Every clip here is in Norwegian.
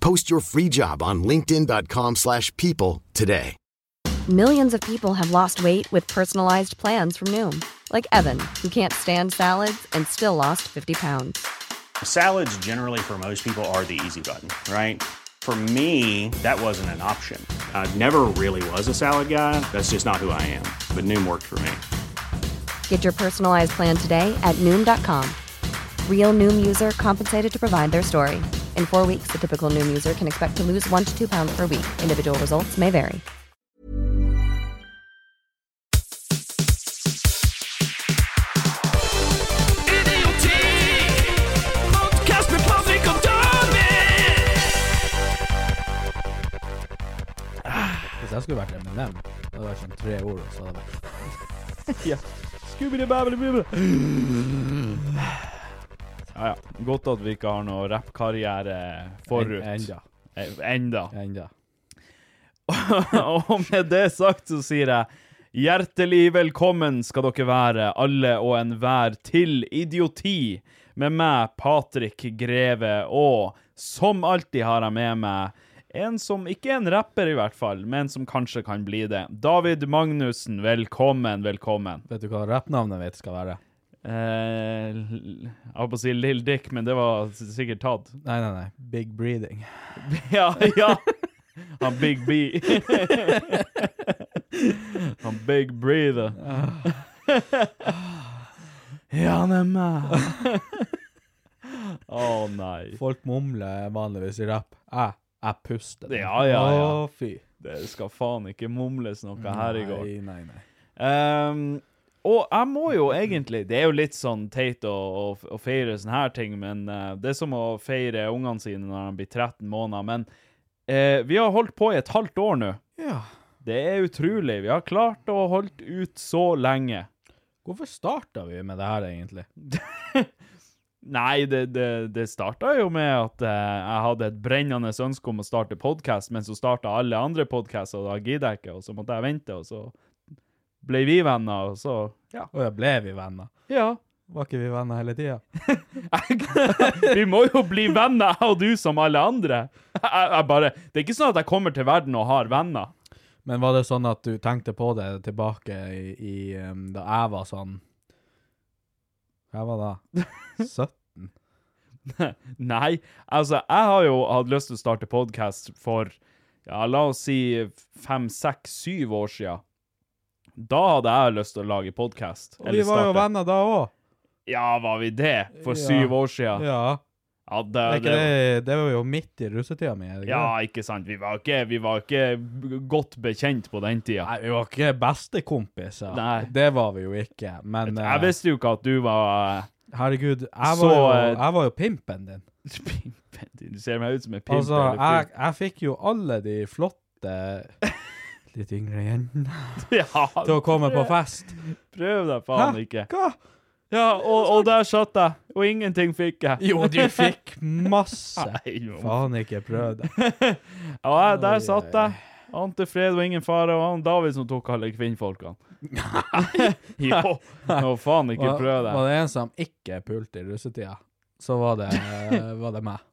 Post your free job on linkedin.com/people slash people today. Millions of people have lost weight with personalized plans from Noom, like Evan, who can't stand salads and still lost 50 pounds. Salads, generally, for most people, are the easy button, right? For me, that wasn't an option. I never really was a salad guy. That's just not who I am. But Noom worked for me. Get your personalized plan today at Noom.com. Real Noom user compensated to provide their story. In four weeks, the typical Noom user can expect to lose one to two pounds per week. Individual results may vary. Idioti! Podcast med Patrick og David! Hvis jeg skulle vært Eminem, det hadde vært sånn tre ord, og så hadde jeg vært Ja, ja. Godt at vi ikke har noe rappkarriere forut. En- Enda. Eh, Enda. Enda. og med det sagt så sier jeg hjertelig velkommen skal dere være, alle og enhver, til Idioti med meg, Patrick Greve, og som alltid har jeg med meg en som ikke er en rapper, i hvert fall, men som kanskje kan bli det. David Magnussen, velkommen, velkommen. Vet du hva rappnavnet mitt skal være? Eh, l- jeg holdt på å si Lill Dick, men det var s- sikkert tatt. Nei, nei, nei. Big Breathing. Ja, ja. Han Big B. Han Big Breather. Ah. Ja, nemlig. Å nei. Folk mumler vanligvis i rapp. Jeg, jeg puster. Ja, ja, ja. Å, fy. Det skal faen ikke mumles noe her i går. Nei, nei, nei. Ehm, og jeg må jo egentlig Det er jo litt sånn teit å, å, å feire sånne her ting, men eh, det er som å feire ungene sine når de blir 13 måneder. Men eh, vi har holdt på i et halvt år nå. Ja. Det er utrolig. Vi har klart å holdt ut så lenge. Hvorfor starta vi med det her, egentlig? Nei, det, det, det starta jo med at eh, jeg hadde et brennende ønske om å starte podkast, men så starta alle andre podkaster, og da gidder jeg ikke, og så måtte jeg vente, og så ble vi venner, og så Ja. Å ja, ble vi venner? ja. Var ikke vi venner hele tida? Vi må jo bli venner, jeg og du, som alle andre. Jeg, jeg bare, det er ikke sånn at jeg kommer til verden og har venner. Men var det sånn at du tenkte på det tilbake i, i um, da jeg var sånn Hva var da? 17? Nei. Altså, jeg har jo hatt lyst til å starte podkast for ja, la oss si fem, seks, syv år sia. Da hadde jeg lyst til å lage podkast. Og vi var jo venner da òg. Ja, var vi det? For Ja. syv år siden? Ja, Ja. det, Er ikke det, det, det var jo midt i russetida mi. er det ikke ja, det? ikke sant. Vi var ikke, vi var ikke b- godt bekjent på den tida. Nei, vi var ikke bestekompiser. Nei. Det var vi jo ikke. Men eh, Jeg visste jo ikke at du var herregud, jeg var, Så, jo, eh, jeg var jo pimpen din. Pimpen din. Du ser meg ut som en pimp. Altså, eller jeg, jeg fikk jo alle de flotte litt yngre jentene pimp. ja, til å komme på fest. Prøv deg faen ikke. Hva? Ja, og, og der satt jeg, og ingenting fikk jeg. Jo, du fikk masse. Nei, jo. Faen ikke prøv det. Og jeg, der satt jeg. Ante fred og ingen fare, og han David som tok alle kvinnfolkene. Nei! jo, nå faen ikke Var, prøv deg. var det en som ikke pulte i russetida, så var det, var det meg.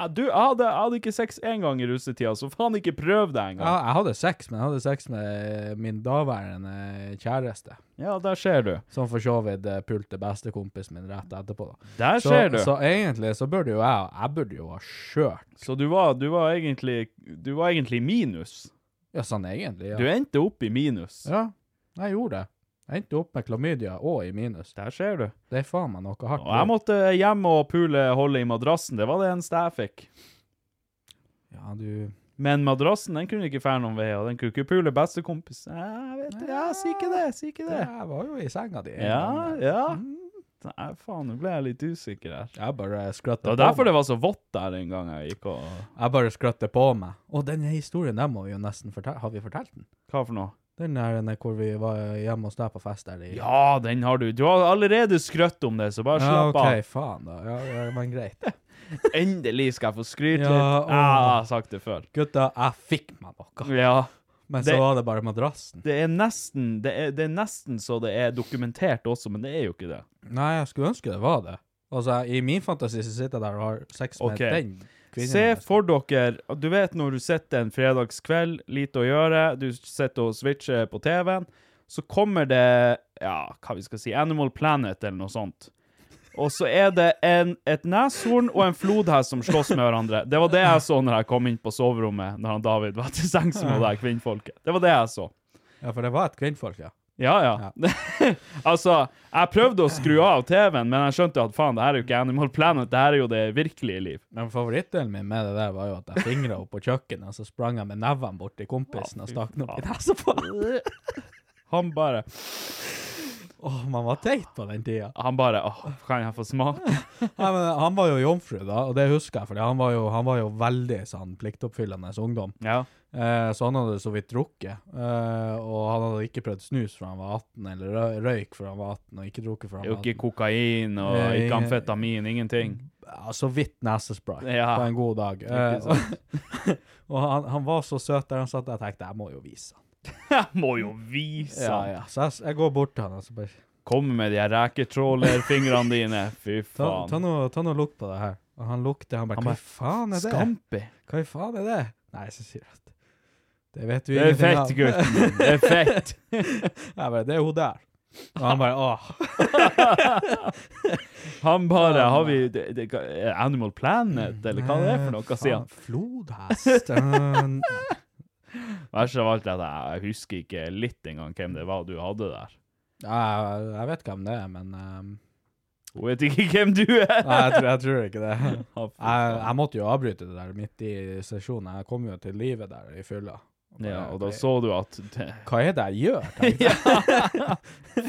Ja, Du, jeg hadde, jeg hadde ikke sex én gang i russetida, så faen ikke prøv deg Ja, engang. jeg hadde sex, men jeg hadde sex med min daværende kjæreste. Ja. ja, der ser du. Som for så vidt eh, pulte bestekompisen min rett etterpå. da. Der Så, ser du. så egentlig så burde jo jeg Jeg burde jo ha kjørt. Så du var, du var egentlig Du var egentlig minus. Ja, sånn egentlig, ja. Du endte opp i minus. Ja, jeg gjorde det. Jeg endte opp med klamydia og i minus. Der ser du. Det er faen meg noe hardt. Og jeg måtte hjem og pule hullet i madrassen. Det var det eneste jeg fikk. Ja, du... Men madrassen den kunne ikke fære noen vei, og den kunne ikke pule bestekompis. Jeg vet det, jeg sier ikke det, jeg sier ikke det. Jeg var jo i senga di. en Ja, gang. ja. Nei, faen, nå ble jeg litt usikker her. Jeg bare skratte Det var derfor det var så vått der en gang jeg gikk og Jeg bare skratte på meg. Og den historien der må vi jo nesten fortelle. Har vi fortalt den? Hva for noe? Den der den der hvor vi var hjemme hos deg på fest der i Ja, den har du. Du har allerede skrøtt om det, så bare Ja, slapp ok, faen da. Ja, ja, men greit. av. Endelig skal jeg få skryte Ja, litt. åh. Jeg har sagt det før. Gutta, jeg fikk meg noe. Ja. Men Det- så var det bare madrassen. Det er nesten det er, det er nesten så det er dokumentert også, men det er jo ikke det. Nei, jeg skulle ønske det var det. Altså, i min fantasi så sitter jeg der og har sex med Ok. den kvinnen. Se for dere Du vet når du sitter en fredagskveld, lite å gjøre, du sitter og switcher på TV-en, så kommer det ja, hva vi skal si, Animal Planet eller noe sånt. Og så er det en, et neshorn og en flodhest som slåss med hverandre. Det var det jeg så når jeg kom inn på soverommet når han David var til sengs med det her kvinnfolket. Det var det jeg så. Ja, for det var et kvinnfolk, ja. Ja, ja. altså, jeg prøvde å skru av TV-en, men jeg skjønte at faen, det her er jo ikke Animal Planet, det her er jo det virkelige liv. Men favorittdelen min med det der var jo at jeg fingra opp på kjøkkenet, og så sprang jeg med nevene bort til kompisen og stakk den opp i nesa på han. Han bare Åh, man var teit på den tida. Han bare Åh, kan jeg få smake? Nei, men han var jo jomfru, da, og det husker jeg, for han, var jo- han var jo veldig sånn pliktoppfyllende ungdom. Ja. Eh, så han hadde så vidt drukket, eh, og han hadde ikke prøvd snus før han var 18, eller rø- røyk før han var 18, og ikke drukket før han Jo, var ikke 18. kokain og Nei, ikke amfetamin, ingenting. Ja, så vidt Altså, nesespray Ja. på en god dag. Eh, Ikke sant. og han, han var så søt der han satt, jeg tenkte jeg må jo vise han. Jeg må jo vise han. Så jeg, jeg går bort til han og så bare Kom med de her reketrålerfingrene dine. Fy Ta, ta faen. noe, ta noe lukt på det her. Og han lukter, han bare Han Hva bare, i faen er det? Skampi. Hva i faen er det? Nei, så sier jeg at Det vet du Det er ingenting fett, gutten min. Det er fett. Jeg bare, det er hun der. Og han bare åh. Han bare Har vi det, det, hva- Animal Planet, eller hva det er for noe? Hva sier han? Faen, Flodhest. eh, Verst av alt er at jeg husker ikke litt engang hvem det var du hadde der. ja, jeg, jeg vet hvem det er, men eh, Hun vet ikke hvem du er! Nei, jeg tror, jeg tror ikke det. Å, fy Jeg, faen. jeg måtte jo avbryte det der midt i sesjonen. Jeg kom jo til livet der i fylla. Og Ja, bare, og da så du at det, Hva er det jeg gjør? tenkte jeg. Ja.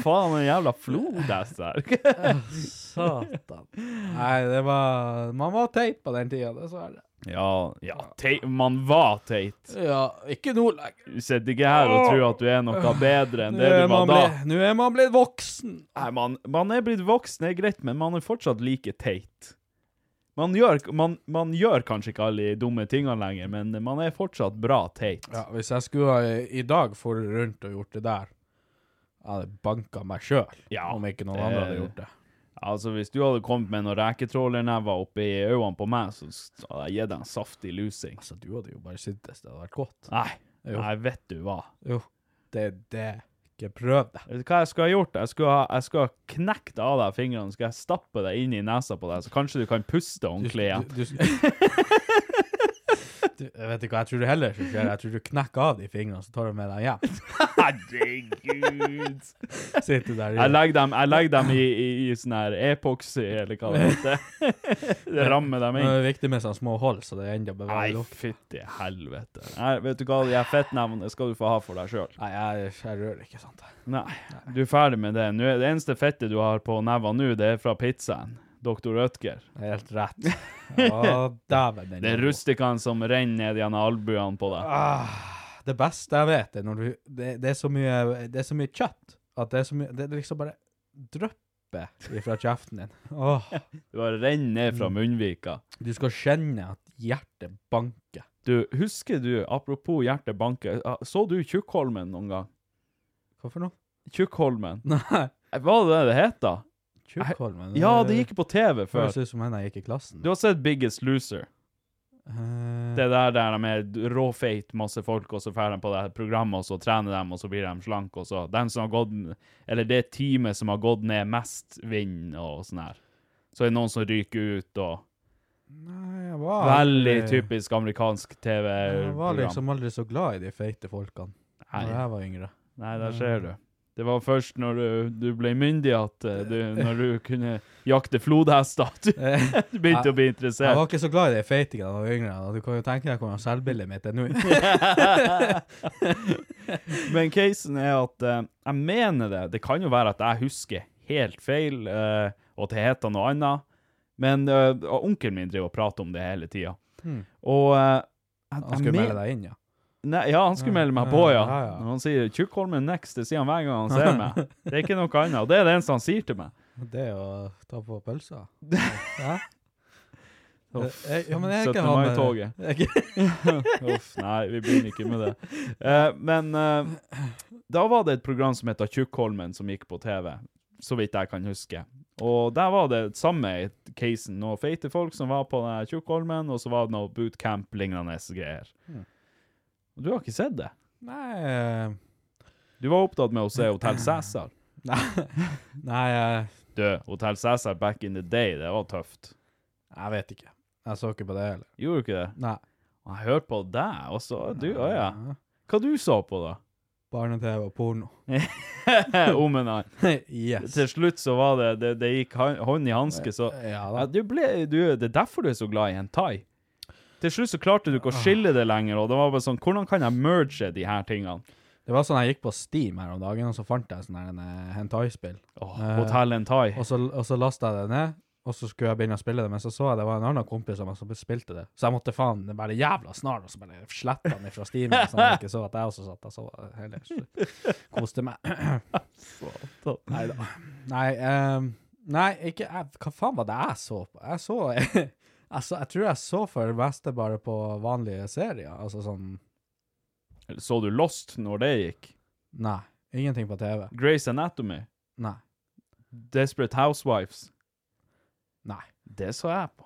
Faen, en jævla flodhest der. Satan. Nei, det var Man var teit på den tida, dessverre. Ja, ja teit. man var teit. Ja, ikke nå lenger. Du sitter ikke her og tror at du er noe bedre enn det Nå er du var man da. blitt- Nå er man blitt voksen. Nei, man, man er blitt voksen, det er greit, men man er fortsatt like teit. Man gjør, man, man gjør kanskje ikke alle de dumme tingene lenger, men man er fortsatt bra teit. Ja, hvis jeg skulle ha i- i dag for rundt og gjort det der, jeg hadde banka meg sjøl. Ja, om ikke noen det- andre hadde gjort det. Altså, Hvis du hadde kommet med noen reketrålernever oppi øynene på meg, så hadde jeg gitt deg en saftig lusing. Altså, du hadde jo bare syntes det hadde vært godt. Nei, Jo. nei, vet du hva. Jo, det er det. Ikke prøv det. Vet du hva jeg skulle ha gjort? Jeg skulle ha, jeg skulle ha knekt av deg fingrene, skal jeg stappe deg inn i nesa på deg, så kanskje du kan puste ordentlig igjen. Du, du, du, jeg vet ikke hva jeg tror heller skal skje. Jeg tror du knekker av de fingrene, så tar du med deg hjem. Herregud! Sitter der Jeg i legger dem, jeg legger dem i, i, i sånn her epoxy, eller hva det heter. Det rammer dem Men inn. Det er viktig med sånne små hold, så det er enda Nei, beveger luft. fytti helvete. Nei, vet du hva, de her fettnevnene skal du få ha for deg sjøl. Nei, jeg, jeg rører ikke sånt. Nei, du er ferdig med det. Nå, er- det eneste fettet du har på nevene nå, det er fra pizzaen. Dr. Rødtger. Det er helt rett. Å, dæven. den Det er er god. rustikkene som renner ned gjennom albuene på deg. Ah, det beste jeg vet, er når du det, det, er så mye, det er så mye kjøtt at det er så mye Det, det liksom bare drypper ifra kjeften din. Åh, Det bare renner ned fra munnvika. du skal kjenne at hjertet banker. Du, husker du, apropos hjertebanke, så du Tjukkholmen noen gang? Hva for noe? Tjukkholmen? Nei, Hva det det het da? Tjukkholmen Ja, det gikk på TV før. Høres ut som en jeg gikk i klassen. Du har sett Biggest Loser. Eh, Det der der de er råfeit, masse folk, og så drar de på det her programmet, og så trener de, og så blir de slank, og så Dem som har gått Eller det teamet som har gått ned mest, vinner, og sånn her. Så er det noen som ryker ut, og Nei, jeg var Veldig aldri- typisk eh, amerikansk Jeg var TV-program. liksom aldri så glad i de feite folkene Nei. da jeg var yngre. Nei, der ser du. Det var først når du, du ble myndig at eh, du, når du kunne jakte flodhester, at du, Eh, du begynte å bli Jeg var interessert. ikke så glad i de feite da jeg var yngre. og Du kan jo tenke deg hvordan selvbildet mitt er nå. Men casen er at eh, jeg mener det. Det kan jo være at jeg husker helt feil, eh, og at det heter noe annet. Men eh, og onkelen min driver og prater om det hele tida. Hmm. Og eh, jeg, Han skulle jeg melde men- deg inn, ja. Nei, ja, han skulle Ja, melde meg ja, på, ja. ja, ja. Når han sier 'Tjukkholmen next', det sier han hver gang han ser meg. Det er ikke noe annet. og Det er det eneste han sier til meg. Det å ta på pølsa. Ja. Jeg- Eh, ja, men jeg er 17. ikke han med- mai-toget. Jeg er ikke- Uff, nei, vi begynner ikke med det. Eh, men eh, da var det et program som heter Tjukkholmen, som gikk på TV. Så vidt jeg kan huske. Og der var det samme casen. Noen feite folk som var på den her Tjukkholmen, og så var det noe bootcamp-lignende greier. Hmm. Og du har ikke sett det? Nei, eh, Du var opptatt med å se Hotell Cæsar. nei, eh, Du, Hotell Cæsar back in the day, det var tøft. jeg vet ikke. Jeg så ikke på det heller. Gjorde du ikke det? Nei. Jeg hørte på deg, og så du, å ja. Hva du så på, da? Barne-TV og porno. Om en annen. yes. Til slutt så var det Det, det gikk han- hånd i hanske, så Ja ja, da. du ble, du, Det er derfor du er så glad i hentai. Til slutt så klarte du ikke å skille det lenger, og det var bare sånn Hvordan kan jeg merge de her tingene? Det var sånn jeg gikk på Steam her om dagen, og så fant jeg sånn her en, eh, hentai-spill. Åh, Eh, Hotell Hentai. Og så, og så lasta jeg det ned, og så skulle jeg begynne å spille det, men så så jeg det var en annen kompis av meg som spilte det, så jeg måtte faen være jævla snar og så bare slette han ifra Steam, så han ikke så at jeg også satt og så heller. Så koste meg. Nei da. Nei, ehm, nei ikke jeg, Hva faen var det jeg så på? Jeg så jeg, så jeg tror jeg så for det meste bare på vanlige serier, altså sånn Så du Lost når det gikk? Nei. Ingenting på TV. Grace Anatomy? Nei. Desperate Housewives? Nei. Det så jeg på.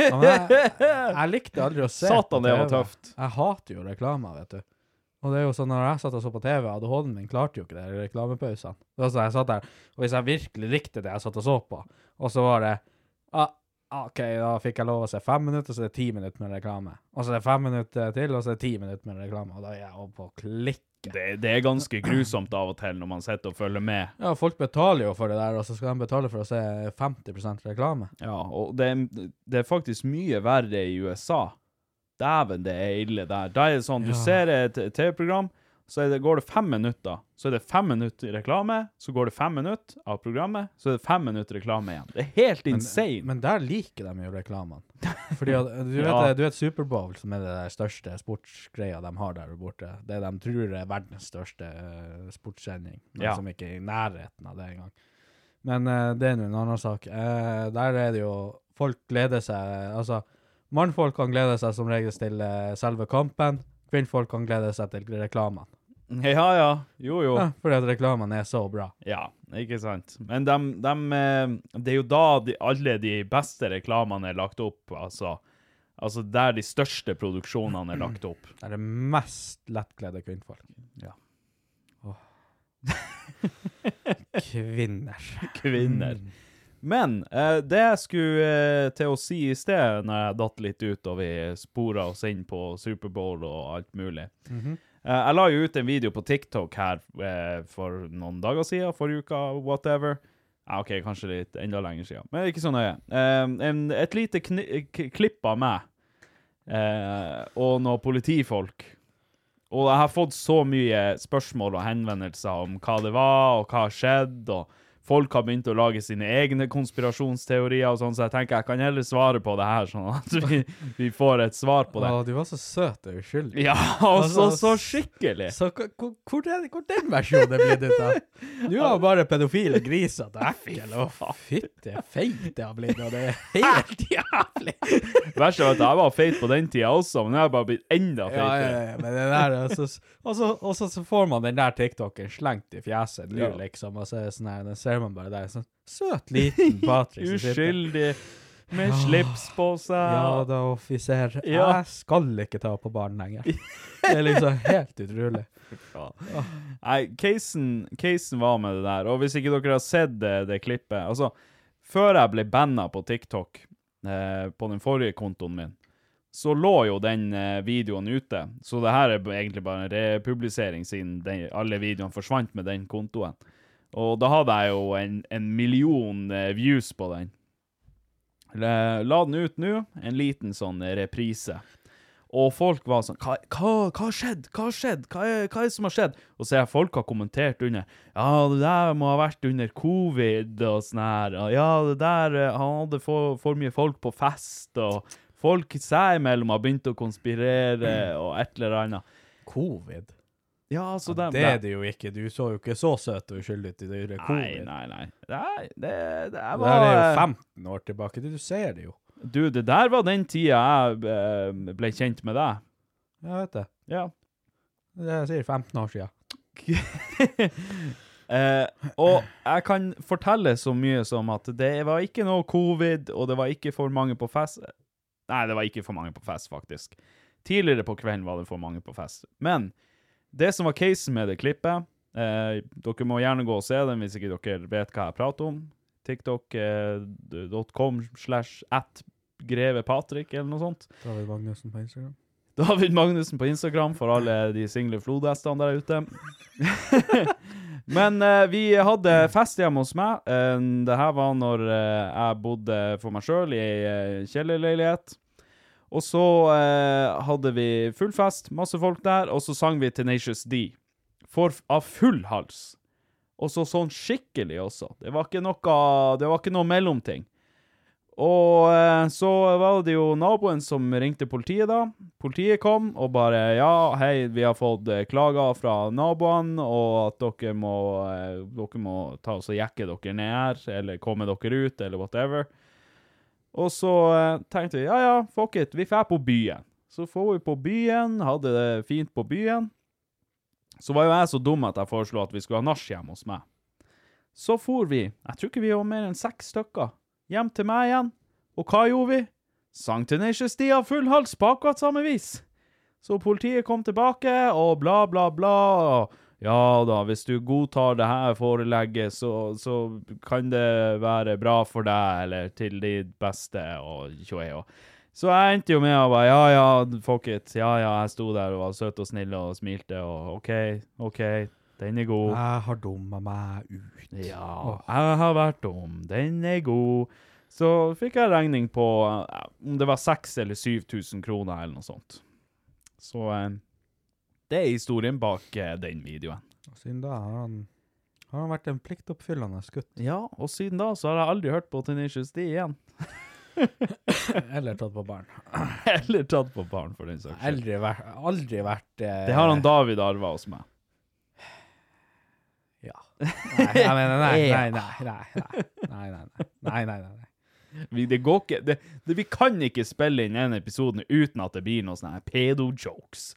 Ja, men jeg, jeg likte aldri å se Satan, på det var TV. tøft. Jeg hater jo reklame, vet du. Og det er jo sånn, når jeg satt og så på TV, ADHD-en min klarte jo ikke det i reklamepausene. Det var sånn, jeg satt der, og hvis jeg virkelig likte det jeg satt og så på, og så var det, ah, ok, da fikk jeg lov å se fem minutter, så er det ti minutter med reklame. Og så er det fem minutter til, og så er det ti minutter med reklame, og da er jeg oppe på klikk. Det, det er ganske grusomt av og til når man sitter og følger med. Ja, folk betaler jo for det der, og så skal de betale for å se 50% reklame. Ja, og det, er- det er faktisk mye verre i USA. Dæven, det er ille der. Da er det sånn, du ser et TV-program, så er det, går det fem minutter. Så er det fem minutter i reklame, så går det fem minutter av programmet, så er det fem minutter reklame igjen. Det er helt insane. Men der liker de jo reklamene. Fordi at, du vet, Ja. det- du vet Superbowl, som er det der største sportsgreia de har der borte. Det de tror er verdens største eh, sportssending, men Ja. som ikke er i nærheten av det engang. Men eh, det er nå en annen sak. Eh, der er det jo Folk gleder seg Altså, mannfolk kan glede seg som regel til eh, selve kampen. Kvinnfolk kan glede seg til reklamene. ja, ja. Jo, jo. Ja, fordi at reklamene er så bra. Ja, ikke sant. Men dem- dem, eh, det er jo da de, alle de beste reklamene er lagt opp, altså. Altså der de største produksjonene er lagt opp. Det er det mest lettkledde kvinnfolk. Ja. Åh. Kvinner. kvinner. Men eh, det jeg skulle eh, til å si i sted, når jeg datt litt ut og vi spora oss inn på Superbowl og alt mulig eh, Jeg la jo ut en video på TikTok her eh, for noen dager siden, forrige uka, whatever. Ja, OK, kanskje litt enda lenger siden, men ikke så nøye. Eh, en, et lite kni k klipp av meg eh, og noen politifolk. Og jeg har fått så mye spørsmål og henvendelser om hva det var, og hva har skjedd, og folk har begynt å lage sine egne konspirasjonsteorier og sånn, så jeg tenker jeg kan heller svare på det her, sånn at vi, vi får et svar på det. Å, du var så søt og uskyldig. Ja, og så, så Altså, skikkelig! Så hva- hvor, hvor, er, hvor den versjonen er blitt ut av? Du var bare pedofil og grisete og ekkel og fytte feit det har blitt, og det er helt jævlig. Verst er at jeg var feit på den tida også, men jeg har bare blitt enda Ja, ja, feitere. ja, men det der, og så, og så, og så, så får man den der TikToken slengt i fjeset nå, Ja. liksom, og så er det sånn her, den ser man bare der, sånn søt liten Patrick som sitter. Uskyldig, med slips på Ja seg. da, offiser. Ja. Jeg skal ikke ta på barn lenger. Det er liksom helt utrolig. Nei, casen, casen var med det der, og hvis ikke dere har sett det, det klippet Altså, før jeg ble banna på TikTok, eh, på den forrige kontoen min, så lå jo den eh, videoen ute. Så det her er b- egentlig bare en republisering, siden den, alle videoene forsvant med den kontoen. Og da hadde jeg jo en, en million eh, views på den. La, la den ut nå, en liten sånn reprise. Og folk var sånn Hva hva- hva har skjedd? Hva har skjedd? Hva er, hva er det som har skjedd? Og så ser jeg folk har kommentert under Ja, det der må ha vært under covid og sånn her. og Ja, det der eh, Han hadde for, for mye folk på fest, og folk seg imellom har begynt å konspirere, Mm. og et eller annet. Covid? Ja, altså, Ja, dem- det er det jo ikke. Du så jo ikke så søt og uskyldig ut i det der Nei, covid. nei, nei. Nei, det, det her Det her var er jo eh, 15 år tilbake. Du ser det jo. Du, det der var den tida jeg eh, ble kjent med deg. Jeg vet det. Ja. Det er sikkert 15 år siden. Eh, og jeg kan fortelle så mye som at det var ikke noe covid, og det var ikke for mange på fest. Nei, det var ikke for mange på fest, faktisk. Tidligere på kvelden var det for mange på fest. Men det som var casen med det klippet eh, Dere må gjerne gå og se den hvis ikke dere vet hva jeg prater om. eh, TikTok.com slash at greve Patrick, eller noe sånt. David Magnussen på Instagram. David Magnussen på Instagram for alle de single flodhestene der ute. Men eh, vi hadde fest hjemme hos meg. Eh, det her var når eh, jeg bodde for meg sjøl i ei eh, kjellerleilighet. Og så eh, hadde vi full fest, masse folk der, og så sang vi Tenacious D. For, av full hals. Og så sånn skikkelig også. Det var ikke noe, det var ikke noe mellomting. Og eh, så var det jo naboen som ringte politiet, da. Politiet kom og bare Ja, hei, vi har fått eh, klager fra naboene, og at dere må, eh, dere må ta oss og jekke dere ned her, eller komme dere ut, eller whatever. Og så eh, tenkte vi ja, ja, fuck it, vi drar på byen. Så får vi på byen, hadde det fint på byen. Så var jo jeg så dum at jeg foreslo at vi skulle ha nach hjemme hos meg. Så for vi, jeg tror ikke vi var mer enn seks stykker, hjem til meg igjen. Og hva gjorde vi? Sang Tenacious D av full hals på akkurat samme vis. Så politiet kom tilbake, og bla, bla, bla. Ja da, hvis du godtar det her forelegget, så, så kan det være bra for deg, eller til ditt beste, og tjoe og Så jeg endte jo med å bare ja ja, fuck it, ja ja, jeg sto der og var søt og snill og smilte, og OK, OK, den er god. Jeg har dumma meg ut. Ja, jeg har vært dum. Den er god. Så fikk jeg regning på eh, om det var 6000 eller 7000 kroner eller noe sånt. Så eh, det er historien bak eh, den videoen. Og Siden da har han, har han vært en pliktoppfyllende gutt. Ja, og siden da så har jeg aldri hørt på Tenacious D igjen. Eller tatt på barn. Eller tatt på barn, for den saks skyld. Aldri vært, aldri vært eh, Det har han David arva hos meg. Ja. Nei, jeg mener, nei, nei, nei, nei, nei, nei, nei, nei, nei, nei, nei, nei. Vi, det går ikke, det, det, vi kan ikke spille inn en episode uten at det blir noen sånne her pedo-jokes.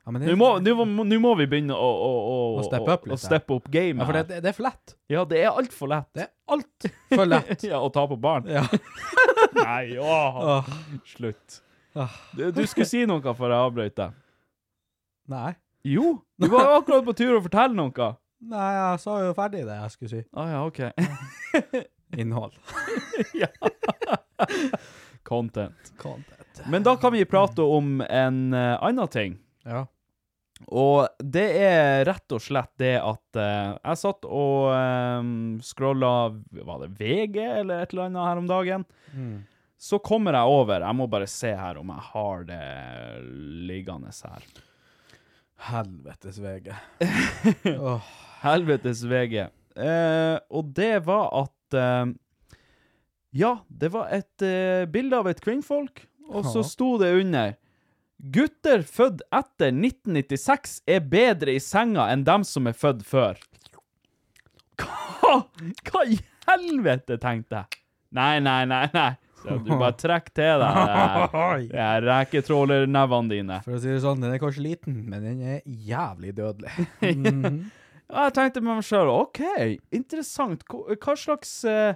Ja, men det, Nå må, nå må, nå må vi begynne å, å, å, Å steppe opp å- litt å her. steppe opp gamet. ja, for her. det, det, det er for lett. Ja, det er altfor lett. Det er altfor lett. ja, å ta på barn. Ja. Nei, åh. Åh, Ah. Slutt. åh. Du, du skulle si noe før jeg avbrøt deg. Nei. Jo, du var jo akkurat på tur å fortelle noe. Nei, jeg sa jo ferdig det jeg skulle si. Å ja, ok. Innhold. Content. Content. Men da kan vi prate om en eh, annen ting. Ja. Og det er rett og slett det at eh, jeg satt og um, scrolla Var det VG eller et eller annet her om dagen? Mm. Så kommer jeg over Jeg må bare se her om jeg har det liggende her. Helvetes VG. Helvetes VG. Eh, og det var at eh, Ja, det var et eh, bilde av et kvinnfolk, og så Ja. sto det under Gutter født etter 1996 er bedre i senga enn dem som er født før. Hva? Hva i helvete, tenkte jeg. Nei, nei, nei, nei. Så du bare trekk til deg det her- det her reketrålernevene dine. For å si det sånn, den er kanskje liten, men den er jævlig dødelig. Mhm. Og jeg tenkte med meg sjøl OK, interessant. Hva hva slags eh,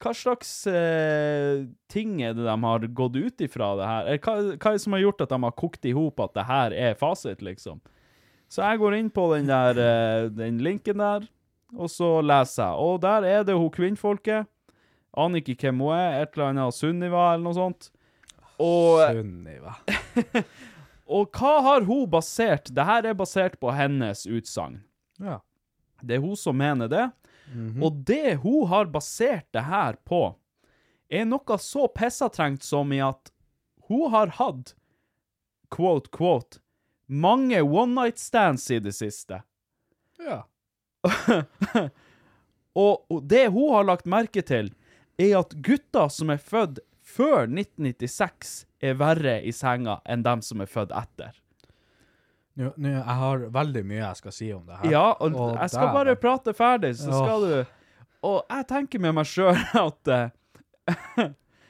hva slags eh, ting er det de har gått ut ifra det her? Eller hva, hva er det som har gjort at de har kokt i hop at det her er fasit, liksom? Så jeg går inn på den der eh, den linken der, og så leser jeg. Og der er det hun kvinnfolket. Aner ikke hvem hun er. Et eller annet Sunniva eller noe sånt. eh, Og, Sunniva. og hva har hun basert Det her er basert på hennes utsagn. Ja. Det er hun som mener det. Og det hun har basert det her på, er noe så pissatrengt som i at hun har hatt, quote, quote, mange one night stands i det siste. ja. Og og det hun har lagt merke til, er at gutter som er født før 1996, er verre i senga enn dem som er født etter. Nå, nå, jeg har veldig mye jeg skal si om det her. Ja, og Å, jeg skal dæven. bare prate ferdig, så Åh. skal du Og jeg tenker med meg sjøl at eh,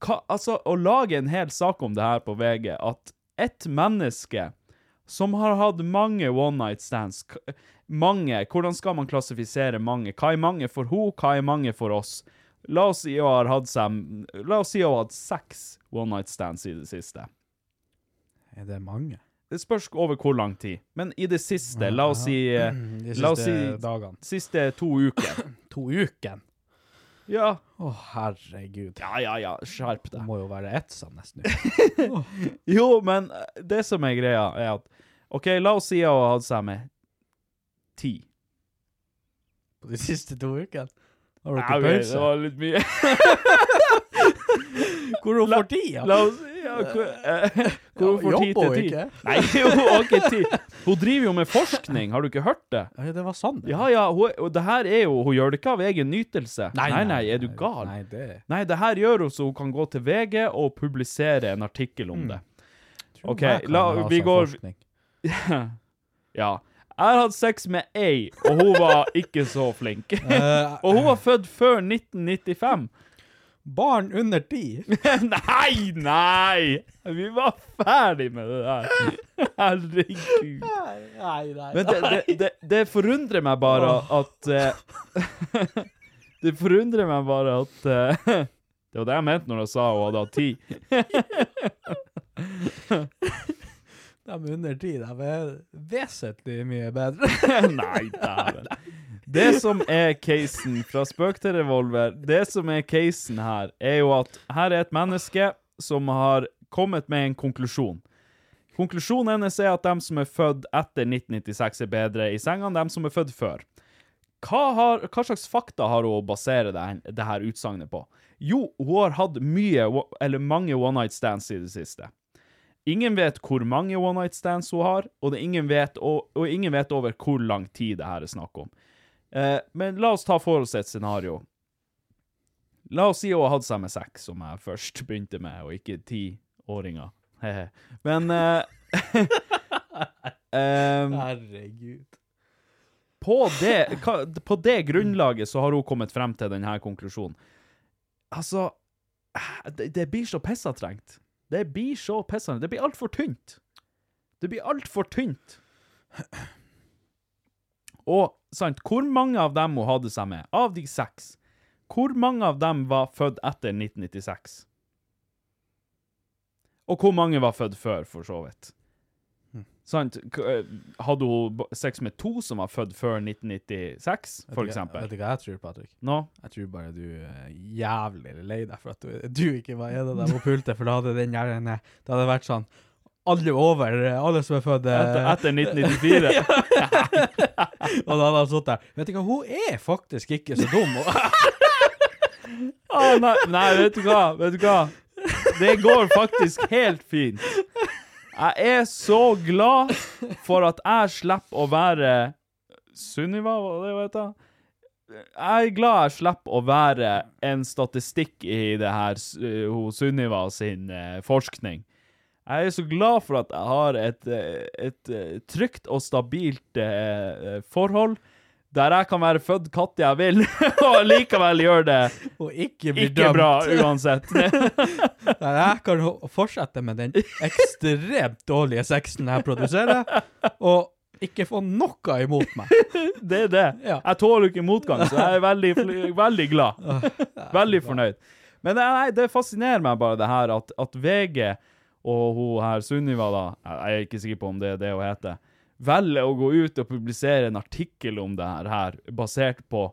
hva, Altså, å lage en hel sak om det her på VG, at ett menneske som har hatt mange one night stands k- Mange Hvordan skal man klassifisere mange? Hva er mange for hun, hva er mange for oss? La oss si hun har hatt seg La oss si hun har hatt seks one night stands i det siste. Er det mange? Det spørs over hvor lang tid. Men i det siste, la oss si eh, De La oss siste si dagene. siste to uker. To uken. Ja. Å, herregud. Ja, ja, ja. Skjerp Det deg. må jo være ett sånn nesten. nå. Jo, men eh, det som er greia, er at OK, la oss si jeg har hatt seg med ti. På de siste to ukene. Har Ja, dere ok, pause? Det var litt mye. Hvor hun får tida? La oss ja, hvor, eh, hvor hun Ja, får tid jobber til hun tid? ikke? Nei, hun har ikke tid. Hun driver jo med forskning, har du ikke hørt det? Ja, det var sant. det. Ja, ja, hun, og det her er jo Hun gjør det ikke av egen nytelse. Nei, nei, er du gal? Nei, det Nei, det her gjør hun så hun kan gå til VG og publisere en artikkel om det. tror Ok, jeg kan la- ha vi sånn går- forskning. Ja. Jeg har hatt sex med ei, og hun var ikke så flink. Eh, og hun var født før 1995. Barn under ti. nei, nei! Vi var ferdig med det der. Herregud. Nei, nei. Men det, det, det, det forundrer meg bare at eh, Det forundrer meg bare at eh, Det var det jeg mente når jeg sa hun hadde hatt ti. De er under ti de er vesentlig mye bedre. Nei, dæven. Det som er casen fra spøk til revolver, det som er casen her, er jo at her er et menneske som har kommet med en konklusjon. Konklusjonen hennes er at dem som er født etter 1996 er bedre i senga enn dem som er født før. Hva, har, hva slags fakta har hun å basere det, her- det her utsagnet på? Jo, hun har hatt mye, one- eller mange one night stands i det siste. Ingen vet hvor mange one night stands hun har, og, det er ingen vet, og, og ingen vet over hvor lang tid det her er snakk om. Eh, men la oss ta for oss et scenario. La oss si hun har hatt seg med seks, som jeg først begynte med, og ikke tiåringer. Hehe. men eh, Ehm, em, Herregud. på det, hva, på det grunnlaget så har hun kommet frem til denne konklusjonen. Altså, eh, det, det blir så pissatrengt. Det blir så pissatrengt. Det blir altfor tynt. Det blir altfor tynt. Og, sant, hvor mange av dem hun hadde seg med, av de seks, hvor mange av dem var født etter 1996? Og hvor mange var født før, for så vidt? Sant? K- eh, Hadde hun b- sex med to som var født før 1996, for Vet eksempel? du hva jeg tror, Patrick? Nå? Jeg tror bare du er jævlig lei deg for at du, du ikke var en av dem på pultet, for da hadde den der den er- Det hadde vært sånn Alle over, alle som er født Etter, eh, etter 1994? Og da hadde han sittet der. Vet du hva, hun er faktisk ikke så dum. Og, Å, nei, nei, vet du hva? Vet du hva? Det går faktisk helt fint. Jeg er så glad for at jeg slipper å være Sunniva, hva det vet jeg. Jeg er glad jeg slipper å være en statistikk i det her s- hun Sunniva sin eh, forskning. Jeg er så glad for at jeg har et, eh, et eh, trygt og stabilt eh, eh, forhold, der jeg kan være født katt jeg vil, og likevel gjøre det og ikke blir ikke dømt. bra uansett. Der jeg kan ho- fortsette med den ekstremt dårlige sexen jeg produserer, og ikke få noe imot meg. Det er det. Ja. Jeg tåler ikke motgang, så jeg er veldig, fl- veldig glad. Veldig fornøyd. Men det, nei, det fascinerer meg bare det her at, at VG og hun her Sunniva, da, jeg er ikke sikker på om det er det hun heter, velger å gå ut og publisere en artikkel om det her, her basert på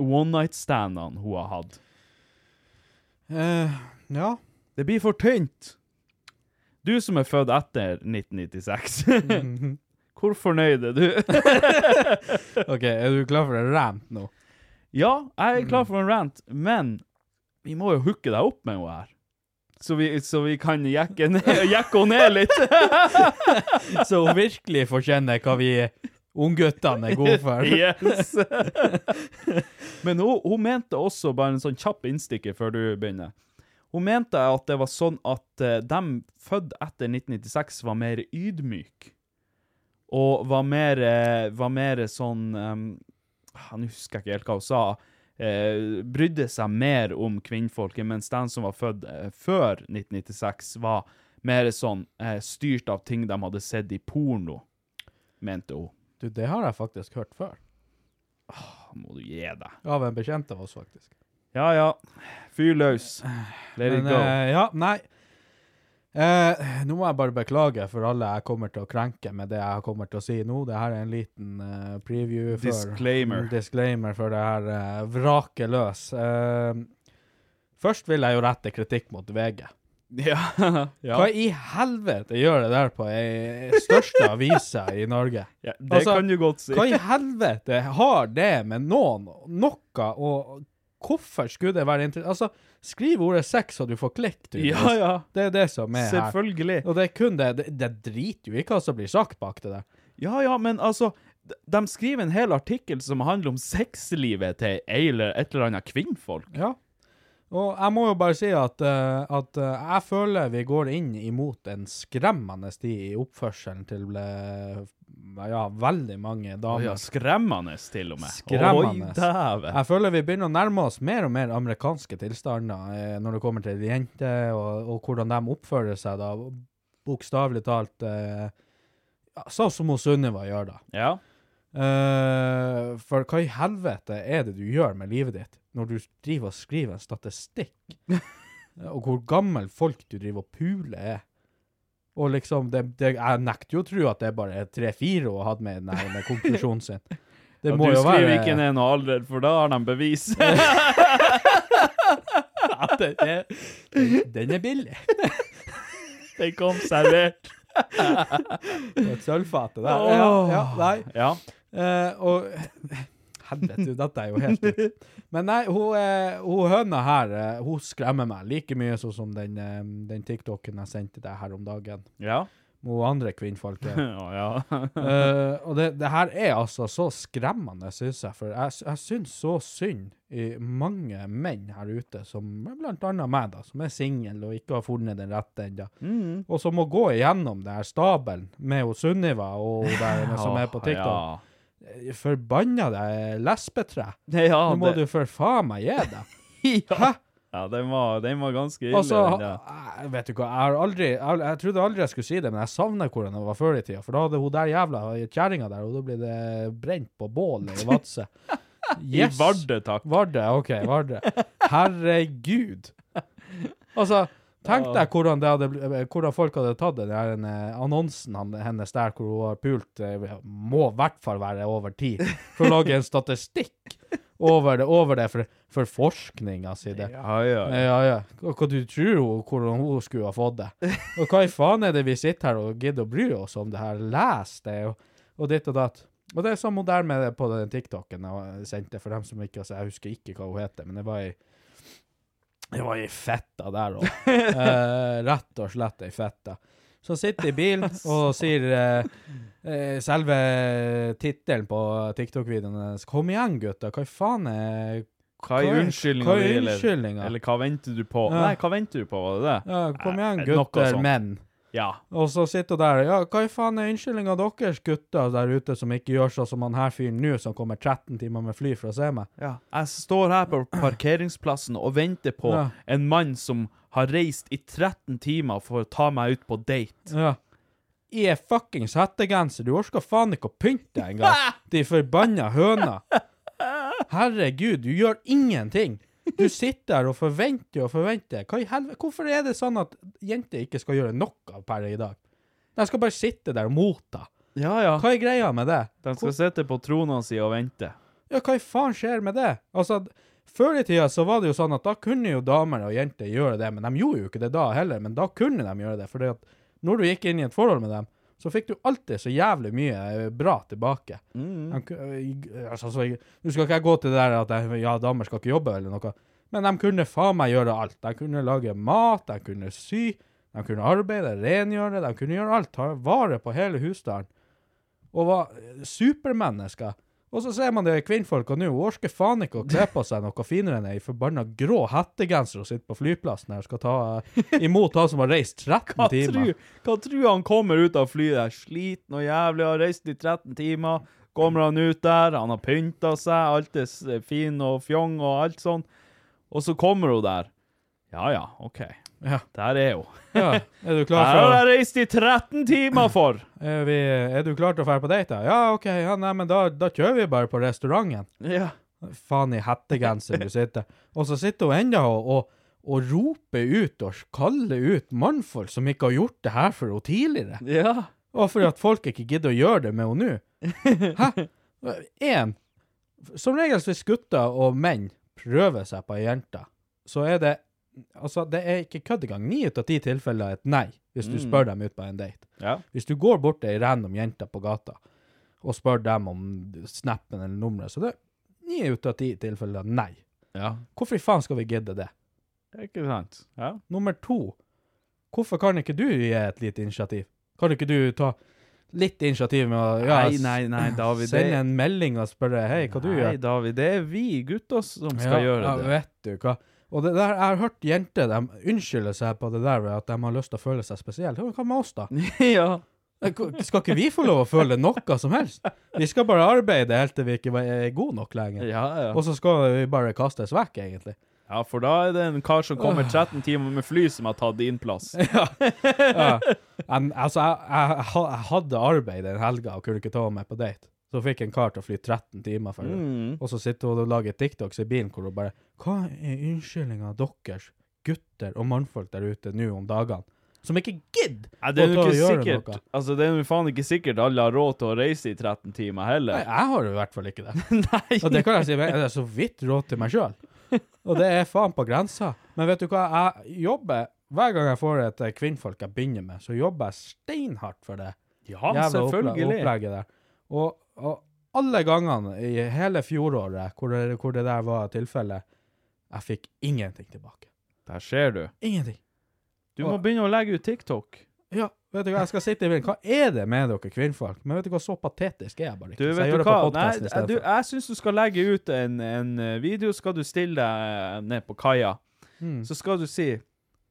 one night-standene hun har hatt. Eh, ja. Det blir for tynt! Du som er født etter 1996, hvor fornøyd er du? OK, er du klar for en rant nå? ja, jeg er klar for en rant, men vi må jo hooke deg opp med henne her. Så vi, så vi kan jekke ned- jekke henne ned litt. Så hun virkelig får kjenne hva vi ungguttene er gode for. Yes! Men hun, hun mente også, bare en sånn kjapp innstikker før du begynner Hun mente at det var sånn at eh, dem født etter 1996 var mer ydmyk. Og var mer, eh, var mer sånn eh, ah, Nå husker jeg ikke helt hva hun sa. eh, brydde seg mer om kvinnfolket, mens den som var født eh, før 1996, var mer sånn eh, styrt av ting de hadde sett i porno, mente hun. Du, det har jeg faktisk hørt før. Da Ah, må du gi deg. Av en bekjent av oss, faktisk. Ja, ja. Fyr løs. Let it Men go. eh, ja, nei. Eh, nå må jeg bare beklage for alle jeg kommer til å krenke med det jeg kommer til å si nå. Det her er en liten eh, preview for Disclaimer. disclaimer for det her eh, vraket løs. Eh, først vil jeg jo rette kritikk mot VG. ja. Hva ja. i helvete gjør det der på ei største avisa i Norge? ja det Altså, kan du godt si. Hva i helvete har det med noen noe og Hvorfor skulle det være interessant? Altså, skriv ordet sex, og du får klikk, tydeligvis. Ja, ja. Det er det som er her. Selvfølgelig. Og det er kun det. Det, det driter jo i hva som blir sagt bak det der. Ja, ja, men altså d- De skriver en hel artikkel som handler om sexlivet til ei eller et eller annet kvinnfolk. Ja. Og jeg må jo bare si at, eh, at eh, jeg føler vi går inn imot en skremmende tid i oppførselen til eh, ja, veldig mange Å damer. ja, skremmende, til og med. Oi, Skremmende. dæven. Jeg føler vi begynner å nærme oss mer og mer amerikanske tilstander eh, når det kommer til jenter, og, og hvordan de oppfører seg da, bokstavelig talt eh, ja, Sånn som hun Sunniva gjør, da. Ja. Eh, for hva i helvete er det du gjør med livet ditt når du driver og skriver en statistikk, og hvor gammel folk du driver og puler er? Og liksom, det, det, Jeg nekter jo å tro at det er bare tre-fire hun har hatt med den her med konklusjonen sin. Det Ja, må du jo skriver være ikke ned noe alder, for da har de bevis. det, det, den- den er billig. Den kom servert. På et sølvfate der. Åh. Ja, ja, nei. Ja. Eh, og Helvete, dette er jo helt nytt. Men nei, hun, eh, hun høna her, eh, hun skremmer meg like mye sånn som den, eh, den TikToken jeg sendte deg her om dagen. Ja. Med hun andre kvinnfolket. Å, ja. Eh, og det, det her er altså så skremmende, syns jeg. For jeg, jeg syns så synd i mange menn her ute, som blant annet meg, da, som er singel og ikke har funnet den rette ennå. Og som må gå igjennom det her stabelen med hun Sunniva og hun der som er på Åh, TikTok. Forbanna deg lesbetre! Ja, ja Nå må det- du for faen meg gi deg! Hæ? Ja, den var, den var ganske ille. Altså, den der. jeg vet du hva, jeg har aldri jeg, jeg trodde aldri jeg skulle si det, men jeg savner hvordan det var før i tida. For da hadde hun der jævla kjerringa der, og da ble det brent på bålet i Vadsø. I Vardø, takk. Vardø, OK, Vardø. Herregud. Altså, tenk deg hvordan, det hadde, bl- eh, hvordan folk hadde tatt den der en, eh, annonsen han, hennes der hvor hun har pult eh, Må i hvert fall være over ti, for å lage en statistikk over det, over det for, for forskninga si. det. Eh, Ja, ja, ja. Ja, ja. Hva, hva du tror hun, hvordan hun skulle ha fått det? Og hva i faen er det vi sitter her og gidder å bry oss om det her? Les det, og, og ditt og datt. Og det er som hun der med på den TikToken jeg sendte, for dem som ikke har sett, jeg husker ikke hva hun heter, men det var ei det var ei fetta der òg. Eh, rett og slett ei fetta. Som sitter i bilen og sier eh, eh, selve tittelen på TikTok-videoen hennes. Kom igjen, gutter. Hva i faen er Hva er unnskyldninga hva er di, eller, unnskyldninga? eller hva venter du på? Ja. Nei, hva venter du på, var det det? Ja, kom igjen, Eh, noe gutter, sånt. menn. Ja. Og så sitter hun der, ja, hva i faen er unnskyldninga deres gutter der ute som ikke gjør sånn som han her fyren nå, som kommer 13 timer med fly for å se meg? Jeg står her på parkeringsplassen og venter på Ja. en mann som har reist i 13 timer for å ta meg ut på date. Ja. I en fuckings hettegenser, du orker faen ikke å pynte deg engang, de forbanna høna. Herregud, du gjør ingenting. Du sitter her og forventer og forventer. Hva i helvete? Hvorfor er det sånn at jenter ikke skal gjøre noe per i dag? De skal bare sitte der og motta. Ja, ja. Hva er greia med det? De skal sitte på trona si og vente. Ja, hva i faen skjer med det? Altså, d- før i tida så var det jo sånn at da kunne jo damer og jenter gjøre det, men de gjorde jo ikke det da heller, men da kunne de gjøre det, fordi at når du gikk inn i et forhold med dem, så fikk du alltid så jævlig mye eh, bra tilbake. De ku- eh, altså, så, jeg- nå skal ikke jeg gå til det der at jeg, ja, damer skal ikke jobbe eller noe, men de kunne faen meg gjøre alt. De kunne lage mat, de kunne sy, de kunne arbeide, rengjøre, de kunne gjøre alt, ta vare på hele husstanden og var eh, supermennesker. Og så ser man det i kvinnfolka nå, hun orker faen ikke å kle på seg noe finere enn ei forbanna grå hettegenser og sitter på flyplassen her og skal ta eh, imot han som har reist 13 Hva timer. tror, hva tror han kommer ut av flyet der? Sliten og jævlig, har reist i 13 timer. Kommer han ut der, han har pynta seg, alt er s- fin og fjong og alt sånn. Og så kommer hun der. Ja ja, OK. Ja. Der er hun. Ja. Er du Her klar har for å, jeg reist i 13 timer for! er vi, er du klar til å dra på date? da? Ja, OK, ja, nei, men da, da kjører vi bare på restauranten. Ja. Faen i hettegenser du sitter. Og så sitter hun enda og, og, og roper ut og kaller ut mannfolk som ikke har gjort det her for henne tidligere. ja. Og fordi at folk ikke gidder å gjøre det med henne nå. Hæ? Én. Som regel hvis gutter og menn prøver seg på ei jente, så er det Altså, det er ikke kødd engang. Ni ut av ti tilfeller er et nei, hvis du spør dem ut på en date. Ja. Hvis du går bort til ei random jente på gata og spør dem om snappen eller nummeret, så det er ni ut av ti tilfeller nei. ja. Hvorfor i faen skal vi gidde det? Det er ikke sant. Ja. Nummer to. Hvorfor kan ikke du gi et lite initiativ? Kan ikke du ta litt initiativ med å ja, Nei, nei, nei, David, det- sende en melding og spørre hei, hva du Nei, gjør? David, det er vi gutter som skal ja, gjøre ja, det. vet du hva. Og det der, jeg har hørt jenter de unnskylder seg på det der ved at de har lyst til å føle seg spesielle. Ja, men Hva med oss, da? ja. Skal ikke vi få lov å føle noe som helst? Vi skal bare arbeide helt til vi ikke er gode nok lenger. Ja, ja. Og så skal vi bare kastes vekk, egentlig. ja, for da er det en kar som kommer 13 timer med fly som har tatt din plass. Jeg, altså, jeg, jeg, ha- jeg hadde arbeid den helga og kunne ikke ta meg på date. Så fikk en kar til å fly 13 timer for det. Mm. Og så sitter hun og lager TikToks i bilen hvor hun bare Hva er unnskyldninga deres, gutter og mannfolk der ute nå om dagene, som ikke gidder Nei, det er jo å ta og ikke gjøre sikkert noe? Altså, det er jo faen ikke sikkert alle har råd til å reise i 13 timer Nei, heller. jeg har jo i hvert fall ikke det. Nei! Og det kan jeg si, men jeg er så vidt råd til meg sjøl. Og det er faen på grensa. Men vet du hva, jeg jobber Hver gang jeg får et eh, kvinnfolk jeg begynner med, så jobber jeg steinhardt for det. Ja, jævla opple- selvfølgelig. opplegget der. Og, og alle gangene i hele fjoråret hvor det, hvor det der var tilfellet, jeg fikk ingenting tilbake. Der ser du. Ingenting. Du må begynne å legge ut TikTok. Ja, vet du hva, jeg skal sitte i bilen. Hva er det med dere kvinnfolk? Men vet du hva, så patetisk er jeg bare ikke. Du, så vet jeg du gjør hva? det på Nei, podcasten i jeg- du, stedet. jeg syns du skal legge ut en, en eh, video. Skal du stille deg eh, ned på kaia, Hmm. så skal du si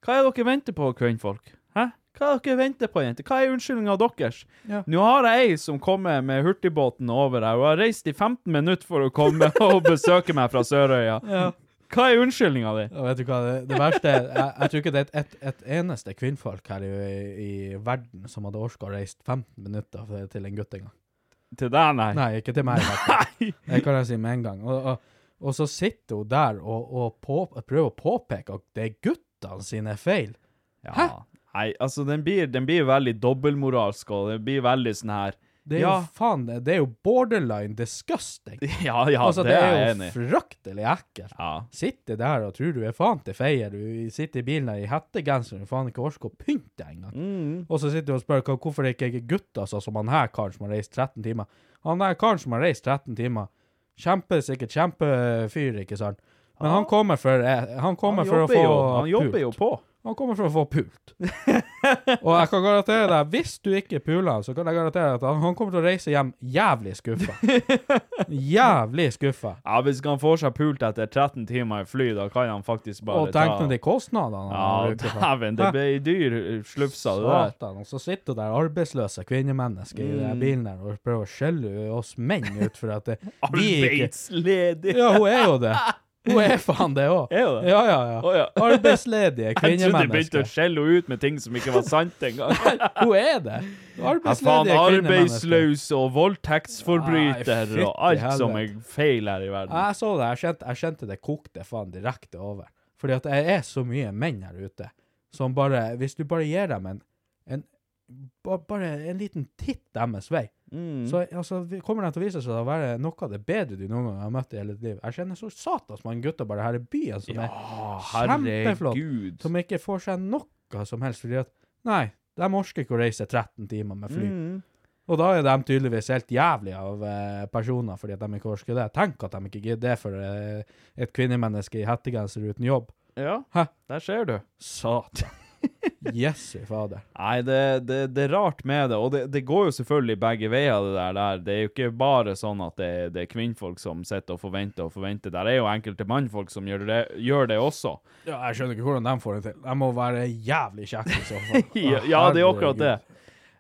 Hva er det dere venter på, kvinnfolk? Hæ? Hva er det dere venter på, jenter? Hva er unnskyldninga deres? Ja. Nå har jeg ei som kommer med hurtigbåten over her. Hun har reist i 15 minutter for å komme og besøke meg fra Sørøya. Hva er unnskyldninga di? Ja, vet du hva, det, det verste er, jeg, jeg tror ikke det er et, et, et eneste kvinnfolk her i, i verden som hadde orket å reise 15 minutter for- til en gutt en gang. Til deg, nei. Nei, ikke til meg. i hvert fall. Det kan jeg si med en gang. Og, og, og så sitter hun der og, og på, prøver å påpeke at det er guttene sine feil. Ja. Nei, altså, den blir, den blir veldig dobbeltmoralsk, og den blir veldig sånn her Det er Ja, jo faen, det det er jo borderline disgusting. ja, ja altså, det, er jeg jo enig i. fryktelig ekkelt. Ja. Sitter der og tror du er faen til feier. Du sitter i bilen der i hettegenser og faen ikke orker å pynte deg engang. Mm. Og så sitter du og spør hva- hvorfor det ikke er gutter altså, som han her karen som har reist 13 timer. Han der karen som har reist 13 timer, kjempesikkert kjempefyr, ikke sant? Men han kommer for, eh, han kommer Han for å jobber få jo, han jobber pult. jo på. Han kommer for å få pult. og jeg kan garantere deg, hvis du ikke puler han, så kan jeg garantere deg at han, han kommer til å reise hjem jævlig skuffa. jævlig skuffa. Ja, Hvis han får seg pult etter 13 timer i fly, da kan han faktisk bare Og tenk nå de kostnadene Ja, bruker for- dæven, det Hæ? ble dyr slufsa, det der. Satan, og så sitter det der arbeidsløse kvinnemennesker i Mm. den bilen der og prøver å skjelle oss menn ut for at det, vi ikke Arbeidsledig! Ja, hun er jo det. Hun er faen det òg. Er hun det? Ja, ja, ja. Å, ja. Arbeidsledige Jeg trodde de begynte å kvinnemennesker. skjelle henne ut med ting som ikke var sant engang. Hun er det. Ja, faen, Arbeidsledige kvinnemennesker. arbeidsløs og voldtektsforbryter Nei, og alt fytti som er helvete. feil her i Ja, verden. Jeg så det, jeg kjente, jeg kjente det kokte faen direkte over. Fordi at det er så mye menn her ute som bare Hvis du bare gir dem en, en ba- Bare en liten titt deres vei, Mm. Så altså, vi- kommer det til å vise seg å være noe av det bedre du noen gang har møtt i hele ditt liv. Jeg kjenner så satans mange gutter bare her i byen som er kjempeflott, Herregud. som ikke får seg noe som helst fordi at Nei, de orker ikke å reise 13 timer med fly. Mm. Og da er de tydeligvis helt jævlig av eh, personer fordi at de ikke orker det. Tenk at de ikke gidder det for eh, et kvinnemenneske i hettegenser uten jobb. Ja, Hæ? der ser du. Satan. Jesu fader. Nei, det, det, det er rart med det, og det, det går jo selvfølgelig begge veier, det der, der. Det er jo ikke bare sånn at det, det er kvinnfolk som sitter og forventer og forventer. Der er jo enkelte mannfolk som gjør det, gjør det også. Ja, jeg skjønner ikke hvordan de får det til. De må være jævlig kjekke i så fall. Ja, ja, det er akkurat det.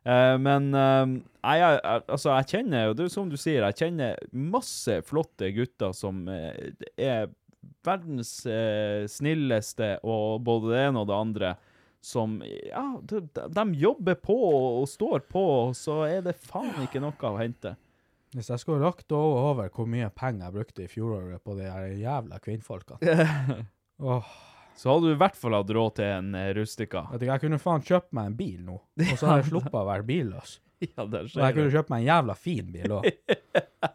Eh, men eh, nei, jeg, jeg- altså, jeg kjenner jo, det er som du sier, jeg kjenner masse flotte gutter som eh, er verdens eh, snilleste, og både det ene og det andre, som, ja, de, de- de jobber på og, og står på, og så er det faen ikke noe å hente. Hvis jeg skulle rakt over, over hvor mye penger jeg brukte i fjoråret på de her jævla kvinnfolkene Åh, Så hadde du i hvert fall hatt råd til en eh, rustika. vet du, Jeg kunne faen kjøpt meg en bil nå, og så hadde jeg sluppet å være billøs. Ja, der Og jeg kunne det. kjøpt meg en jævla fin bil òg.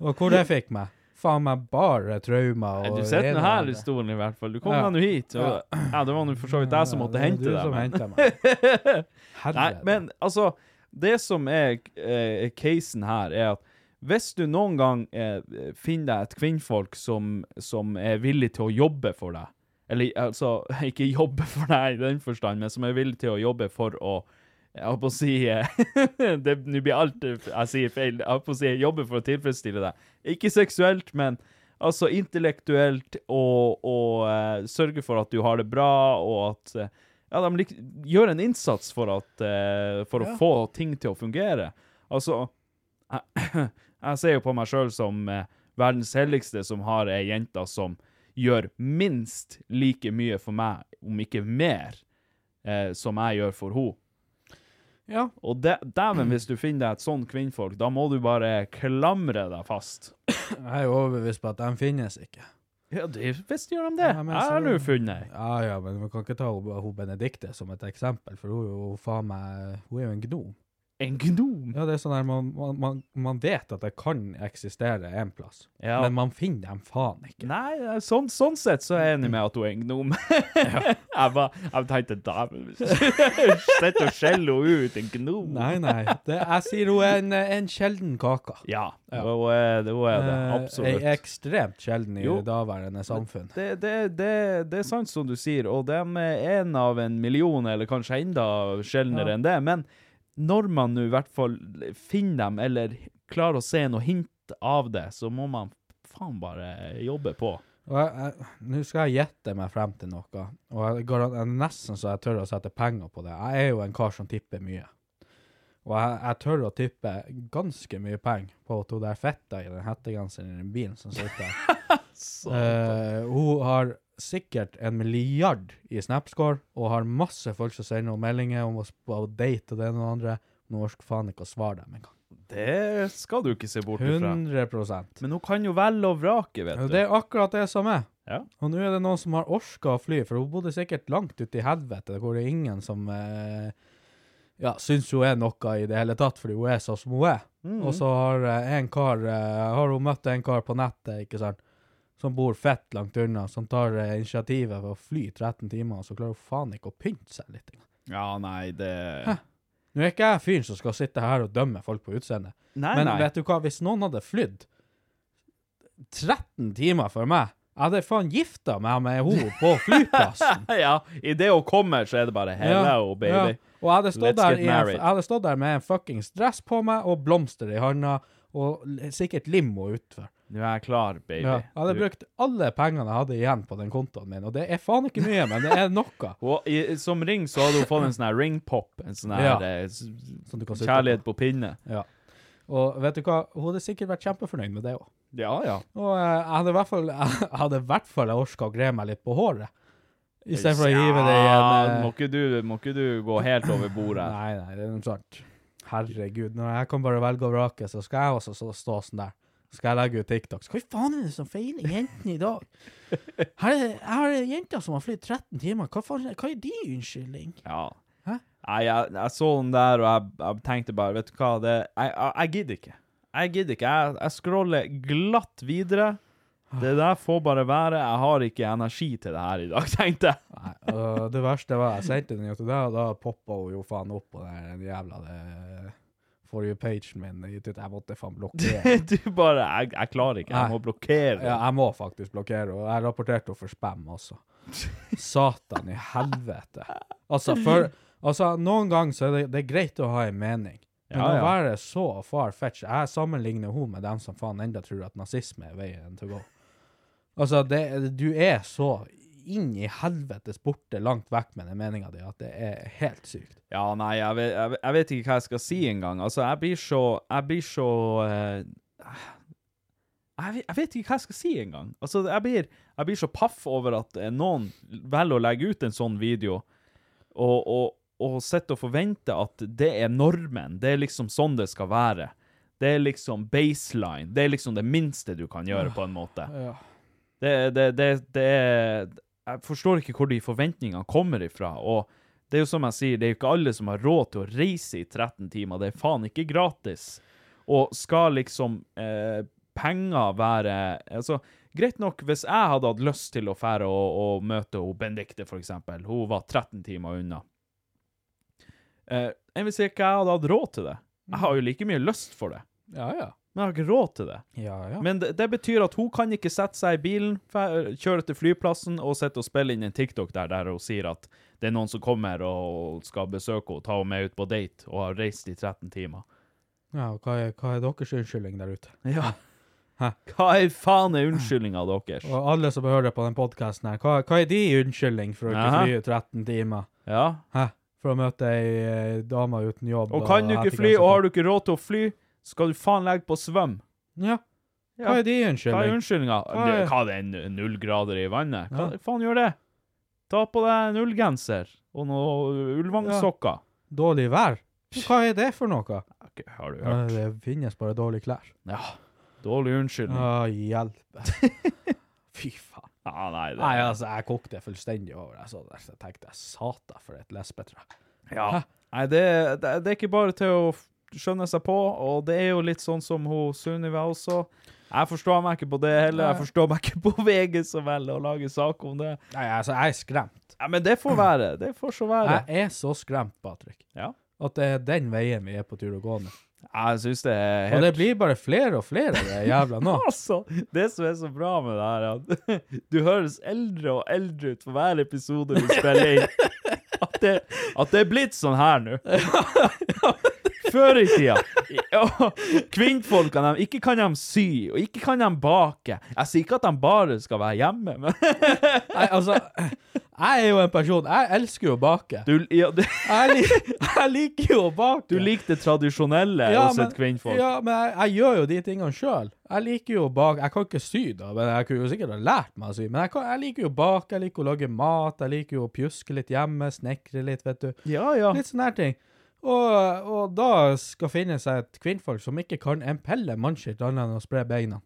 Og hvor det fikk meg? Faen meg bare traumer Nei, og Du sitter nå ene her og i andre. stolen i hvert fall. Du kom Ja. deg nå hit. Og, ja, det var nå for så vidt jeg som måtte hente det. deg. men- er Du som hentet meg. Herre. Nei, men altså Det som er eh, casen her, er at hvis du noen gang eh, finner deg et kvinnfolk som, som er villig til å jobbe for deg Eller altså, ikke jobbe for deg i den forstand, men som er villig til å jobbe for å Jeg holdt på å si eh, det- Nå blir alt jeg sier feil. Jeg holdt på å si jobbe for å tilfredsstille deg. Ikke seksuelt, men altså intellektuelt, og, og eh, sørge for at du har det bra, og at eh, ja, de lik gjør en innsats for, at, eh, for å få ting til å fungere. Altså, jeg, jeg ser jo på meg sjøl som eh, verdens heldigste, som har ei jente som gjør minst like mye for meg, om ikke mer, eh, som jeg gjør for henne. Ja. Og dæ- dæven, hvis du finner deg et sånn kvinnfolk, da må du bare klamre deg fast. Jeg er jo overbevist på at de finnes ikke. Ja, det, visst gjør de altså, det. Ja, men Jeg har nå så- funnet ei. Ja, ja, men vi kan ikke ta hun, hun Benedikte som et eksempel, for hun er jo faen meg Hun er jo en gnom. En gnom. Ja, det er sånn der man, man, man, man vet at det kan eksistere en plass, Ja. men man finner dem faen ikke. Nei, eh, sånn, sånn sett så er jeg enig med at hun er en gnom. jeg, bare, jeg tenkte dæven hvis jeg sitter og skjeller henne ut, en gnom. Nei, nei. Det, jeg sier hun er en, en sjelden kake. Ja, Hun, er, hun er det. Eh, Absolutt. ei ekstremt sjelden i Jo. det daværende samfunn. Det, det, det, det er sant som du sier, og de er en av en million, eller kanskje enda sjeldnere enn det. Men når man nå i hvert fall finner dem, eller klarer å se noe hint av det, så må man faen bare jobbe på. Og jeg- jeg- Nå skal jeg gjette meg frem til noe, og jeg, garan- jeg er nesten så jeg tør å sette penger på det. Jeg er jo en kar som tipper mye. Og jeg, jeg tør å tippe ganske mye penger på at hun der fetta i den hettegenseren i den bilen som sitter der. Sånn, Eh, hun har sikkert en milliard i Snapscore, og har masse folk som sender henne meldinger om å sp- å date og det ene og det andre. Nå orker faen ikke å svare dem engang. Det skal du ikke se bort ifra. 100 Men hun kan jo velge og vrake, vet Ja, du. Det er akkurat det som er. Ja. Og nå er det noen som har orka å fly, for hun bodde sikkert langt ute i helvete, hvor det er ingen som eh, ja, syns hun er noe i det hele tatt, fordi hun er sånn som hun er. Mhm. Og så har, eh, en kar, eh, har hun møtt en kar på nettet, ikke sant, som bor fett langt unna, som tar eh, initiativet for å fly 13 timer, og så klarer hun faen ikke å pynte seg litt. engang. Ja, nei, det Nå er ikke jeg fyren som skal sitte her og dømme folk på utseendet, Nei, men nei. vet du hva, hvis noen hadde flydd 13 timer for meg, jeg hadde faen gifta meg med henne på flyplassen. Ja, i det hun kommer, så er det bare hello, Ja, baby. ja. Og jeg hadde, stått Let's der get i en, married. jeg hadde stått der med en fuckings dress på meg og blomster i handa, og l- sikkert limo utfor. Nå er jeg klar, baby. Ja. Jeg hadde Du- brukt alle pengene jeg hadde igjen på den kontoen min, og det er faen ikke mye, men det er noe. Og i, som ring så hadde hun fått en sånn her ringpop, en sånn her Ja. eh, s- Som du kan sitte kjærlighet på pinne. Ja. Og vet du hva, hun hadde sikkert vært kjempefornøyd med det òg. Ja, ja. Og eh, jeg hadde i hvert fall jeg hadde i hvert fall orka å gre meg litt på håret, i stedet for å hive det i en eh, må, ikke du, må ikke du gå helt over bordet. Nei, nei, det er noe sant. Herregud, når jeg kan bare velge og vrake, så skal jeg også så, stå sånn der. Så skal jeg legge ut TikToks. Hva i faen er det som feiler jentene i dag? Her er, her er det jenter som har flydd 13 timer. Hva, faen, hva er de unnskyldning? Ja. Hæ? Nei, jeg, jeg så den der, og jeg, jeg tenkte bare, vet du hva, det, jeg, jeg, jeg gidder ikke. Jeg gidder ikke. Jeg, jeg scroller glatt videre. Det der får bare være. Jeg har ikke energi til det her i dag, tenkte jeg. Nei, og det verste var jeg sendte den jo til deg, og da poppa hun jo faen opp på den jævla det, for you-pagen min. Jeg jeg måtte faen blokkere. Du bare Jeg, jeg klarer ikke. Jeg Nei. må blokkere. Ja, jeg må faktisk blokkere henne. Jeg rapporterte henne for spam også. Satan i helvete. Altså, for, altså noen ganger så er det, det er greit å ha en mening. Men Ja, å ja. være så far-fetched Jeg sammenligner henne med dem som faen enda tror at nazisme er veien til å gå. Altså, det, du er så inn i helvetes borte langt vekk med den meninga di at det er helt sykt. Ja, nei, jeg vet, jeg, vet- jeg vet ikke hva jeg skal si engang. Altså, jeg blir så Jeg blir så eh, jeg, vet- jeg vet ikke hva jeg skal si engang. Altså, jeg blir, jeg blir så paff over at eh, noen velger å legge ut en sånn video, og, og, og sitter og forventer at det er normen. Det er liksom sånn det skal være. Det er liksom baseline. Det er liksom det minste du kan gjøre, på en måte. Ja. Det, det, det, det er Jeg forstår ikke hvor de forventningene kommer ifra. Og det er jo som jeg sier, det er jo ikke alle som har råd til å reise i 13 timer. Det er faen ikke gratis. Og skal liksom eh, penger være Altså, greit nok hvis jeg hadde hatt lyst til å fære og, og møte hun Benedicte, for eksempel. Hun var 13 timer unna. Eh, jeg vil si ikke jeg hadde hatt råd til det. Jeg har jo like mye lyst for det, Ja, ja. men jeg har ikke råd til det. Ja, ja. Men det, det betyr at hun kan ikke sette seg i bilen, fe- kjøre til flyplassen og sitte og spille inn en TikTok der, der hun sier at det er noen som kommer og skal besøke henne, ta henne med ut på date og har reist i 13 timer. ja og hva, er, hva er deres unnskyldning der ute? Ja. Hva i faen er unnskyldninga deres? Og alle som hører på den podkasten her, hva, hva er de unnskyldning for å ikke Aha. fly 13 timer? Ja. Hæ? For å møte ei eh, dame uten jobb? Og kan du ikke fly, og har du ikke råd til å fly, skal du faen legge på svøm. Ja. Hva Ja. er de Hva er unnskyldning? unnskyldninga? Hva er- Hva det er nu- null grader i vannet? Hva Ja. faen gjør det? Ta på deg en ullgenser og noen ullvangsokker. Dårlig vær? Hva er det for noe? Ok, Har du Ja, hørt? det finnes bare dårlige klær. Ja. Dårlig unnskyldning. Å, hjelpe. Fy faen. Ja, nei, det... Nei, altså, jeg kokte fullstendig over det. Så der, så tenkte jeg satan for et lesbetre. Ja. Nei, det, det, det er ikke bare til å f- skjønne seg på, og det er jo litt sånn som hun Sunniva også. Jeg forstår meg ikke på det heller. Jeg forstår meg ikke på VG så vel å lage sak om det. Nei, altså, jeg er skremt. Nei, men det får være. Det får så være. Jeg er så skremt, Patrick, Ja. at det er den veien vi er på tur å gå nå. Jeg syns det er Og helt det blir bare flere og flere av det jævla nå. Altså, det som er så bra med det her, er at du høres eldre og eldre ut for hver episode vi spiller inn. At det, at det er blitt sånn her nå. Før i tida. Og Kvinnfolkene, de- ikke kan de sy, og ikke kan de bake. Jeg sier ikke at de bare skal være hjemme, men Nei, altså, jeg er jo en person Jeg elsker jo å bake. du, ja, du, Jeg, lik, jeg liker jo å bake. du liker det tradisjonelle hos et kvinnfolk. Ja, men jeg, jeg gjør jo de tingene sjøl. Jeg liker jo å bake. Jeg kan ikke sy, da, men jeg kunne jo sikkert ha lært meg å sy. Men jeg, kan, jeg liker jo å bake, jeg liker å lage mat, jeg liker jo å pjuske litt hjemme, snekre litt, vet du. Ja, ja. Litt sånne her ting. Og, og da skal finne seg et kvinnfolk som ikke kan en pelle mannskitt annet enn å spre beina.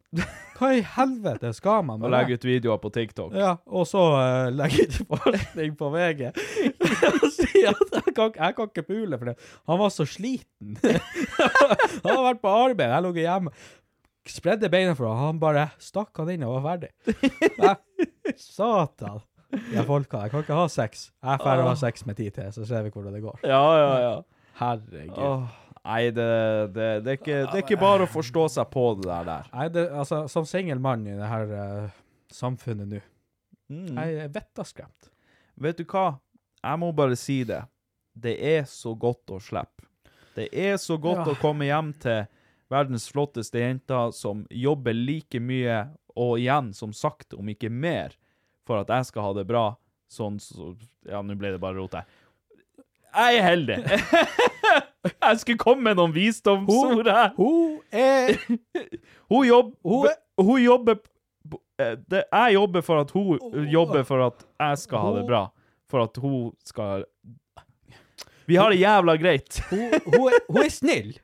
Hva i helvete skal man Og med det? legger ut videoer på TikTok. sånn, Ja, og så eh, legger de forskning på VG. Og sier at jeg kan, ikke- jeg kan ikke pule for det. Han var så sliten. han har vært på arbeid, jeg lå hjemme. Spredde beina for ham, han bare stakk han inn og var ferdig. Nei, Satan. Jeg folka, jeg kan ikke ha sex. Jeg er ferdig å ha sex med ti til, så ser vi hvordan det går. Ja, ja, ja. Herregud. Åh, nei, det, det, det, er ikke, det er ikke bare å forstå seg på det der. der. Nei, det, altså, som singel mann i det her eh, samfunnet nå, Mm. jeg er vettaskremt. Vet du hva? Jeg må bare si det. Det er så godt å slippe. Det er så godt Ja. å komme hjem til verdens flotteste jenter som jobber like mye, og igjen, som sagt, om ikke mer, for at jeg skal ha det bra. Sånn så, Ja, nå ble det bare rot her. Jeg er heldig. jeg skulle komme med noen visdomsord her. Hun er Hun, jobb, Hun hun, er- jobber eh, det, Jeg jobber for at hun jobber for at jeg skal ha det bra. For at hun skal Vi har det jævla greit. Hun, hun, er, hun er snill.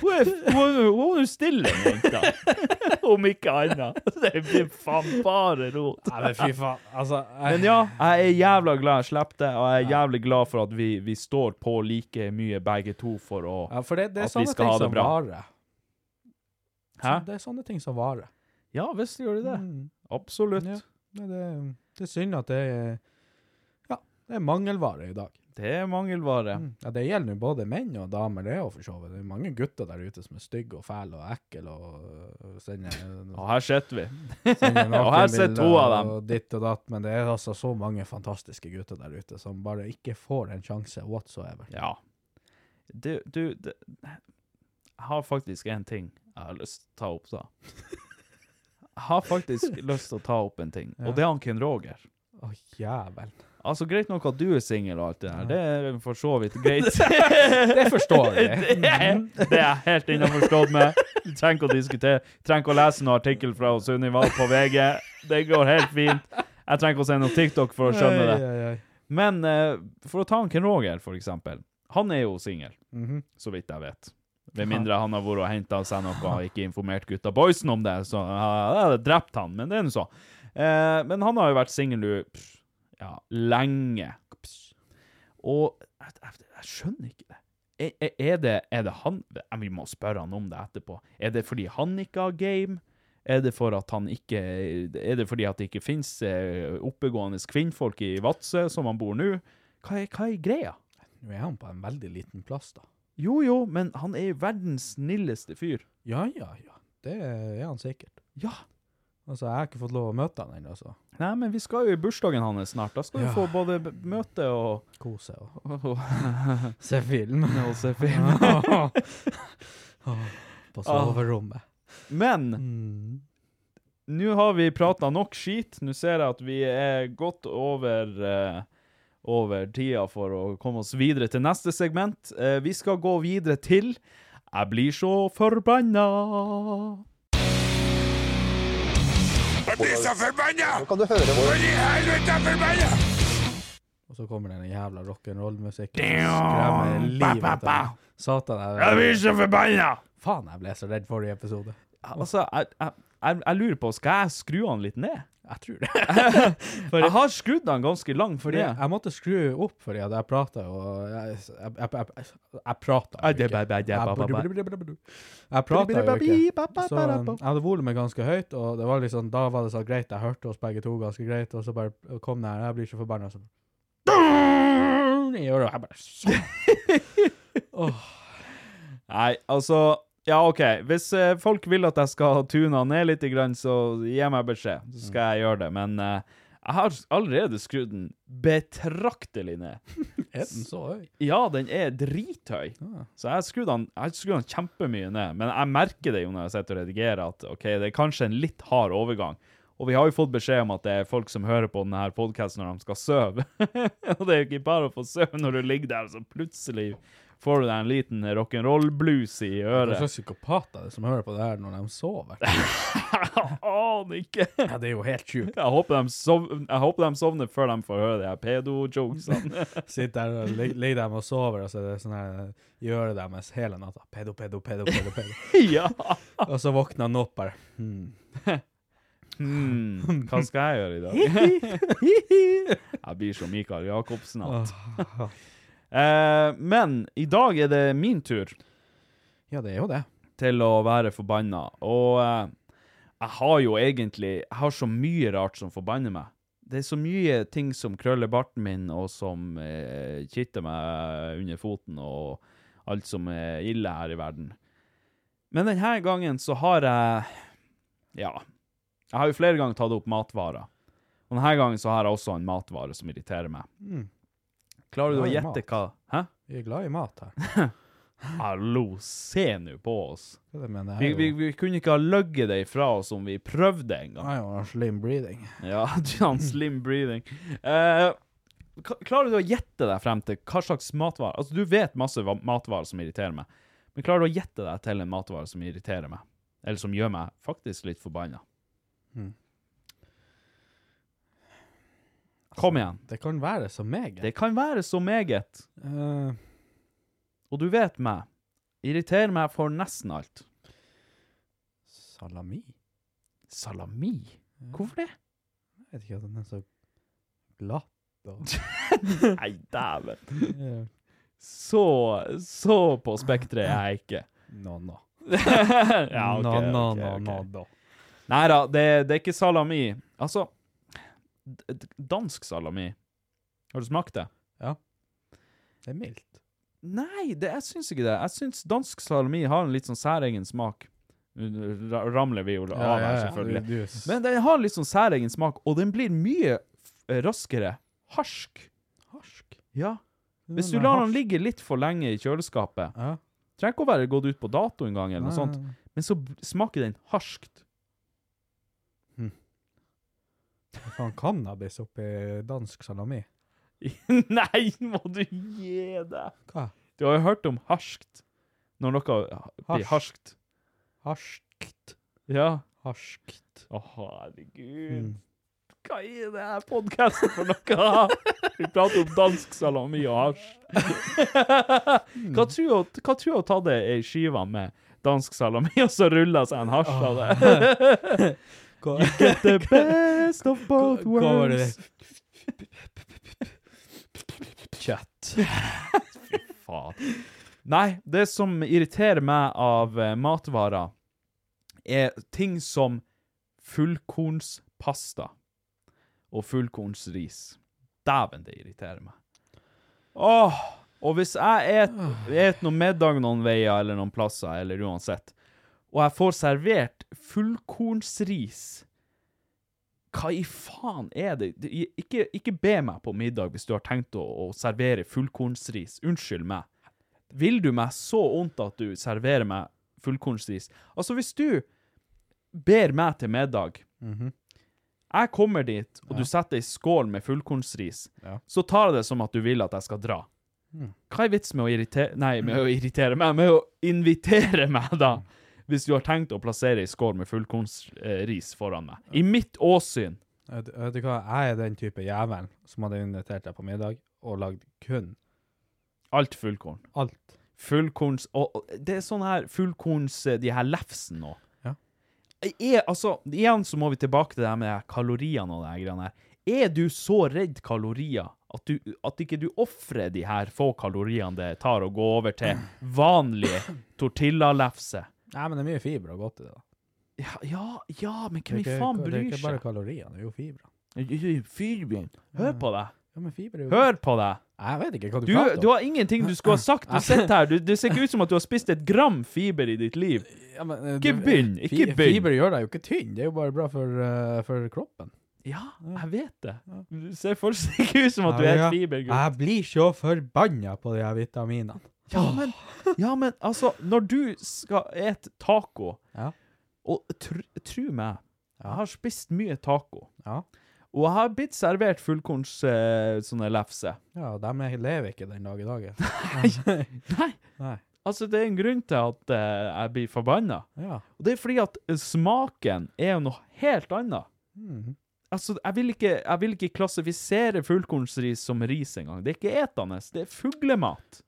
Hun er, hun, hun er stille, den jenta. Om ikke annet. Det blir faen bare rot. Nei, men fy faen. Altså, Men ja, jeg er jævla glad jeg slapp det, og jeg er jævlig glad for at vi, vi står på like mye begge to for å Ja, for det, det er At vi sånne skal ting ha det som bra. varer. Hæ? Det er sånne ting som varer. Ja, visst gjør de det. Mm. Absolutt. Ja. Nei, det, det er synd at det er Ja, det er mangelvare i dag. Det er mangelvare. Mm. Ja, det gjelder jo både menn og damer, det er jo for så vidt. Det er mange gutter der ute som er stygge og fæle og ekle og øh, sender, Og her sitter vi. sender Og her sitter to av nakenbilder dem. Og ditt og datt, men det er altså så mange fantastiske gutter der ute som bare ikke får en sjanse whatsoever. Ja. Du, du det, Jeg har faktisk en ting jeg har lyst til å ta opp, da. Jeg har faktisk lyst til å ta opp en ting, og det er han Ken Roger. Å, jævel. Altså, Greit nok at du er singel og alt det der, det er for så vidt greit. Det forstår Det jeg. er, det er jeg helt innforstått med. Du trenger ikke å diskutere. Du trenger ikke å lese noen artikkel fra Sunniva på VG. Det går helt fint. Jeg trenger ikke å se noen TikTok for å skjønne det. Ai, ai, ai. Men eh, for å ta han Ken Roger, for eksempel. Han er jo singel, Mhm. så vidt jeg vet. Med mindre han har vært og henta seg noe og ikke informert gutta boysen om det, så eh, jeg hadde drept han, men det er nå så. Eh, men han har jo vært singel nå pff, ja, lenge. Pff. Og jeg, jeg, jeg skjønner ikke det. Er, er- er det. er det han eh, Vi må spørre han om det etterpå. Er det fordi han ikke har game? Er det, for at han ikke, er det fordi at det ikke finnes eh, oppegående kvinnfolk i Vadsø, som han bor nå? Hva er, hva er greia? Nå er han på en veldig liten plass, da. Jo, jo, men han er jo verdens snilleste fyr. Ja, ja, ja. Det er han sikkert. Ja. Altså, jeg har ikke fått lov å møte han ennå, så Nei, men vi skal jo i bursdagen hans snart. Da skal vi Ja. få både b- møte og, kose og og, og, se film. og se film. Åh, På soverommet. Men Mm. nå har vi prata nok skit. Nå ser jeg at vi er godt over eh, over tida for å komme oss videre til neste segment. Eh, vi skal gå videre til Jeg blir så forbanna. Og så kommer den jævla rock'n'roll-musikken. Skremmer livet av meg. Satan. Jeg, så forbanna! faen, jeg ble så redd forrige episode. Altså, jeg, jeg, jeg, jeg lurer på, skal jeg skru han litt ned? Jeg tror det. For- Jeg har skrudd han ganske langt Fordi ned. jeg måtte skru opp, fordi at jeg prata jo Jeg, jeg, jeg, jeg, jeg prata jo ikke. Jeg prata jo ikke. Så um, jeg hadde volumet ganske høyt, og det var liksom, da var det sånn greit. Jeg hørte oss begge to ganske greit, og så bare kom det her. Jeg blir så forbanna som I øret. og Jeg bare sånn. Nei, altså Ja, OK. Hvis eh, folk vil at jeg skal tune han ned litt, grann, så gi meg beskjed, så skal jeg gjøre det. Men eh, jeg har allerede skrudd den betraktelig ned. Er den så høy? Ja, den er drithøy. Så jeg har skrudd den, jeg har skrudd den kjempemye ned. Men jeg merker det jo når jeg sitter og redigerer, at ok, det er kanskje en litt hard overgang. Og vi har jo fått beskjed om at det er folk som hører på denne podkasten når de skal sove. og det er jo ikke bare å få sove når du ligger der, så plutselig får du deg en liten rock'n'roll-blues i Hva øret. slags psykopat er det som hører på det her når de sover? Jeg aner ikke. Ja, det er jo helt sjukt. Jeg håper, de sov, jeg håper de sovner før de får høre de her pedo-jokesene. Sitter der og lig- ligger dem og sover, og så er det sånn her i øret deres hele natta. Pedo, pedo, pedo, pedo. pedo. ja. Og så våkner han opp bare hmm. Hmm, hva skal jeg gjøre i dag? Jeg blir som Mikael Jacobsen. alt. Eh, men i dag er det min tur Ja, det er jo det. til å være forbanna. Og eh, jeg har jo egentlig Jeg har så mye rart som forbanner meg. Det er så mye ting som krøller barten min, og som eh, kitter meg under foten, og alt som er ille her i verden. Men denne gangen så har jeg Ja. Jeg har jo flere ganger tatt opp matvarer. Og denne gangen så har jeg også en matvare som irriterer meg. Klarer du å Oi, mat. gjette hva Hæ? Vi er glad i mat her. Hallo, se nå på oss. Det mener Vi, jeg vi, jo. vi kunne ikke ha løgget det ifra oss om vi prøvde en gang. Det er jo slim breathing. Ja, John Slim Breathing. Eh, k- klarer du å gjette deg frem til hva slags matvare Altså, du vet masse va- matvarer som irriterer meg, men klarer du å gjette deg til en matvare som irriterer meg? Eller som gjør meg faktisk litt forbanna? Mhm. Kom igjen. Det kan være så meget. Det kan være så meget. Eh, Og du vet meg. Irriterer meg for nesten alt. salami? Jeg Salami? Hvorfor det? vet ikke at den er så glatt og Nei, dæven. Eh, Så, så på spekteret er jeg ikke. No, no. ja, ok, no, no, ok, no, ok. no, no. Nei da, det, det er ikke salami. Altså d- d- Dansk salami. Har du smakt det? Det er mildt. Nei, det, jeg syns ikke det. Jeg syns dansk salami har en litt sånn særegen smak. Nå ra- ramler vi jo av her, selvfølgelig. Du, du, s- Men den har litt sånn særegen smak, og den blir mye f- raskere harsk. Harsk? Ja. Hvis du Den er lar den harsk. ligge litt for lenge i kjøleskapet, ja. trenger ikke å være gått ut på dato en gang, eller noe Nei, sånt, nei, nei. men så b- smaker den harskt. Hva faen cannabis oppi dansk salami? Nei, må du gi deg! Hva? Du har jo hørt om harskt. Når noe blir harskt. Harskt. Ja. Harskt. Mm. Å, herregud. Hva er det her podkasten for noe? Vi prater om dansk salami og hasj. Mm. Hva tror du hva tror du hun hadde ei skive med dansk salami, og så rulla seg en hasj av det? Hva, Get the best of both Ah. hva var det? worlds. Kjøtt. Faen. Nei, det som irriterer meg av eh, matvarer, er ting som fullkornspasta og fullkornsris. Dæven, det irriterer meg. Åh! Og hvis jeg et, et noen middag noen veier eller noen plasser, eller uansett, og jeg får servert fullkornsris hva i faen er det? Det- i- Ikke, ikke be meg på middag hvis du har tenkt å, å servere fullkornsris. Unnskyld meg. Vil du meg så vondt at du serverer meg fullkornsris? Altså, hvis du ber meg til middag Mhm. Jeg kommer dit, og du setter ei skål med fullkornsris. Ja. Så tar jeg det som at du vil at jeg skal dra. Hva er vitsen med å irritere Nei, med å irritere meg, med å invitere meg, da? Hvis du har tenkt å plassere ei skål med fullkornsris foran meg. I mitt åsyn Vet du- vet du hva, jeg er den type jævel som hadde invitert deg på middag og lagd kun Alt fullkorn. alt. Fullkorns og, og Det er sånn her fullkorns eh, De her lefsen nå. Ja. Er, altså, igjen så må vi tilbake til det her med de her kaloriene og det her greiene her. Er du så redd kalorier at, du, at ikke du ofrer de her få kaloriene det tar å gå over til vanlig tortillalefse? Nei, men det er mye fiber og godt i det. da. Ja, ja, ja, men Det er hvem i ikke- faen Det er bryr ikke bare seg? kaloriene, det er jo fiber. Fyrbjørn, hør på deg. Ja, men fiber er jo Hør på deg. Jeg vet ikke hva du, Du, prater om. du har ingenting du skulle ha sagt. Du sitter her. Du, det ser ikke ut som at du har spist et gram fiber i ditt liv. Ja, men, eh, Ikke du- begynn, fi- ikke begynn. Fiber gjør deg jo ikke tynn, det er jo bare bra for, eh, for kroppen. Ja, jeg vet det. Du ser fortsatt ikke ut som at du er et fibergutt. Jeg blir så forbanna på de her vitaminene. Ja, men, ja, men altså, når du skal et taco, Ja. og tr tro meg, jeg har spist mye taco, Ja. og jeg har blitt servert fullkorns eh, sånne lefse. Ja, og de er- lever ikke den dag i dag. Nei, Nei. altså det er en grunn til at eh, jeg blir forbanna. Ja. Og det er fordi at eh, smaken er jo noe helt annet. Mhm. Altså, jeg vil, ikke, jeg vil ikke klassifisere fullkornsris som ris engang. Det er ikke etende, det er fuglemat.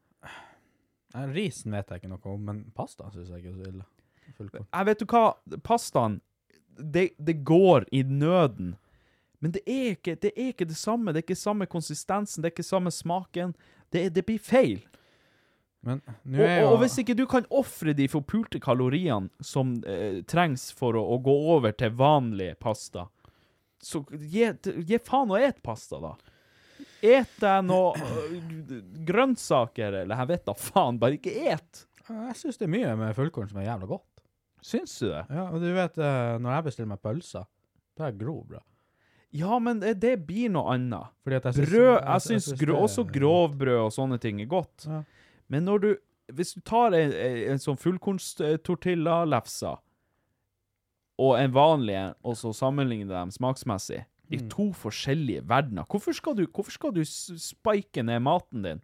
Nei, Risen vet jeg ikke noe om, men pasta syns jeg ikke er så ille. Fullkorn. Jeg vet du hva, pastaen, det, det går i nøden. Men det er, ikke, det er ikke det samme. Det er ikke samme konsistensen, det er ikke samme smaken. Det, er- det blir feil. Men Og, nå er og, jo og hvis ikke du kan ofre de forpulte kaloriene som eh, trengs for å, å gå over til vanlig pasta, så gi, gi faen å et pasta, da. Et deg noe øh, grønnsaker, eller jeg vet da faen, bare ikke et. Jeg syns det er mye med fullkorn som er jævla godt. Syns du det? Ja, og du vet, eh, når jeg bestiller meg pølser, det er grov bra. Ja, men det, det blir noe annet. Fordi at jeg synes- Brød, jeg- jeg jeg syns synes gro, det- også grovbrød og sånne ting er godt. Ja. Men når du, hvis du tar en, en- en sånn fullkornstortillalefse og en vanlig en, og så sammenligner dem smaksmessig i Mm. to forskjellige verdener, hvorfor skal du, hvorfor skal du s- spike ned maten din?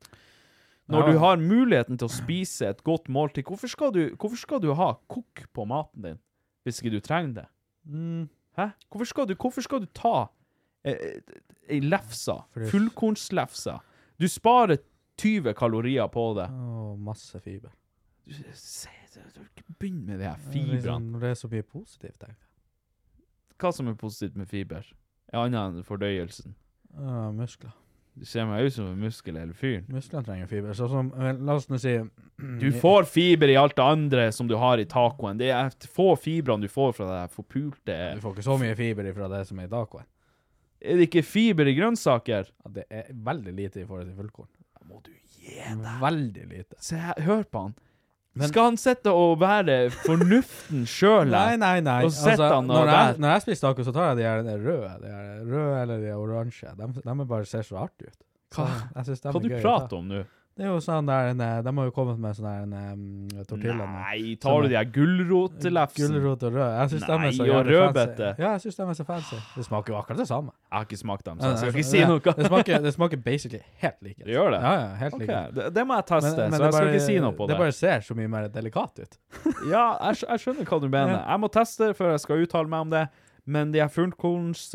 Når Ja. du har muligheten til å spise et godt måltid, hvorfor skal du, hvorfor skal du ha kokk på maten din hvis ikke du trenger det? Mm, Hæ? Hvorfor skal du, hvorfor skal du ta eh, eh, ei lefse, Fordi- fullkornslefse? Du sparer 20 kalorier på det. å, masse fiber. Se, du du- ikke Begynn med de her Det er fibrene. Liksom, det er så mye positivt, tenker jeg. Hva som er positivt med fiber? Ja, Annet enn fordøyelsen. Ja, muskler. Du ser meg ut som en muskel hele fyren. Musklene trenger fiber. Så som, vel, la oss nå si Mm, Du får fiber i alt det andre som du har i tacoen. Det er få fibrene du får fra det her forpulte Du får ikke så mye fiber ifra det som er i tacoen. Er det ikke fiber i grønnsaker? Ja, det er veldig lite i forhold til fullkorn. Må du gi Veldig lite. Se her, hør på han. Skal han sitte og være fornuften sjøl Nei, her? nei, nei. Altså, Og sett han og når, jeg, der. når jeg spiser taco, så tar jeg de her de røde. De her røde eller de oransje. De, de bare ser så artige ut. Så Hva- jeg synes de Hva er du gøy å ta. prater om nå? Det er jo sånn der en, eh, De har jo kommet med sånn der en um, tortilla nå. Nei, tar du de her gulrotlefsene? Gulrot og rød. Jeg synes de Nei, er så og jævlig rødbete. fancy. Ja, jeg synes de er så fancy. Det smaker jo akkurat det samme. Jeg har ikke smakt dem, så jeg skal Det- ikke si noe. Det smaker, det smaker basically helt likt. Det gjør det? Ja, ja, helt Ok, likt. det, det må jeg teste, Men- men så det jeg skal bare- ikke si noe på det. Det bare ser så mye mer delikat ut. Ja, jeg, skj- jeg skjønner hva du mener. Jeg må teste før jeg skal uttale meg om det, men de her fullkorns...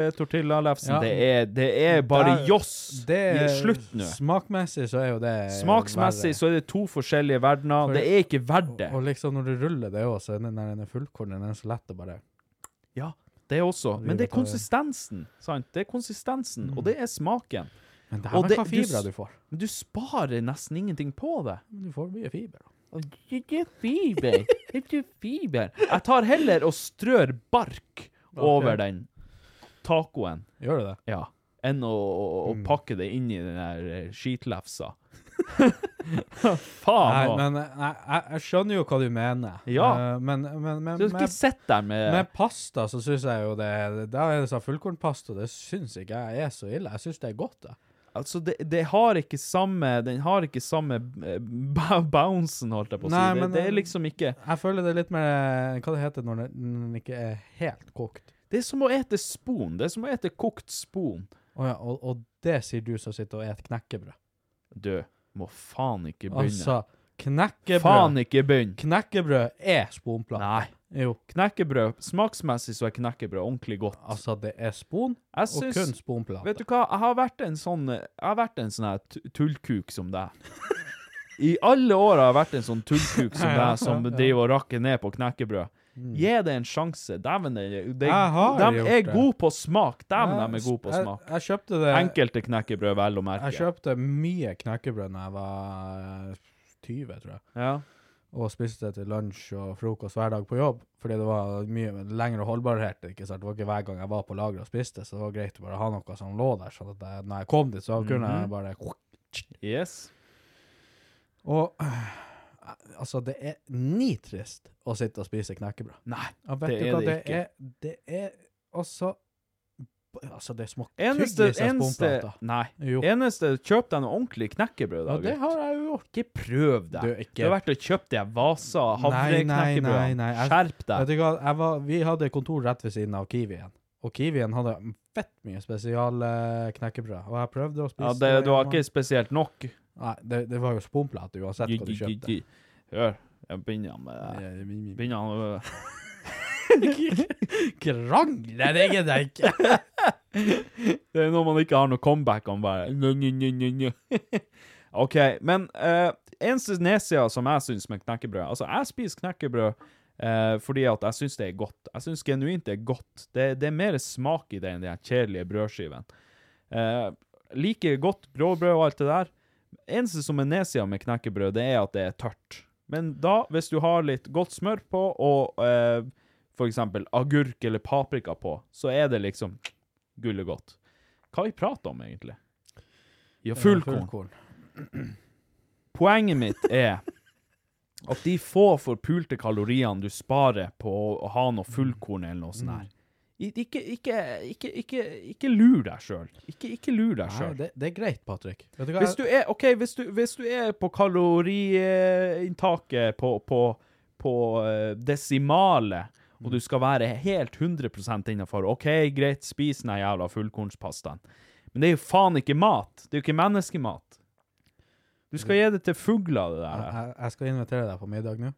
eh, Tortillalefsen. Ja. Det, er, det er bare Der- joss. Det Det- er slutt nå. Smakmessig så er jo det Smaksmessig så er det to forskjellige verdener. For- det er ikke verdt det. verre. Og liksom når du ruller det også, så er den der den er fullkorn, den er så lett å bare Ja, det også. Men det er Driver på- konsistensen, sant? Det er konsistensen, Mm. og det er smaken. Men det Og er det- hva du fibrer s- du får. Men du sparer nesten ingenting på det. Men du får mye fiber. da. Ikke fiber. Ikke fiber. Jeg tar heller og strør bark over den tacoen, Gjør du det? ja, enn å, å, å Mm. pakke det inn i den der eh, skitlefsa. Faen Nei, òg. men eh, jeg, jeg, jeg skjønner jo hva du mener. Ja. Eh, Men, men, men Du skal ikke men- sitte der med Med pasta så syns jeg jo det Da er det sånn fullkornpasta, det syns ikke jeg er så ille. Jeg syns det er godt, det. Altså, det, det har ikke samme Den har ikke samme eh, ba- bouncen, holdt jeg på å si. Nei, Det, men, det eh, er liksom ikke Jeg føler det er litt mer Hva det heter når det- den ikke er helt kokt. Det er som å ete spon. Det er som å ete kokt spon. Å ja, og, og det sier du som sitter og spiser knekkebrød. Du, må faen ikke begynne. Altså, knekkebrød faen ikke begynn. Knekkebrød er sponplate. Nei. Jo. Knekkebrød. Smaksmessig så er knekkebrød ordentlig godt. Altså, det er spon, Jeg og syns- kun sponplate. Vet du hva, jeg har vært en sånn Jeg har vært en sånn her tu- tullkuk som deg. I alle år har jeg vært en sånn tullkuk som deg, som driver og rakker ned på knekkebrød. Gi det en sjanse. Dæven, de, de, Mm. Jeg har de er gjort det. gode på smak. Dæven, de er gode på Jeg- smak. Jeg, jeg kjøpte det Enkelte knekkebrød, vel å Jeg merke. kjøpte mye knekkebrød da jeg var 20, tror jeg. Ja. og spiste det til lunsj og frokost hver dag på jobb, fordi det var mye lengre holdbarhet. ikke sant? Det var ikke hver gang jeg var på lageret og spiste, så det var greit å bare ha noe som lå der. sånn at jeg, når jeg kom dit, så kunne Mhm. jeg bare Yes. Og øh, altså, det er nitrist å sitte og spise knekkebrød. Nei, Ja, vet det du er hva? det det ikke. Er, det er altså Altså, det smaker Eneste, tyggis av eneste sponplata. Nei. Jo. Eneste Kjøp deg noe ordentlig knekkebrød, da. Ja, det gutt. har jeg jo gjort. Ikke prøv deg. Du, Du ikke- har vært og kjøpt de vasa Nei, nei, nei, havreknekkebrødene. nei. Jeg- Skjerp Vet deg. du hva, jeg var, vi hadde kontor rett ved siden av Kiwien. Og Kiwien hadde fett mye spesial eh, knekkebrød. Og jeg prøvde å spise Ja, det, du har ikke spesielt nok. Nei, det, det var jo sponplate uansett hva du kjøpte. Eh, Gi-gi-gi-gi. Hør, jeg begynner med Begynner med Krangler egentlig ikke! Det er når man ikke har noe comeback om bare nj, nj, nj, nj, nj. OK, men eh, eneste nedsida som jeg syns med knekkebrød Altså, jeg spiser knekkebrød eh, fordi at jeg syns det er godt. Jeg syns genuint det er godt. Det, det er mer smak i det enn de her kjedelige brødskivene. Eh, liker godt gråbrød og alt det der. Eneste som er nedsida med knekkebrød, det er at det er tørt. Men da, hvis du har litt godt smør på og eh, for eksempel agurk eller paprika på, så er det liksom gullet godt. Hva vi prater om, egentlig? Ja, fullkorn. Poenget mitt er at de få forpulte kaloriene du sparer på å ha noe fullkorn eller noe sånt her Ikke, ikke, ikke, ikke, ikke lur deg sjøl. Ikke, ikke lur deg Nei, sjøl. det, det er greit, Patrick. Vet du hva? Hvis du er, ok, hvis du, hvis du er på kaloriinntaket på, på, på eh, desimale, og du skal være helt 100 innenfor, ok, greit, spis den her jævla fullkornspastaen. Men det er jo faen ikke mat. Det er jo ikke menneskemat. Du skal gi det til fugler, det jeg, der. jeg- jeg skal invitere deg på middag nå. Og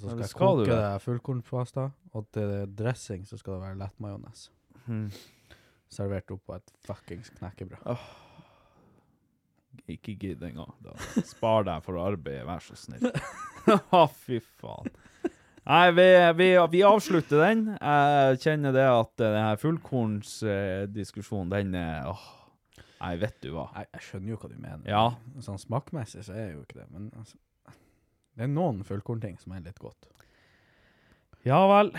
så Ja, skal det jeg skal du koke vel. deg fullkornpasta, og til dressing så skal det være lett majones. Mhm. Servert opp på et fuckings knekkebrød. Ikke gidd engang. Da. Spar deg for arbeidet, vær så snill. Å, fy faen. Nei, vi, vi, vi avslutter den. Jeg kjenner det at eh, den her fullkornsdiskusjonen, den eh, Åh. Nei, vet du hva. Jeg, jeg skjønner jo hva du mener. Ja. Sånn smakmessig så er jeg jo ikke det, men altså, det er noen fullkornting som er litt godt. Ja vel.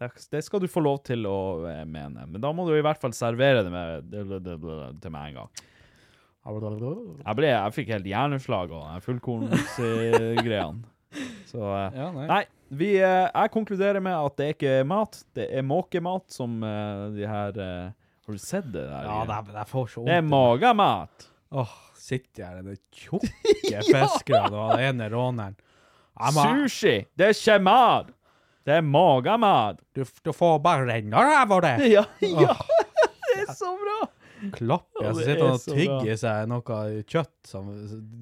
Det- Det skal du få lov til å eh, mene, men da må du i hvert fall servere det, med, det, det, det, det til meg en gang. Jeg, ble, jeg fikk helt hjerneslag av den fullkornsgreiene. Så eh, Ja, nei. Nei, vi, eh, jeg konkluderer med at det er ikke mat, det er måkemat som eh, de her eh, Har du sett det der? Ja, det, det får så vondt. det i er meg. magemat. Åh, sitter jeg her, den tjukke fiskeren og den ene råneren. Jeg må- Sushi! Det er ikke mat! Det er magemat. Du, du får bare renne ræva av det! Ja, ja, det er så bra! Klapp, jeg Åh, så det er sitter han og så tygger seg noe kjøtt som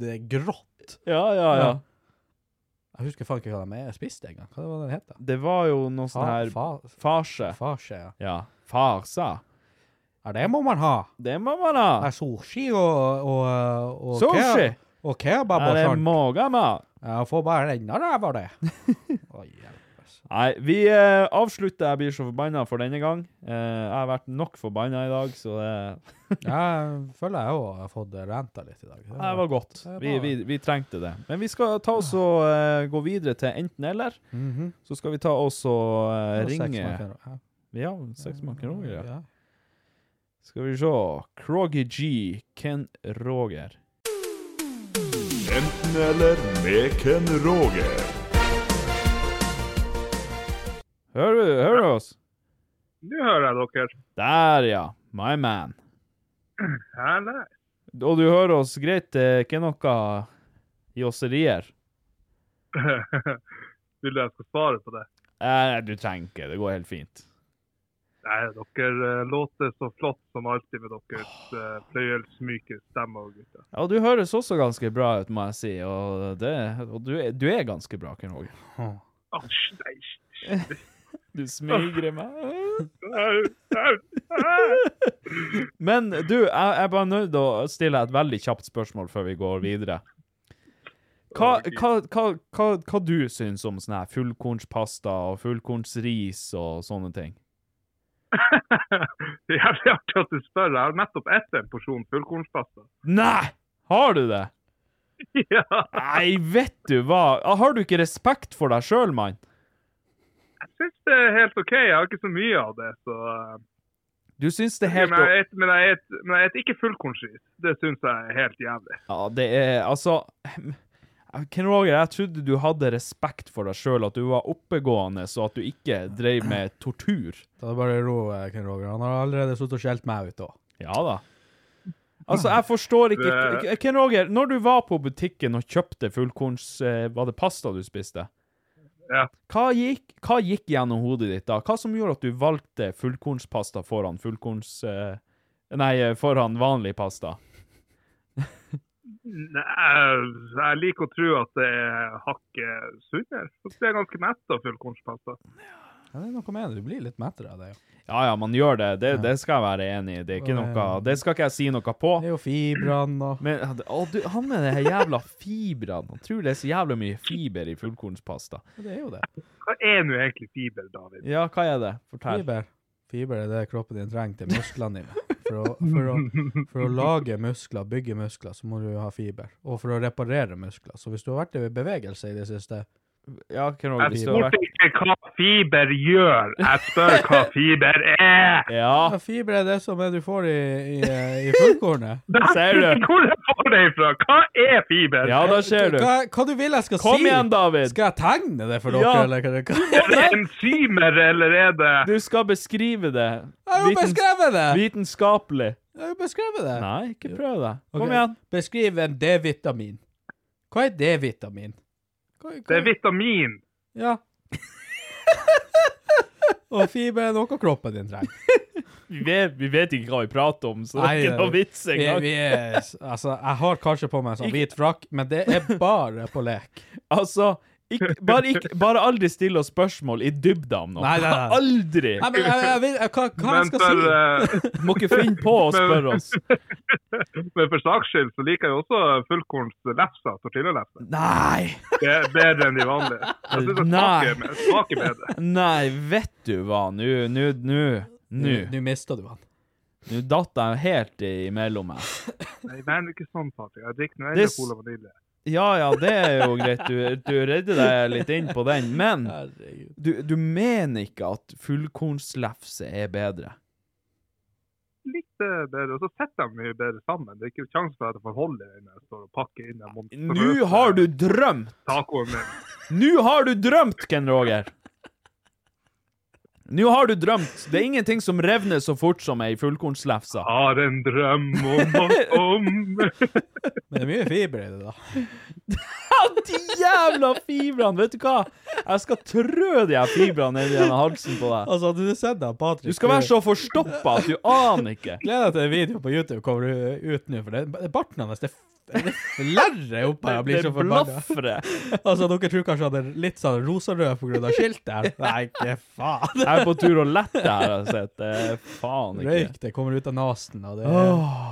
Det er grått. Ja, ja, ja. Ja. Jeg husker faen ikke hva de er. Jeg spiste en gang. Hva var det den het? da? Det var jo noe sånn her fa, farse. farse, ja. Ja. Farsa. ja. Det må man ha. Det må man ha. Det er sushi og, og, og Sushi! ke- Og kebab Ja, og det er sånt. magemat. Jeg får bare renne ræva av det. Å, hjelpes. Nei, vi eh, avslutter Jeg blir så forbanna for denne gang. Eh, jeg har vært nok forbanna i dag, så det Jeg føler jeg òg har fått ranta litt i dag. Nei, det var godt. Det var- Vi, vi, vi trengte det. Men vi skal ta oss og eh, gå videre til enten-eller. Mhm. Så skal vi ta oss og eh, Det var seks ringe markerer. Ja. Ja, seks makaroner. Ja. Ja. Skal vi se Croggy G, Ken Roger. Enten eller med Ken Roger. Hører du hører du oss? Nå hører jeg dere. Der, ja. My man. Herlig. Og du hører oss greit? Det er ikke noe josserier? Vil du jeg skal svare på det? Eh, du trenger ikke. Det går helt fint. Nei, dere eh, låter så flott som alltid med deres eh, fløyelsmyke stemmer, gutter. Ja, du høres også ganske bra ut, må jeg si. Og, det, og du, er- du er ganske bra, Ken Roger. Asj, nei, Du smigrer meg. au, au, au. Men du, jeg jeg er bare nødt til å stille et veldig kjapt spørsmål før vi går videre. Hva, hva, hva, hva, hva du syns om sånn her fullkornspasta og fullkornsris og sånne ting? Det er jævlig artig at du spør. Jeg har nettopp spist en porsjon fullkornspasta. Nei! Har du det? Ja. Nei, vet du hva? Har du ikke respekt for deg sjøl, mann? Jeg syns det er helt OK. Jeg har ikke så mye av det, så eh, Du syns det er helt Men jeg et- men jeg et- men jeg et ikke fullkornsris. Det syns jeg er helt jævlig. Ja, det er Altså eh, Ken Roger, jeg trodde du hadde respekt for deg sjøl, at du var oppegående, så at du ikke drev med tortur. Da er det bare ro, eh, Ken Roger. Han har allerede sittet og skjelt meg ut òg. Ja da. Altså, jeg forstår ikke Det- K- Ken Roger, når du var på butikken og kjøpte fullkorns... eh, Var det pasta du spiste? Ja. Hva gikk, hva gikk gjennom hodet ditt da? Hva som gjorde at du valgte fullkornspasta foran fullkorns... eh, Nei, eh, foran vanlig pasta? Nei, jeg liker å tro at det er hakket sunnere. Så det er ganske mett av fullkornspasta. Ja, det er noe med det. Du blir litt mettere av det. jo. Ja ja, man gjør det. Det, det skal jeg være enig i. Det er ikke Og, eh, noe Det skal ikke jeg si noe på. Det er jo fibrene og Men han- å, du, han med de her jævla fibrene Han tror det er så jævla mye fiber i fullkornspasta. Ja, Det er jo det. Hva er nå egentlig fiber, David? Ja, hva er det? Fortell. Fiber. Fiber er det kroppen din trenger til musklene dine. For å, for, å, for å lage muskler, bygge muskler, så må du ha fiber. Og for å reparere muskler. Så hvis du har vært i bevegelse i det siste, Ja, Ken Roger, Jeg hvis du har spurte vært ikke hva fiber gjør, jeg spør hva fiber er! Ja. Fiber er det som er du får i, i, eh, i fullkornet. Ser du? Hvor jeg får det ifra? Hva er fiber? Ja, da ser du. Hva, hva du vil jeg skal Kom si? igjen, David. Skal jeg tegne det for dere, Ja. eller hva? hva- Er det enzymer, eller er det Du skal beskrive det. Jeg har jo Vitens- beskrevet det! Vitenskapelig. Jeg har jo beskrevet det. Nei, ikke prøv deg. Ok, Kom igjen. Beskriv en D-vitamin. Hva er D-vitamin? Hva- Det er hva- vitamin. Ja. Og fiber er noe kroppen din trenger. Vi vet, vi vet ikke hva vi prater om, så det Nei, er ikke noe vits vi- engang. Vi er, altså, jeg har kanskje på meg en sånn hvit frakk, men det er bare på lek. Altså, ikke, bare, ikke, bare aldri stille oss spørsmål i dybda om noe. Nei, nei, nei. Aldri! Nei, men eh, jeg, jeg, vil- jeg, hva, hva jeg Men skal for, si? eh, Må ikke finne på å spørre oss. men for saks skyld så liker jeg også fullkornslefser, tortillalefser. Nei! Det er bedre enn de vanlige. Jeg synes det Nei. smaker, med- smaker bedre. Nei, vet du hva? Nå, nå, nå Nå Nå mista du han. Nå datt jeg helt imellom meg. Nei, men ikke sånn, Patrick. Jeg drikker nå Det heller s- cola vanilje. Ja ja, det er jo greit. Du, du redder deg litt inn på den. Men Herregud. du, du mener ikke at fullkornslefse er bedre? Litt eh, bedre. Og så setter de mye bedre sammen. Det er ikke sjanse for at jeg får holde i den jeg står og pakker inn den monstrøse Nå har du drømt! tacoen min. Nå har du drømt, Ken Roger! Nå har du drømt. Det er ingenting som revner så fort som ei fullkornslefse. Har en drøm om oss om Men det er mye fiber i det, da. De jævla fibrene! Vet du hva? Jeg skal trø de her fibrene ned gjennom halsen på deg. Altså, du ser da, Patrick. Du skal være så forstoppa at du aner ikke. Gleder deg til en video på YouTube kommer du ut nå, for det, barten hans det, det flerrer opp her og blir Det så forbanna. blafrer. Altså, dere tror kanskje han er litt sånn rosarød på grunn av skiltet her? Nei, ikke faen. Jeg er på tur og lette her, har jeg sett. Det er faen ikke Røyk, det kommer ut av nesen, og det Åh,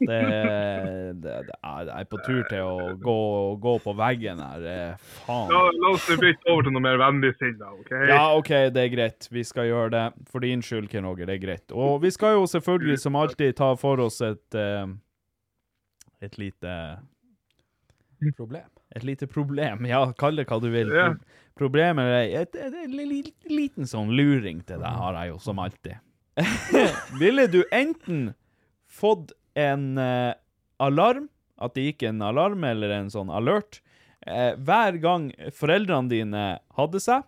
det, det, det er, Jeg er på tur til å gå, gå på veggen her. Det er Faen. La, la oss bytte over til noe mer vennligsinna, OK? Ja, OK, det er greit. Vi skal gjøre det. For din skyld, Ken Roger, det er greit. Og vi skal jo selvfølgelig, som alltid, ta for oss et eh, Et lite er et problem. Et lite problem. Ja, kall det hva du vil. Ja. Problem eller ei. Et, et, et, li- li- liten sånn luring til deg har jeg jo, som alltid. Ville du enten fått en eh, alarm, at det gikk en alarm eller en sånn alert, eh, hver gang foreldrene dine hadde seg?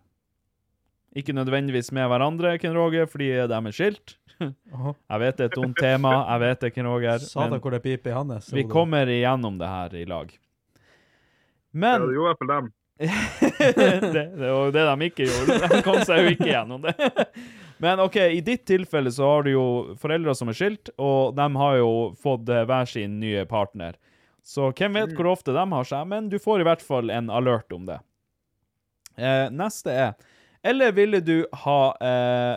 Ikke nødvendigvis med hverandre, Ken Roger, fordi de er skilt. Åhå. Jeg vet det er et ondt tema, jeg vet det, Ken Roger. Satan, men hvor det piper i hans. vi kommer igjennom det her i lag. Ja, Men det gjorde jeg for dem. det, det var jo det de ikke gjorde. De kom seg jo ikke gjennom det. Men OK, i ditt tilfelle så har du jo foreldre som er skilt, og de har jo fått eh, hver sin nye partner. Så hvem vet hvor ofte de har seg, men du får i hvert fall en alert om det. Eh, neste er Eller ville du ha eh,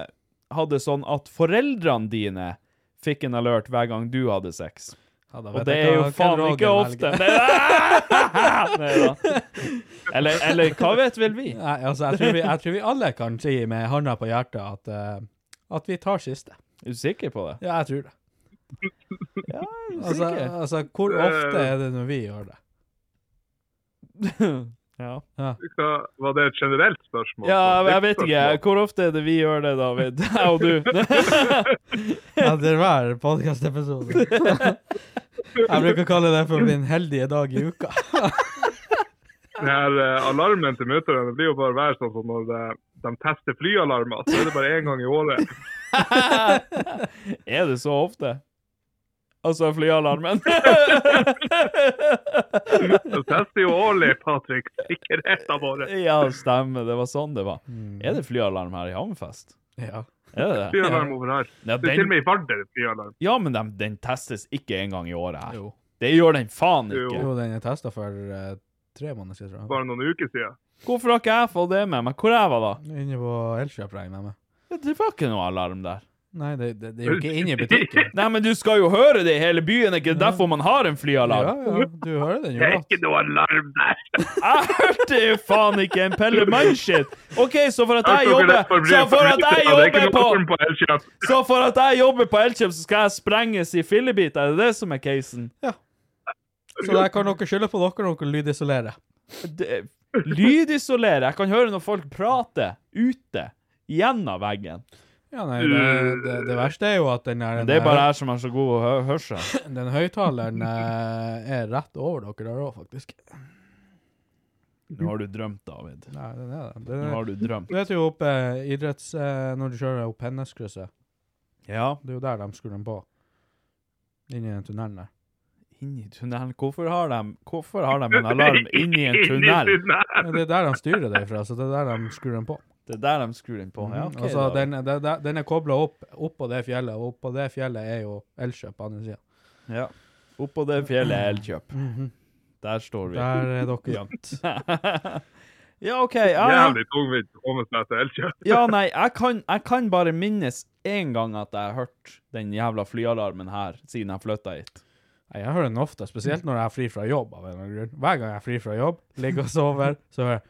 ha det sånn at foreldrene dine fikk en alert hver gang du hadde sex? Og det er jo faen ikke ofte. Nei da. Nei da. Eller, eller hva vet vel vi? Nei, altså, jeg tror, vi, jeg tror vi alle kan si med handa på hjertet at, eh, at vi tar siste. Er du sikker på det? Ja, jeg tror det. Ja, er du Altså, sikker? altså hvor ofte er det når vi gjør det? Ja. Hva- Var det et generelt spørsmål? ja, jeg vet ikke. Hvor ofte er det vi gjør det, David? Jeg og du. Etter hver podkastepisode. Jeg bruker å kalle det for min heldige dag i uka. Den her eh, alarmen til mutter'n det blir jo bare hver sånn som når eh, de tester flyalarmer. Så er det bare én gang i året. Er det så ofte? Altså flyalarmen? De tester jo årlig, Patrick. Sikkerheten vår. Ja, stemmer. Det var sånn det var. Mm. Er det flyalarm her i Hammerfest? Ja. Er det det? Flyalarm overalt. Ja, Det er til og den, med i Vardø det er flyalarm. ja men den, den testes ikke en gang i året her. Jo. Det gjør den faen Jo. ikke. Jo, den er testa for eh, tre måneder siden. tror jeg. Bare noen uker siden. Hvorfor har ikke jeg fått det med meg? Hvor jeg var da? Inne på Elkjøp, regner jeg med. Det var ikke noe alarm der. Nei, det, det, det er jo ikke inne i butikken. Nei, men du skal jo høre det i hele byen, ikke derfor man har en Ja, flyalarm. ja, du hører den jo Det er godt. ikke noe alarm der! Jeg hørte jo faen ikke en Pelle Mann-shit! OK, så for at jeg tror ikke jobber det er for Så mye for at jeg forbrukere. Det er ikke jobber noe på alarm på Elkjøp. Så for at jeg jobber på Elkjøp, så skal jeg sprenges i fillebiter? Er det det som er casen? Så der kan dere skylde på dere når dere lydisolerer. Det, Lydisolere. Jeg kan høre når folk prater ute gjennom veggen. Ja, nei, det, det, det verste er jo at den der Uh, Men det er bare jeg som har så god hø hørsel. Den høyttaleren eh, er rett over dere der òg, faktisk. Nå har du drømt, David. Nei, den er det. Nå har du drømt. Du vet jo oppe eh, idretts... eh, Når du kjører opp Henneskrysset. Ja. Det er jo der de skrur den på. Inni den tunnelen der. Inni tunnelen? Hvorfor har de, hvorfor har de en alarm inni en tunnel? Ja, det er der de styrer det fra, så det er der de skrur den på. Det er der de skrur den på. Ja, Mhm. ok, altså, da. den, den, den- den er kobla opp oppå det fjellet, og oppå det fjellet er jo Elkjøp på andre sida. Ja. Oppå det fjellet er Elkjøp. Der står vi. Mhm. Der er dere jevnt. ja, OK. Ja, ja. Jævlig tungvint å komme seg til Elkjøp. ja nei, jeg kan, jeg kan bare minnes én gang at jeg har hørt den jævla flyalarmen her siden jeg flytta hit. Nei, Jeg hører den ofte, spesielt når jeg er fri fra jobb. av en eller annen grunn. Hver gang jeg er fri fra jobb, ligger og sover, så hører jeg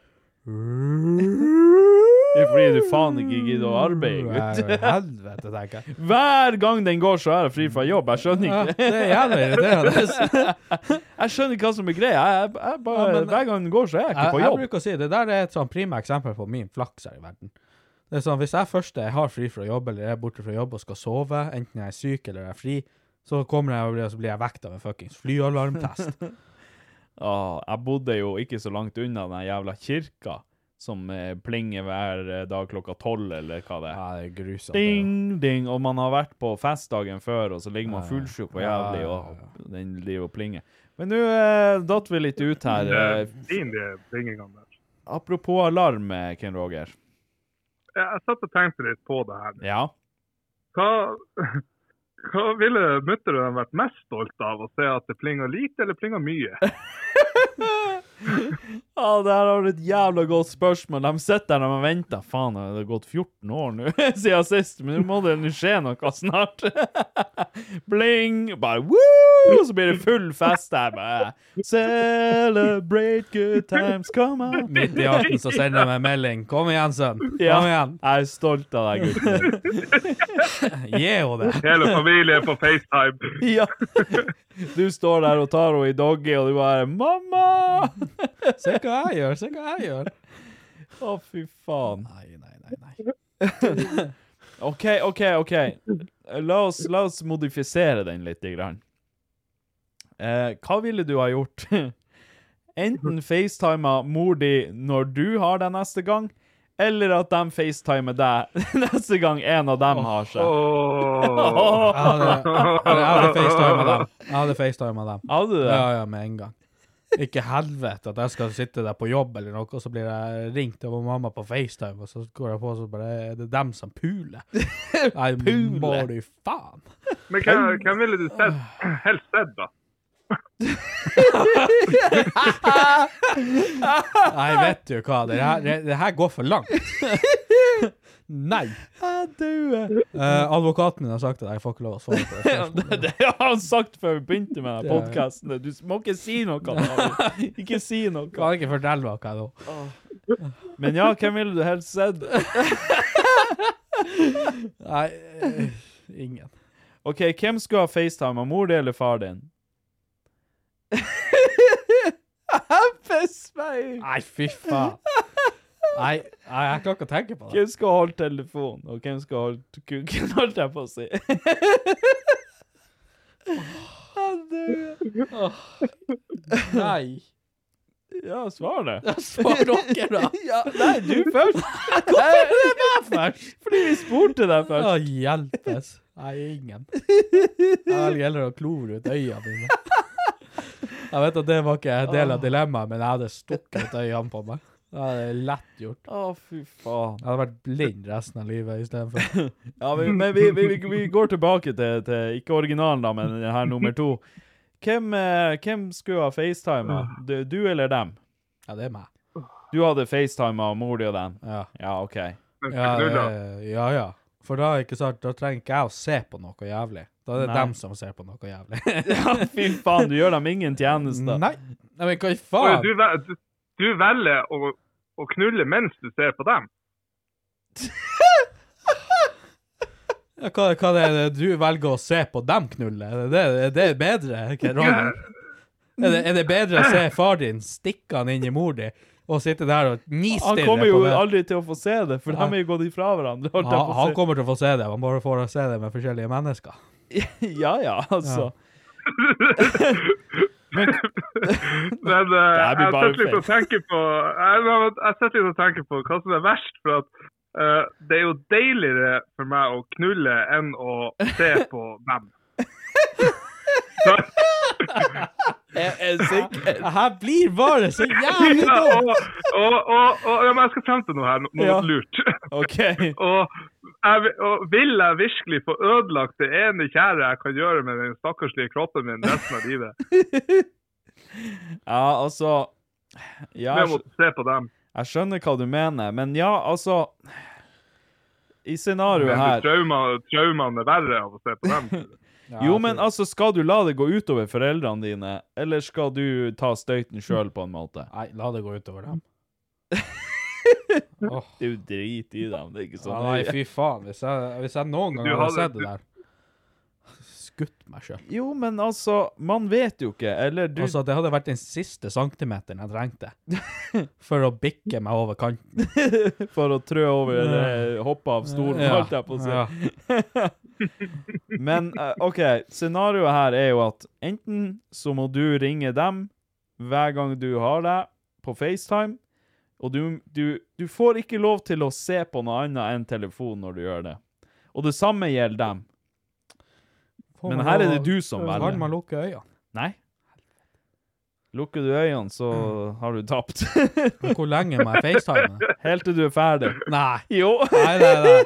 Det er fordi du faen ikke gidder å arbeide, Nei, gutt. Helvete, tenker jeg. Hver gang den går, så er jeg fri fra jobb. Jeg skjønner Ja, ikke det er jævlig irriterende. Jeg skjønner ikke hva som er greia. Jeg, jeg bare, Ja, men- hver gang den går, så er jeg ikke Jeg, på jeg jobb. bruker å si det der er et sånn prima eksempel på min flaks her i verden. Det er sånn, Hvis jeg først er- har fri fra jobb, eller er borte fra jobb og skal sove, enten jeg er syk eller jeg er fri, så kommer jeg og blir, så blir jeg vekt av en fuckings flyalarmtest. Ja, jeg bodde jo ikke så langt unna den jævla kirka som eh, plinger hver eh, dag klokka tolv, eller hva det er. Ja, det er grusomt. det. Ding, ding, og man har vært på festdagen før, og så ligger man Ja, ja. fullsjuk og Ja, jævlig, ja, og den driver og plinger. Men nå eh, datt vi litt ut her. Det er Eh, Fin, de plingingene der. apropos alarm, eh, Ken Roger. Jeg jeg satt og tenkte litt på det her. Ja. Hva, hva ville mutter'n vært mest stolt av? Å se at det plinga lite eller plinga mye? Ja, det her har du et jævla godt spørsmål. De sitter der og venter. Faen, det har gått 14 år nå siden sist, men nå må det nå skje noe snart. Bling! Bare woo! Så blir det full fest der. Bare, Celebrate good times, come on! Midt i akten så sender de meg en melding. Kom igjen, sønn. Kom Ja, igjen. jeg er stolt av deg, gutten. Gi henne det. Hele familien på FaceTime. Ja. Du står der og tar henne i doggy, og du bare 'Mamma!' Se hva jeg gjør, se hva jeg gjør. Å, fy faen. Nei, nei, nei. nei. OK, OK, OK. La oss, la oss modifisere den litt. Grann. Eh, hva ville du ha gjort? Enten facetima mor di når du har deg neste gang, eller at de facetimer deg neste gang en av dem har seg. Åh. Jeg hadde, jeg hadde facetima dem. Jeg hadde facetima dem. Hadde du det? Ja, ja, med en gang. Ikke helvete at jeg skal sitte der på jobb eller noe, og så blir jeg ringt av mamma på FaceTime, og så går jeg på, og så bare er det dem som puler. Nei, Puler? må du faen. Men hvem, hvem ville du sett, helst sett, da? Nei, vet du hva, det her, det, det her går for langt. Nei. Jeg dauer. Eh, advokaten min har sagt at jeg får ikke lov å svare på det. Ja, det, det har han sagt før vi begynte med Det- podkasten. Du må ikke si noe. David. Ikke si Jeg noe. Kan ikke fortelle meg hva jeg nå. Men ja, hvem ville du helst sett? Nei, eh, ingen. OK, hvem skulle ha FaceTime? Mor di eller far din? Jeg pisser meg ut! Nei, fy faen. Nei, nei, jeg klarer ikke å tenke på det. Hvem skal holde telefonen, og hvem skal holde kuken, holdt jeg på å si. Jeg dør. Nei. Ja, svar det. Svar dere, da. Ja, nei, du først. Hvorfor er det meg først? Fordi vi spurte deg først. Å, hjelpes. Nei, ingen. Jeg velger heller å klore ut øynene mine. Jeg vet at det var ikke en del av dilemmaet, men jeg hadde stukket ut øynene på meg. Det hadde lett gjort. Å, fy faen. Jeg hadde vært blind resten av livet istedenfor. Ja, vi, men vi, vi, vi, vi går tilbake til, til ikke originalen, da, men den her nummer to. Hvem, eh, hvem skulle ha facetima? Du, du eller dem? Ja, det er meg. Du hadde facetima og mor di og dem? Ja. Ja, OK. Men Ja, knulla. eh, ja, ja. For da, ikke sant, da trenger ikke jeg å se på noe jævlig. Da er det Nei. dem som ser på noe jævlig. Ja, fy faen, du gjør dem ingen tjeneste. Nei. Nei, men hva i Åja, faen? Du, vel- du, du velger å, å knulle mens du ser på dem? Ja, Hva, hva det er det du velger å se på dem knulle? Er det, er det bedre? Hva, Ronny? er, det, er det bedre å se far din stikke han inn i mor di, Å sitte der og nistirre Han kommer jo aldri til å få se det, for de er jo gått ifra hverandre. holdt jeg han, på å han si. kommer til å få se det, han bare får se det med forskjellige mennesker. Ja ja, altså. Men eh, Det blir jeg bare sitter litt og tenker på Jeg, jeg sitter litt og tenker på hva som er verst. For at eh, det er jo deiligere for meg å knulle enn å se på dem. Jeg er sikker. Her blir bare så jævlig Ja, og, dumt! og, og, og, ja, men jeg skal frem til noe her, noe Ja. lurt. OK. og, jeg, vil- og vil jeg virkelig få ødelagt det ene kjære jeg kan gjøre med den stakkarslige kroppen min resten av livet, Ja, altså ja, med å måtte se på dem? Jeg skjønner hva du mener, men ja, altså I scenarioet Men her trauma- Traumene er verre av å se på dem. Jo, men altså, skal du la det gå utover foreldrene dine, eller skal du ta støyten sjøl, på en måte? Nei, la det gå utover dem. Åh, Det er jo drit i dem, det er ikke ja, sånn. nei, fy faen. Hvis jeg, hvis jeg noen gang Du hadde hadde- sett det der Skutt meg sjøl. Jo, men altså, man vet jo ikke, eller du Altså, det hadde vært den siste centimeteren jeg trengte for å bikke meg over kanten. For å trø over eller hoppe av stolen, Ja, holdt jeg på å si. ja. Men eh, OK, scenarioet her er jo at enten så må du ringe dem hver gang du har deg på FaceTime, og du, du, du får ikke lov til å se på noe annet enn telefon når du gjør det. Og det samme gjelder dem. Får Men man her er lov- det du som velger. Kan man lukke øynene? Nei. Lukker du øynene, så Mm. har du tapt. Men Hvor lenge må jeg facetime? da? Helt til du er ferdig. Nei. Jo. Nei, nei, nei.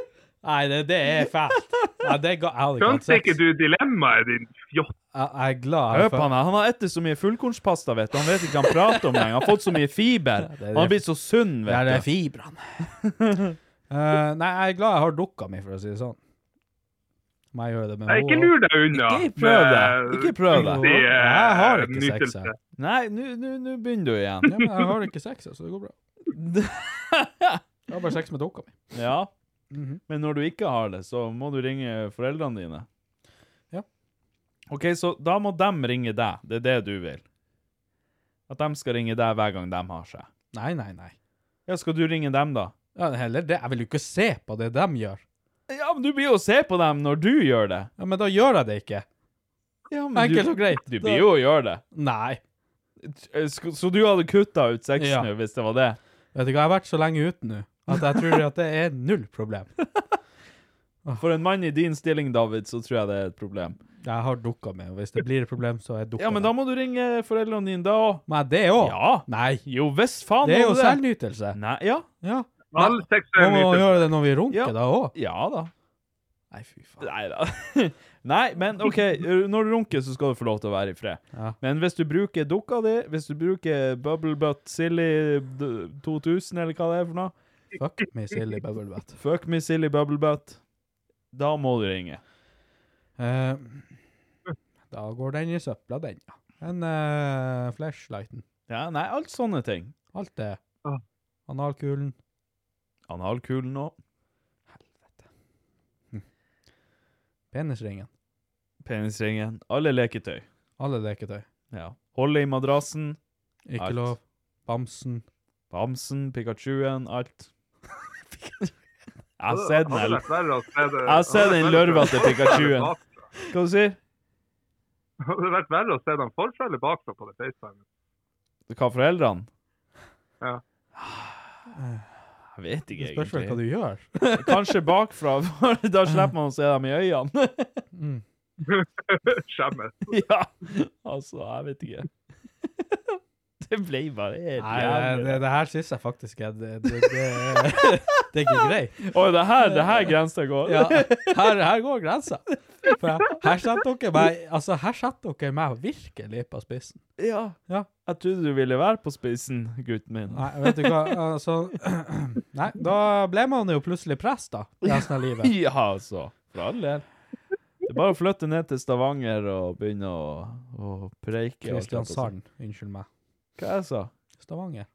nei det, det er fælt. Nei, det ga, jeg hadde ikke hatt Skjønte ikke sex. du dilemmaet din, fjott? Jeg, jeg er glad Hør jeg på han her. Han har etter så mye fullkornspasta, vet du. Han vet ikke hva han prater om lenger. Han har fått så mye fiber. det er Han har blitt så sunn, Ja, vet det er du. fibrene. Eh, nei, jeg er glad jeg har dukka mi, for å si det sånn. Må jeg gjøre det med Nei, ikke lur deg unna. Ikke prøv det. med Ikke prøv det. fuktig, eh, Jeg har ikke sex, nytelse. jeg. Nei, nå- nå nå begynner du igjen. Ja, men jeg har ikke sex, så det går bra. Jeg har bare sex med dukka mi. Ja. Mhm. Men når du ikke har det, så må du ringe foreldrene dine. Ja. OK, så da må dem ringe deg. Det er det du vil. At dem skal ringe deg hver gang dem har seg. Nei, nei, nei. Ja, skal du ringe dem, da? Ja, heller det. Jeg vil jo ikke se på det de gjør. Ja, men du blir jo å se på dem når du gjør det. Ja, Men da gjør jeg det ikke. Ja, men Enkelt du, og greit. Du Da- blir jo å gjøre det. Nei. Sk- Så du hadde kutta ut sexen Ja. nå, hvis det var det? Vet du hva, jeg har vært så lenge ute nå at jeg tror at det er null problem. Ah. For en mann i din stilling, David, så tror jeg det er et problem. Jeg har dukka mi, og hvis det blir et problem, så er dukka Ja, men da må du ringe foreldrene dine, da òg. Men det òg? Ja. Nei. Jo, hvis faen Det er må jo du selvnytelse. Nei, ja. Ja. All seksuell Man må nytelse. gjøre det når vi runker, Ja. da òg. Ja da. Nei, fy faen. Nei da. Nei, men OK, når du runker, så skal du få lov til å være i fred. Ja. Men hvis du bruker dukka di, hvis du bruker Bubble Butt Silly d- 2000, eller hva det er for noe Fuck me, silly bubble butt. Fuck me, Silly Bubble Butt. Da må du ringe. Eh, da går den i søpla, den, ja. Men eh, flashlighten, Ja, nei, alt sånne ting. alt det. Ja. Analkulen. Analkulen og Helvete. Hm. Penisringen. penisringen. Alle leketøy. Alle leketøy. Ja. Holde i madrassen. Ikke Alt. lov. Bamsen. Bamsen, Pikachuen, alt. Jeg har sett den. Hadde eller? vært verre å se det- Jeg har sett den hadde vært verre å lørvete se dem Pikachuen. bak- Hva du sier Hadde det vært verre å se dem forfra eller bakfra på det FaceTime. Hva foreldrene? Ja. Jeg vet ikke, Det spørs vel hva du egentlig. gjør. Kanskje bakfra, for da slipper man å se dem i øynene. Mm. Skjemmes. ja, altså, jeg vet ikke. det ble bare helt Nei, det, jævlig. det, det her syns jeg faktisk er det, det, det, det er ikke greit. Oi, det her, det her grensa går. Ja, her, her går grensa. For jeg- her setter dere meg Altså, her setter dere meg virkelig på spissen. Ja. Ja. Jeg trodde du ville være på spissen, gutten min. Nei, vet du hva, altså Nei, da ble man jo plutselig prest, da, resten av livet. Ja, altså. For all del. Det er bare å flytte ned til Stavanger og begynne å, å preike. og alt det der. Kristiansand, unnskyld meg. Hva jeg sa Stavanger.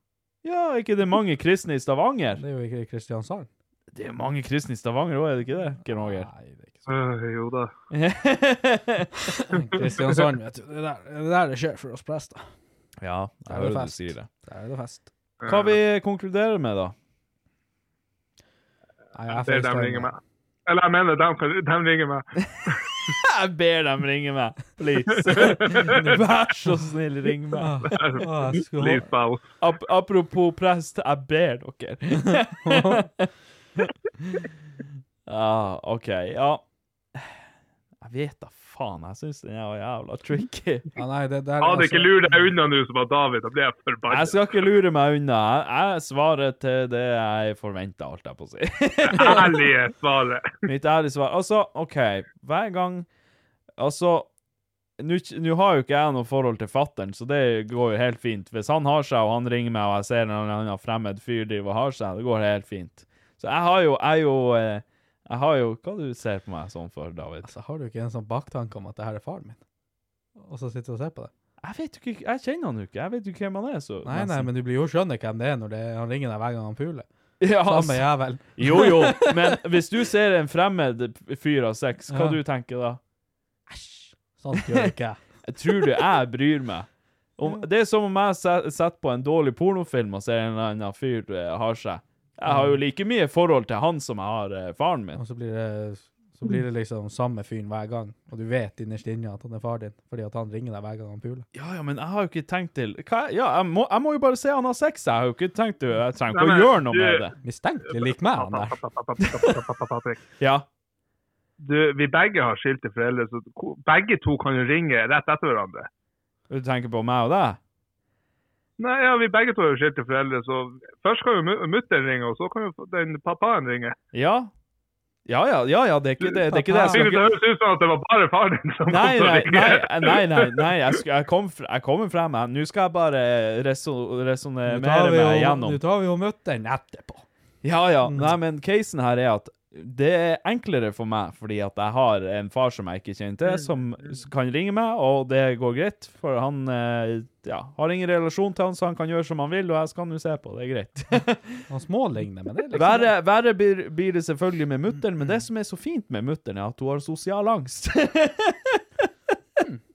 Ja, er ikke det mange kristne i Stavanger? Det er jo ikke Kristiansand. Det er mange kristne i Stavanger òg, er det ikke det? Georger? Nei, det er ikke Øh, jo da. sånn. Kristiansand, vet du. Det er der det, er der det skjer for oss prester. ja, jeg Der er det hører du fest. sier det. Der er det fest. Hva vi konkluderer med, da? Jeg ber dem ringe meg. Eller jeg mener, dem, kan- dem ringer meg. Jeg ber dem ringe meg, please. Vær så snill, ring meg. Åh, jeg skulle- Please, Bell. Ap apropos prest, jeg ber dere. ah, OK, ja. Jeg vet da faen. Jeg syns den er jævla tricky. Ja, nei, det der er Hadde ikke altså- lur deg unna nå som var David, da blir jeg Jeg forbanna. skal ikke lure meg unna. Jeg, jeg svarer til det jeg forventa, holdt jeg på å si. Ærlige svaret. Mitt ærlige svar. Altså, OK. Hver gang Altså Nå k- nå har jo ikke jeg noe forhold til fattern, så det går jo helt fint. Hvis han har seg, og han ringer meg, og jeg ser en eller annen fremmed fyr drive og har seg, det går helt fint. Så jeg har jo Jeg, er jo, eh, jeg har jo Hva du ser på meg sånn for, David? Altså, har du ikke en sånn baktanke om at det her er faren min? Og så sitter du og ser på det? Jeg vet jo ikke Jeg kjenner han jo ikke. Jeg vet jo ikke hvem han er, så Nei, nei, nesten. men du blir jo skjønner hvem det er når det, han ringer deg hver gang han puler. Ja, Samme altså. jævel. Jo, jo, men hvis du ser en fremmed fyr av sex, hva Ja. du tenker da? Sånt Sånn gjør ikke jeg. Jeg tror du jeg bryr meg. Om, det er som om jeg se- setter på en dårlig pornofilm og ser en eller annen fyr eh, har seg. Jeg har jo like mye forhold til han som jeg har eh, faren min. Og så blir det, så blir det liksom samme fyren hver gang, og du vet innerst inne at han er far din, fordi at han ringer deg hver gang han puler. Ja, ja, men jeg har jo ikke tenkt til hva, Ja, jeg må, jeg må jo bare se han har sex. Jeg har jo ikke tenkt til Jeg trenger Nei, ikke å men gjøre noe med du- det. Mistenkelig lik meg, han der. Patrick. Ja. Du, vi begge har skilte foreldre, så ko- begge to kan jo ringe rett etter hverandre. Du tenker på meg og deg? Nei, ja, vi begge to har jo skilte foreldre, så først kan jo mu- mutteren ringe, og så kan jo den pappaen ringe. Ja. Ja, ja, ja, ja, det er ikke det. Det er ikke det. Jeg skal Synes ikke det høres ut som at det var bare faren din som Nei, kom til å nei, ringe. nei, nei, nei, nei jeg, sk- jeg, kom, fr- jeg kommer frem. jeg. Nå skal jeg bare resonnere Nå tar vi meg jo- igjennom. Nå tar vi jo mutter'n etterpå. Ja, ja. Nei, men casen her er at det er enklere for meg, fordi at jeg har en far som jeg ikke kjenner til, som s- kan ringe meg, og det går greit, for han eh, ja, har ingen relasjon til han, så han kan gjøre som han vil, og jeg skal nå se på. Det er greit. Han småligner, men det er liksom Verre, verre blir, blir det selvfølgelig med mutteren, men det som er så fint med mutteren, er at hun har sosial angst.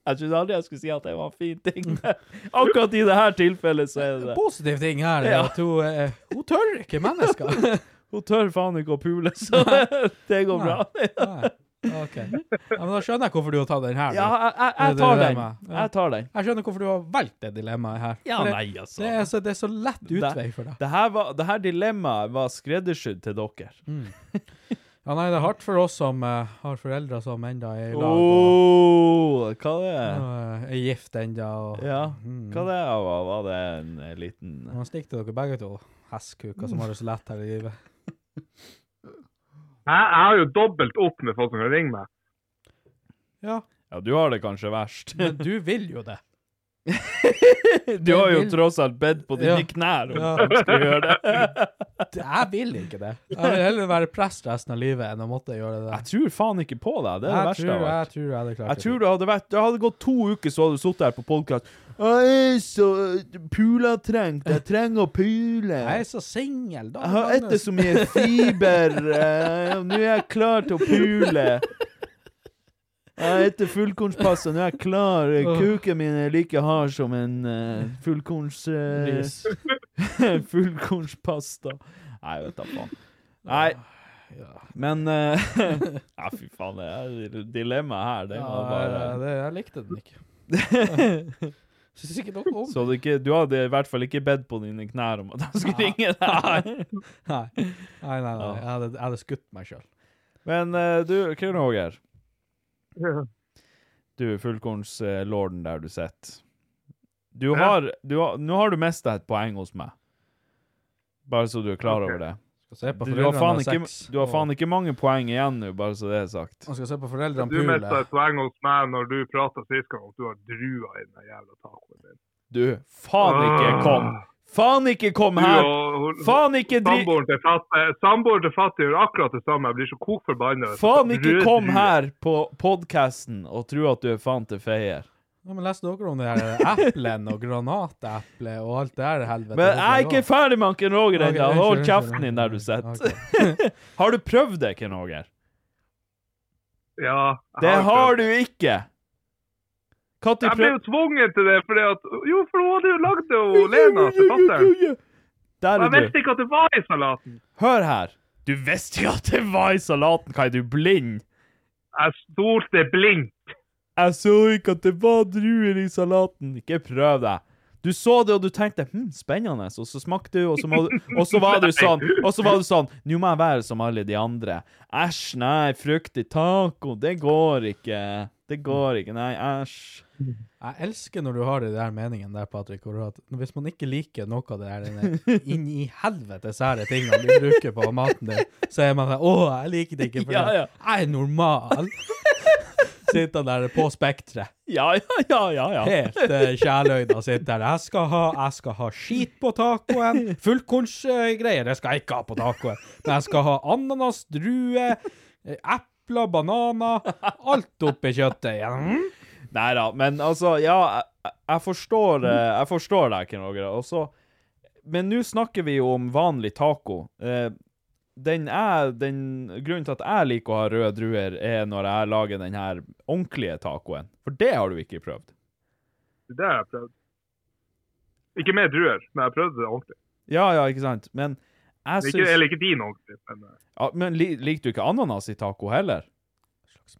Jeg trodde aldri jeg skulle si at det var en fin ting. Akkurat i dette tilfellet så er det det. positiv ting her er Ja. at hun, eh, hun tør ikke mennesker. Hun tør faen ikke å pule, så det går bra. Nei. Ok. Ja, men da skjønner jeg hvorfor du har tatt den her. da. Ja, jeg, jeg, Det er jeg tar den. dilemmaet. Ja. Jeg tar den. Jeg skjønner hvorfor du har valgt det dilemmaet her. Ja, For det, nei, altså. Det er, så, det er så lett utvei for deg. Det her, var, det her dilemmaet var skreddersydd til dere. Ja, nei, det er hardt for oss som eh, har foreldre som enda er i lag, og, Oh, hva det er? og eh, er gift enda, og Ja, hva det er? Var, var det en eh, liten Nå stikker dere begge to hestkuker som har det så lett her i livet. Jeg, jeg har jo dobbelt opp med folk som kan ringe meg. Ja, Ja, du har det kanskje verst. men du vil jo det. Du har jo vil- tross alt bedt på dine Ja. knær om Ja. at de skulle gjøre det. Jeg vil ikke det. Jeg vil heller være prest resten av livet enn å måtte gjøre det. Jeg tror faen ikke på deg. Det er det jeg, verste jeg tror, har jeg vært. tror jeg hadde klart Jeg tror det hadde vært Det hadde gått to uker, så hadde du sittet her på podkast. Så pulatrengt. Jeg trenger å pule. Jeg er så singel, da. Jeg har Magnus. etter så mye fiber. eh, og Nå er jeg klar til å pule. Jeg etter fullkornspasta. Nå er jeg klar. Kuken min er like hard som en eh, fullkorns... eh, fullkornspasta. Nei, vet da faen. Nei. Men eh, Ja, fy faen. Det er dilemmaet her. Det Ja, var bare det, jeg likte den ikke. Syns ikke noe om Så du, ikke, du hadde i hvert fall ikke bedt på dine knær om at de skulle ringe deg? Nei, nei, nei. nei. Jeg, hadde, jeg hadde skutt meg sjøl. Men eh, du, Krønn Håger. Ja. Du, fullkornslorden der du sitter. Du har, du har Nå har du mista et poeng hos meg. Bare så du er klar Ok. over det. Du, du, har faen ikke, du har faen ikke mange poeng igjen nå, bare så det er sagt. Man skal se på foreldrene Du mista pule. et poeng hos meg når du prata sist gang om at du har druer i den jævla tacoen din. Du, faen Ah. ikke kom! Faen ikke kom her! Faen ikke dri- Samboeren til fattig Samboeren til fattig gjør akkurat det samme. Jeg blir så kokforbanna. Faen ikke kom her på podkasten og tro at du er faen til feier. Ja, men Leste dere om det her eplen og granateplet og alt det der helvete? Men jeg er ikke ferdig med Ken Roger Ok, ennå. unnskyld, Hold unnskyld, kjeften din der du unnskyld. sitter. Har du prøvd det, Ken Roger? Ja, jeg Det prøvd. har du ikke! Når Jeg ble jo tvunget til det fordi at Jo, for hun hadde jo lagd det, og Lena til fatter'n. Der altså, Og jeg er visste du. ikke at det var i salaten. Hør her. Du visste jo at det var i salaten. Hva, er du blind? Jeg stolte blindt. Jeg så ikke at det var druer i salaten. Ikke prøv deg. Du så det, og du tenkte hm, spennende, og så smakte du, og så, må, du- og så var du sånn Og så var du sånn Nå må jeg være som alle de andre. Æsj, nei, fruktig taco, det går ikke. Det går ikke, nei, æsj. Jeg elsker når du har de der meningene der, Patrick. Hvor du har, at hvis man ikke liker noe av det der, denne inn i helvete sære tingene du bruker på maten din, så er man sånn Å, jeg liker det ikke, for Ja, ja. jeg er normal. Sitter der på spekteret. Ja, ja, ja, ja. ja. Helt uh, kjærløgna sitter der. Jeg skal ha, jeg skal ha skit på tacoen. Fullkornsgreier, det skal jeg ikke ha på tacoen. Men jeg skal ha ananas, druer, eh, epler, bananer. Alt oppi kjøttet. Mm. Nei da, men altså, ja, jeg, jeg forstår eh, Jeg forstår deg, Ken Roger. Og så Men nå snakker vi jo om vanlig taco. Eh, Den er den, Grunnen til at jeg liker å ha røde druer, er når jeg lager den her ordentlige tacoen. For det har du ikke prøvd. Det har jeg prøvd. Ikke med druer, men jeg prøvde det ordentlig. Ja, ja, ikke sant? Men jeg Ikke, syns- Eller ikke din ordentlig, men eh, ja, Men li, liker du ikke ananas i taco heller?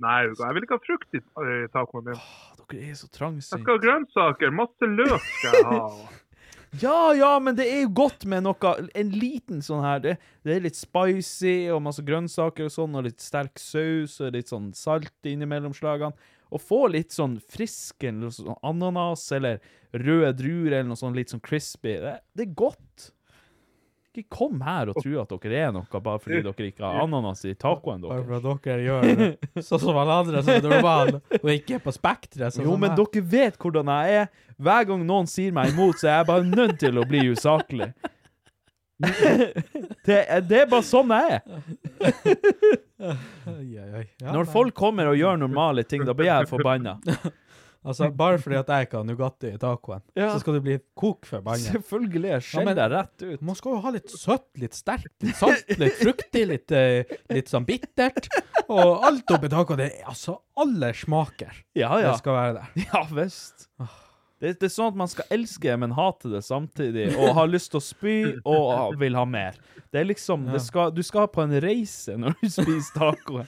Nei, jeg vil ikke ha frukt i eh, i tacoen min. Dere er så Jeg trangsynt. skal ha grønnsaker. Masse løk skal jeg ha. Ja, ja, men det er jo godt med noe En liten sånn her Det, det er litt spicy og masse grønnsaker og sånn, og litt sterk saus og litt sånn salt innimellom slagene. Og få litt sånn frisk eller sånn ananas eller røde druer eller noe sånn litt sånn crispy. Det, det er godt. Ikke kom her og tro at dere er noe bare fordi dere ikke har ananas i tacoen Bare deres. for at dere gjør sånn som alle andre som er normale, og ikke er på spekteret. sånn Jo, som men meg. dere vet hvordan jeg er. Hver gang noen sier meg imot, så er jeg bare nødt til å bli usaklig. Det, er- det er bare sånn jeg er. Oi, oi, oi. Ja, Når nei. folk kommer og gjør normale ting, da blir jeg forbanna. Altså, Bare fordi at jeg ikke har Nugatti i tacoen, Ja. så skal du bli kok forbanna. Selvfølgelig. Jeg Ja, skjeller men- deg rett ut. Man skal jo ha litt søtt, litt sterkt, litt salt, litt fruktig, litt, eh, litt sånn bittert. Og alt oppi tacoen. Det er altså alle smaker. Ah, Ja, ja. Det skal være der. Ja visst. Det, det er sånn at man skal elske, men hate det samtidig, og har lyst til å spy og ha- vil ha mer. Det er liksom det skal, Du skal på en reise når du spiser tacoen.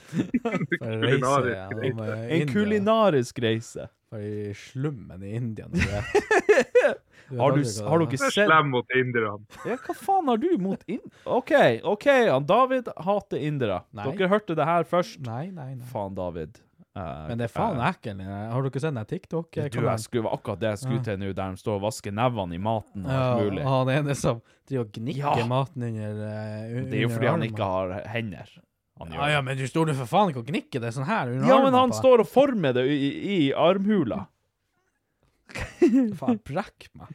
Reise ja, om, eh, En India, kulinarisk reise. Bare i slummen i India. når du er- Du vet Har du- aldri hva det har du er. ikke Jeg er Selv- slem mot inderne. Ja, hva faen har du mot in... OK, OK, han David hater indere. Nei. Dere hørte det her først. Nei, nei, nei. Faen, David. Eh, Men det er faen ekkelt. Har du ikke sett den TikTok? eh, Du, jeg skulle, var akkurat det jeg skulle til nå, der de står og vasker nevene i maten og Ja, alt og mulig. han ene som driver og gnikker Ja. maten under eh, u- Det er jo under fordi han armen. ikke har hender. Han ja, ja, men du står nå for faen ikke og gnikker det sånn her under ja, men armen han på deg. står og former det i, i armhula. Faen, brekk meg.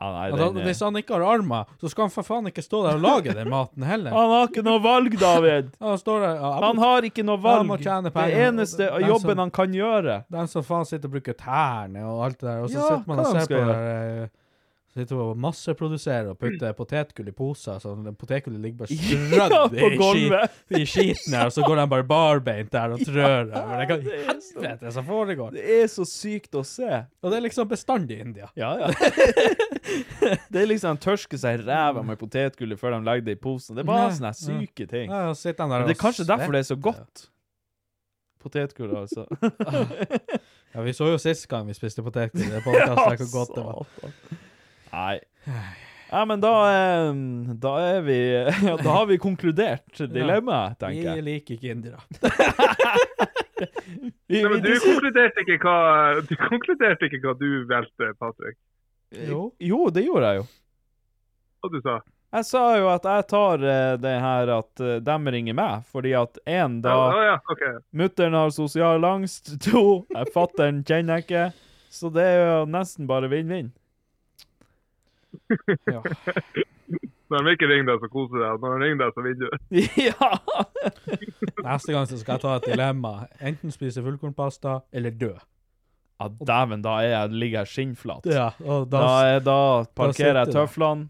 Ja, nei, Og da, den, eh, er- hvis han ikke har armer, så skal han for faen ikke stå der og lage den maten heller. han har ikke noe valg, David! Ja, sånn, Han står der ja, Han har ikke noe Ja, han valg. må tjene Det penger. sånn- eneste Den som- jobben han kan gjøre. Den som faen sitter og bruker tærne og alt det der, og så Ja, sitter man hva og de ser skal på det der eh, Sitter og masseproduserer og putter potetgull i poser, så den potetgullet ligger bare strødd Ja, i, på gulvet. skit- i skiten her, og så går han bare barbeint der og trør der. Men det kan det er så- helvete som foregår! Det er så sykt å se. Og det er liksom bestandig i India. Ja, ja. det er liksom de tørsker seg i ræva med potetgullet før de legger det i posen. Det er bare Ja, sånne her syke ting. Ja, og så sitter han Men der det er og kanskje derfor det er så svetter. godt. Potetgull, altså. Ja, vi så jo sist gang vi spiste potetgull i podkasten, hvor godt det var. satan. Nei. Ja, men da, eh, da er vi ja, Da har vi konkludert dilemmaet, tenker Vi jeg. liker ikke indere. Vi, Nei, men du dis- konkluderte ikke hva du, konkluderte ikke hva du valgte, Patrick. Jo. jo, det gjorde jeg jo. Hva du sa Jeg sa jo at jeg tar eh, det her at uh, dem ringer meg, fordi at én da Ja, ja, ok. Mutter'n har sosial angst. To, jeg fatter'n kjenner jeg ikke. Så det er jo nesten bare vinn-vinn. Ja. Når de ikke ringer deg, så koser deg. Når de ringer deg, så vil du. ja! Neste gang så skal jeg ta et dilemma. Enten spise fullkornpasta eller dø. Ja, Dæven, da er jeg, ligger jeg skinnflat. Ja, og Da, da, er, da parkerer jeg sitter det. tøflene.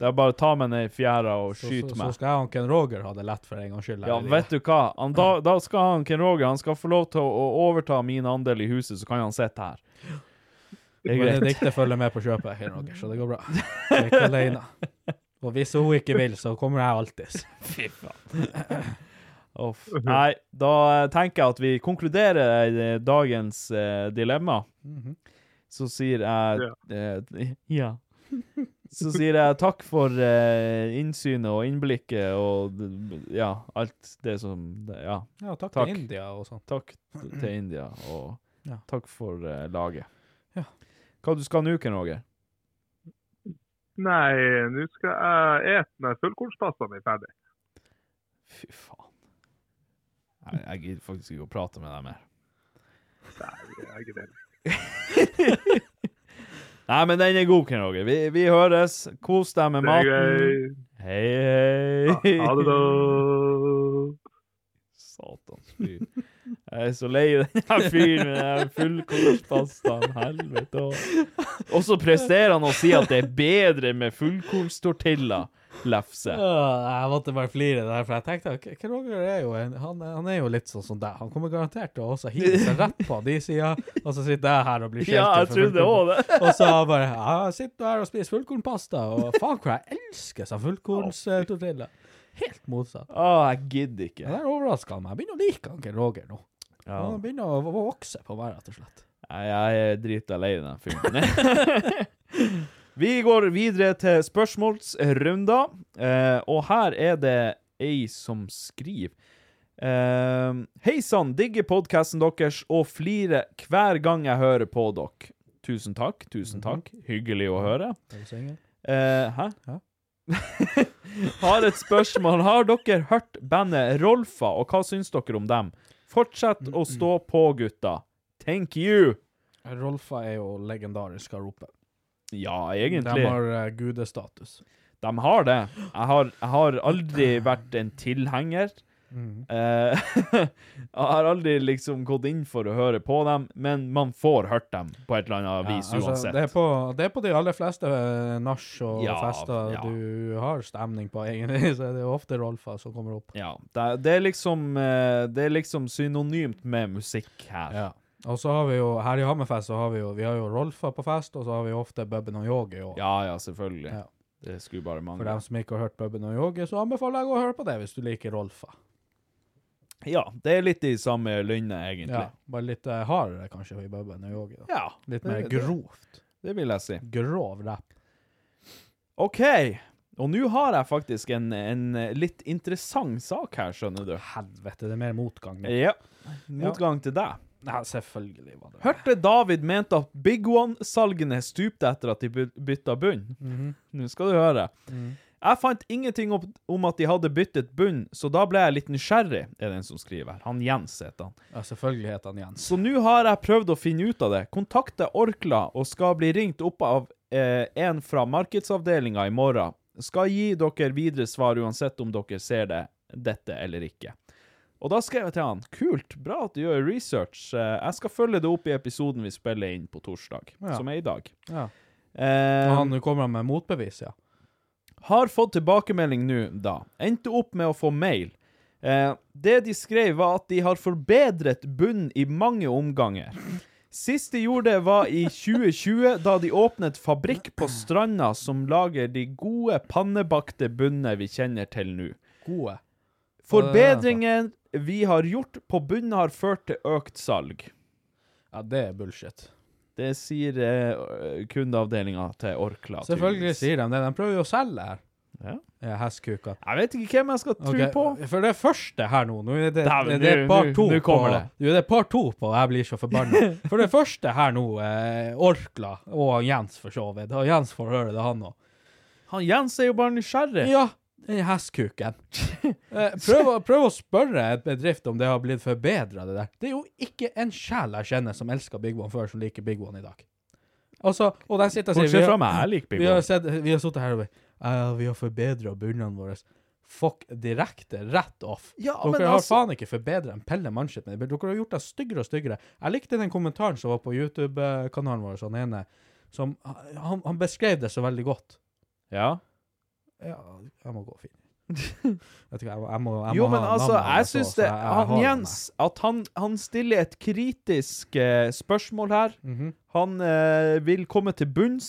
Det er bare å ta meg ned i fjæra og så, så, skyte så meg. skal jeg og Ken Roger ha det lett for en gangs skyld. her Ja, i livet. vet du hva? Han, da, da skal han, Ken Roger han skal få lov til å å overta min andel i huset, så kan han sitte her. Det er greit. Benedikte følger med på kjøpet, Ken Roger, så det går bra. Så jeg er ikke alene. Og hvis hun ikke vil, så kommer jeg alltid. Fy faen. Uff. Nei, da eh, tenker jeg at vi konkluderer eh, dagens eh, dilemma. Mhm. Så sier jeg eh, Ja. Så sier jeg takk for eh, innsynet og innblikket og d- ja, alt det som Ja. Ja, takk til India og sånn. Takk til India, og Ja. takk for eh, laget. Ja. Hva du skal nå, Ken Roger? Nei, nå skal jeg ete den her fullkornspasta mi ferdig. Fy faen. Jeg, jeg gidder faktisk ikke å prate med deg mer. Jeg er det. Nei, men den er god, Ken Roger. Vi, vi høres. Kos deg med Det er maten. Hei, hei. Ha- ha det da. Satans fyr. Jeg er så lei den her fyren med den her fullkornspastaen. Helvete òg. Og så presterer han å si at det er bedre med fullkornstortilla. Lefse. Ja, jeg måtte bare flire der, for jeg tenkte ok, Ken Roger er jo en, han, han er jo litt sånn som deg. Han kommer garantert til å også hive seg rett på de sida, og så sitter jeg her og blir skjelt Ja, jeg ut for trodde fullkorn. også det. Og så bare ja, Jeg sitter her og spiser fullkornpasta, og faen hvor jeg elsker sånn fullkornstortilla. Helt motsatt. Å, jeg gidder ikke. Det der overraska meg. Jeg begynner å like han Ken Roger nå. Ja. Han begynner å å vokse på meg, rett og slett. Nei, jeg er drita lei den filmen. vi går videre til spørsmålsrunder, eh, og her er det ei som skriver. Eh, Hei sann, digger podkasten deres og flirer hver gang jeg hører på dere. Tusen takk, tusen takk. Hyggelig å høre. Er du singel? Eh, hæ? har et spørsmål. Har dere hørt bandet Rolfa, og hva syns dere om dem? Fortsett å stå på, gutta. Thank you! Rolfa er jo legendarisk av ropet. Ja, De egentlig. har eh, gudestatus. De har det. Jeg har, jeg har aldri vært en tilhenger. Mhm. Eh, jeg har aldri liksom gått inn for å høre på dem, men man får hørt dem på et eller annet Ja, vis altså, uansett. Det er, på, det er på de aller fleste eh, nach og Ja, fester ja. du har stemning på, egentlig. Så er det jo ofte Rolfa som kommer opp. Ja, det, er- det, er liksom, eh, det er liksom synonymt med musikk her. Ja. Og så har vi jo, her i Hammerfest så har vi jo, vi har jo Rolfa på fest, og så har vi ofte Bubben og Yogi òg. Ja, ja, selvfølgelig. Ja. Det skulle bare For mangle. dem som ikke har hørt Bubben og Yogi, så anbefaler jeg å høre på det hvis du liker Rolfa. Ja, det er litt i samme lynne, egentlig. Ja, bare litt eh, hardere kanskje i Bubben og Yogi. da. Ja, Litt det- mer det- grovt. Det vil jeg si. Grov rapp. OK. Og nå har jeg faktisk en, en litt interessant sak her, skjønner du. Helvete, det er mer motgang. nå. Ja. Motgang til deg. Ja, selvfølgelig var det Hørte David mente at Big One-salgene stupte etter at de by- bytta bunn? Mhm. Nå skal du høre. Mhm. Jeg fant ingenting opp om at de hadde byttet bunn, så da ble jeg litt nysgjerrig, er det en som skriver. her. Han Jens heter han. Ja, selvfølgelig het han Jens. Så nå har jeg prøvd å finne ut av det. Kontakte Orkla og skal bli ringt opp av eh, en fra markedsavdelinga i morgen. Skal gi dere videre svar uansett om dere ser det, dette eller ikke. Og da skrev jeg til han Kult, bra at du gjør research. Eh, Jeg skal følge det opp i episoden vi spiller inn på torsdag, Ja. som er i dag. Ja. Eh, Han nå kommer han med motbevis, ja. har fått tilbakemelding nå, da. Endte opp med å få mail. Eh, det de skrev, var at de har forbedret bunnen i mange omganger. Sist de gjorde det, var i 2020, da de åpnet fabrikk på Stranda som lager de gode pannebakte bunnene vi kjenner til nå. Gode. Forbedringen vi har gjort på bunnen, har ført til økt salg. Ja, det er bullshit. Det sier eh, kundeavdelinga til Orkla. Selvfølgelig tydeligvis. sier de det. De prøver jo å selge her. Ja. Ja, Hestkuka. Jeg vet ikke hvem jeg skal tro Ok, på. For det første her nå Nå er det, Dæven, det er nå- par nå- to nå på kommer det. Jo, det er par to på Jeg blir så forbanna. For det første her nå, eh, Orkla og han Jens for så vidt. Og Jens får høre det, han òg. Han Jens er jo bare nysgjerrig. Ja, den hestkuken. Eh, Prøv, å- prøv å spørre et bedrift om det har blitt forbedra, det der. Det er jo ikke en sjel jeg kjenner som elska Big One før, som liker Big One i dag. Altså, og den sitter og sier Bortsett vi har- fra meg, jeg liker Big Vi har, One. sett, vi har sittet her og vært «Ja, Vi har forbedra bunnene våre. Fuck direkte, rett off. Ja, men Dere har altså- faen ikke forbedra en Pelle Manchet. men Dere har gjort det styggere og styggere. Jeg likte den kommentaren som var på YouTube-kanalen vår, sånn ene, som han, han beskrev det så veldig godt. Ja. Ja, jeg må gå og finne Vet du hva, jeg må, jeg må, jeg må Jo, men ha altså, navnet jeg hans syns også, det jeg- jeg han, har det Jens, at han, han stiller et kritisk eh, spørsmål her. Mhm. Han eh, vil komme til bunns.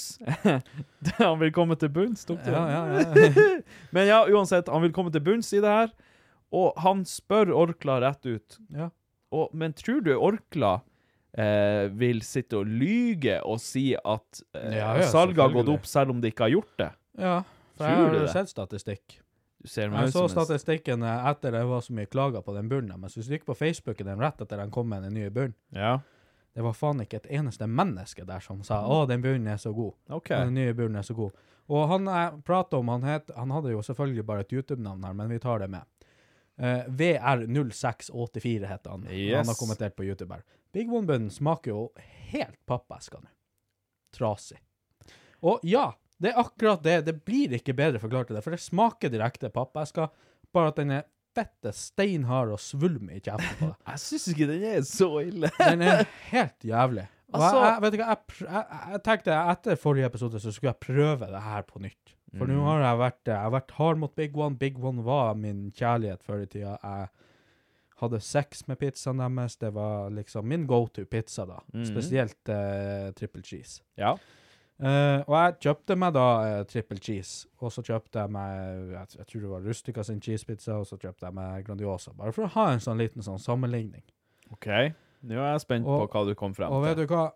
han vil komme til bunns, doktor. Ja, ja, ja. men ja, uansett, han vil komme til bunns i det her. Og han spør Orkla rett ut. Ja. Og, men tror du Orkla eh, vil sitte og lyge og si at eh, Ja, ja, salget har gått selvfølgelig. opp, selv om de ikke har gjort det? Ja, for jeg Tror har du jo det? sett statistikk. Du ser meg Jeg ut som så en- statistikken eh, etter det var så mye klager på den bunnen, men hvis du gikk på Facebooken den rett etter den kom med den nye bunnen, det var faen ikke et eneste menneske der som sa å, den bunnen er så god. Mm. Ok. Den nye bunnen er så god. Og han jeg prater om, han, het, han hadde jo selvfølgelig bare et YouTube-navn her, men vi tar det med. Eh, VR0684 heter han. Yes. Han har kommentert på YouTube her. Big One-bunnen smaker jo helt pappeska nå. Trasig. Og ja, det er akkurat det. Det blir ikke bedre forklart til det, for det smaker direkte pappeska, bare at den er fette steinhard og svulmer i kjeften på deg. jeg syns ikke den er så ille. den er helt jævlig. Og Altså- jeg, jeg, vet ikke, jeg, pr- jeg, jeg- jeg tenkte etter forrige episode så skulle jeg prøve det her på nytt. For nå Mm. har jeg vært, jeg har vært hard mot Big One. Big One var min kjærlighet før i tida. Jeg hadde sex med pizzaen deres. Det var liksom min go-to-pizza, da. Mm. Spesielt eh, triple cheese. Ja. Eh, og jeg kjøpte meg da eh, triple cheese, og så kjøpte jeg meg jeg, jeg tror det var Rustica sin cheesepizza, og så kjøpte jeg meg Grandiosa. Bare for å ha en sånn liten sånn sammenligning. OK, nå er jeg spent på hva du kom frem Og til. vet du hva?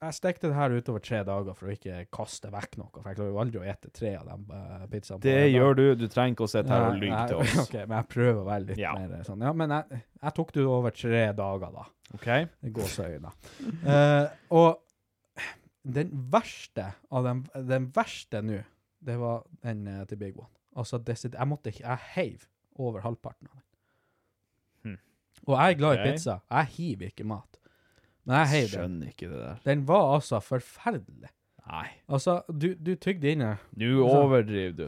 Jeg stekte det her utover tre dager for å ikke kaste vekk noe, for jeg klarer jo aldri å ete tre av de eh, pizzaene. på Det en dag. gjør du. Du trenger ikke å sitte her og Nei, lyve nei, til oss. ok, men jeg prøver å være litt Ja. mer sånn. Ja, men jeg, jeg tok det jo over tre dager, da. OK? I gåseøyne. Eh, og den verste av dem, den verste nå, det var den eh, til Big One. Altså, desid, jeg måtte, ikke- jeg heiv over halvparten av den. Og jeg er glad Hm. Ok. i pizza. Jeg hiver ikke mat. Men jeg heiv den. Skjønner ikke det der. Den var altså forferdelig. Nei. Altså, du, du tygde inn i den. Nå overdriver du.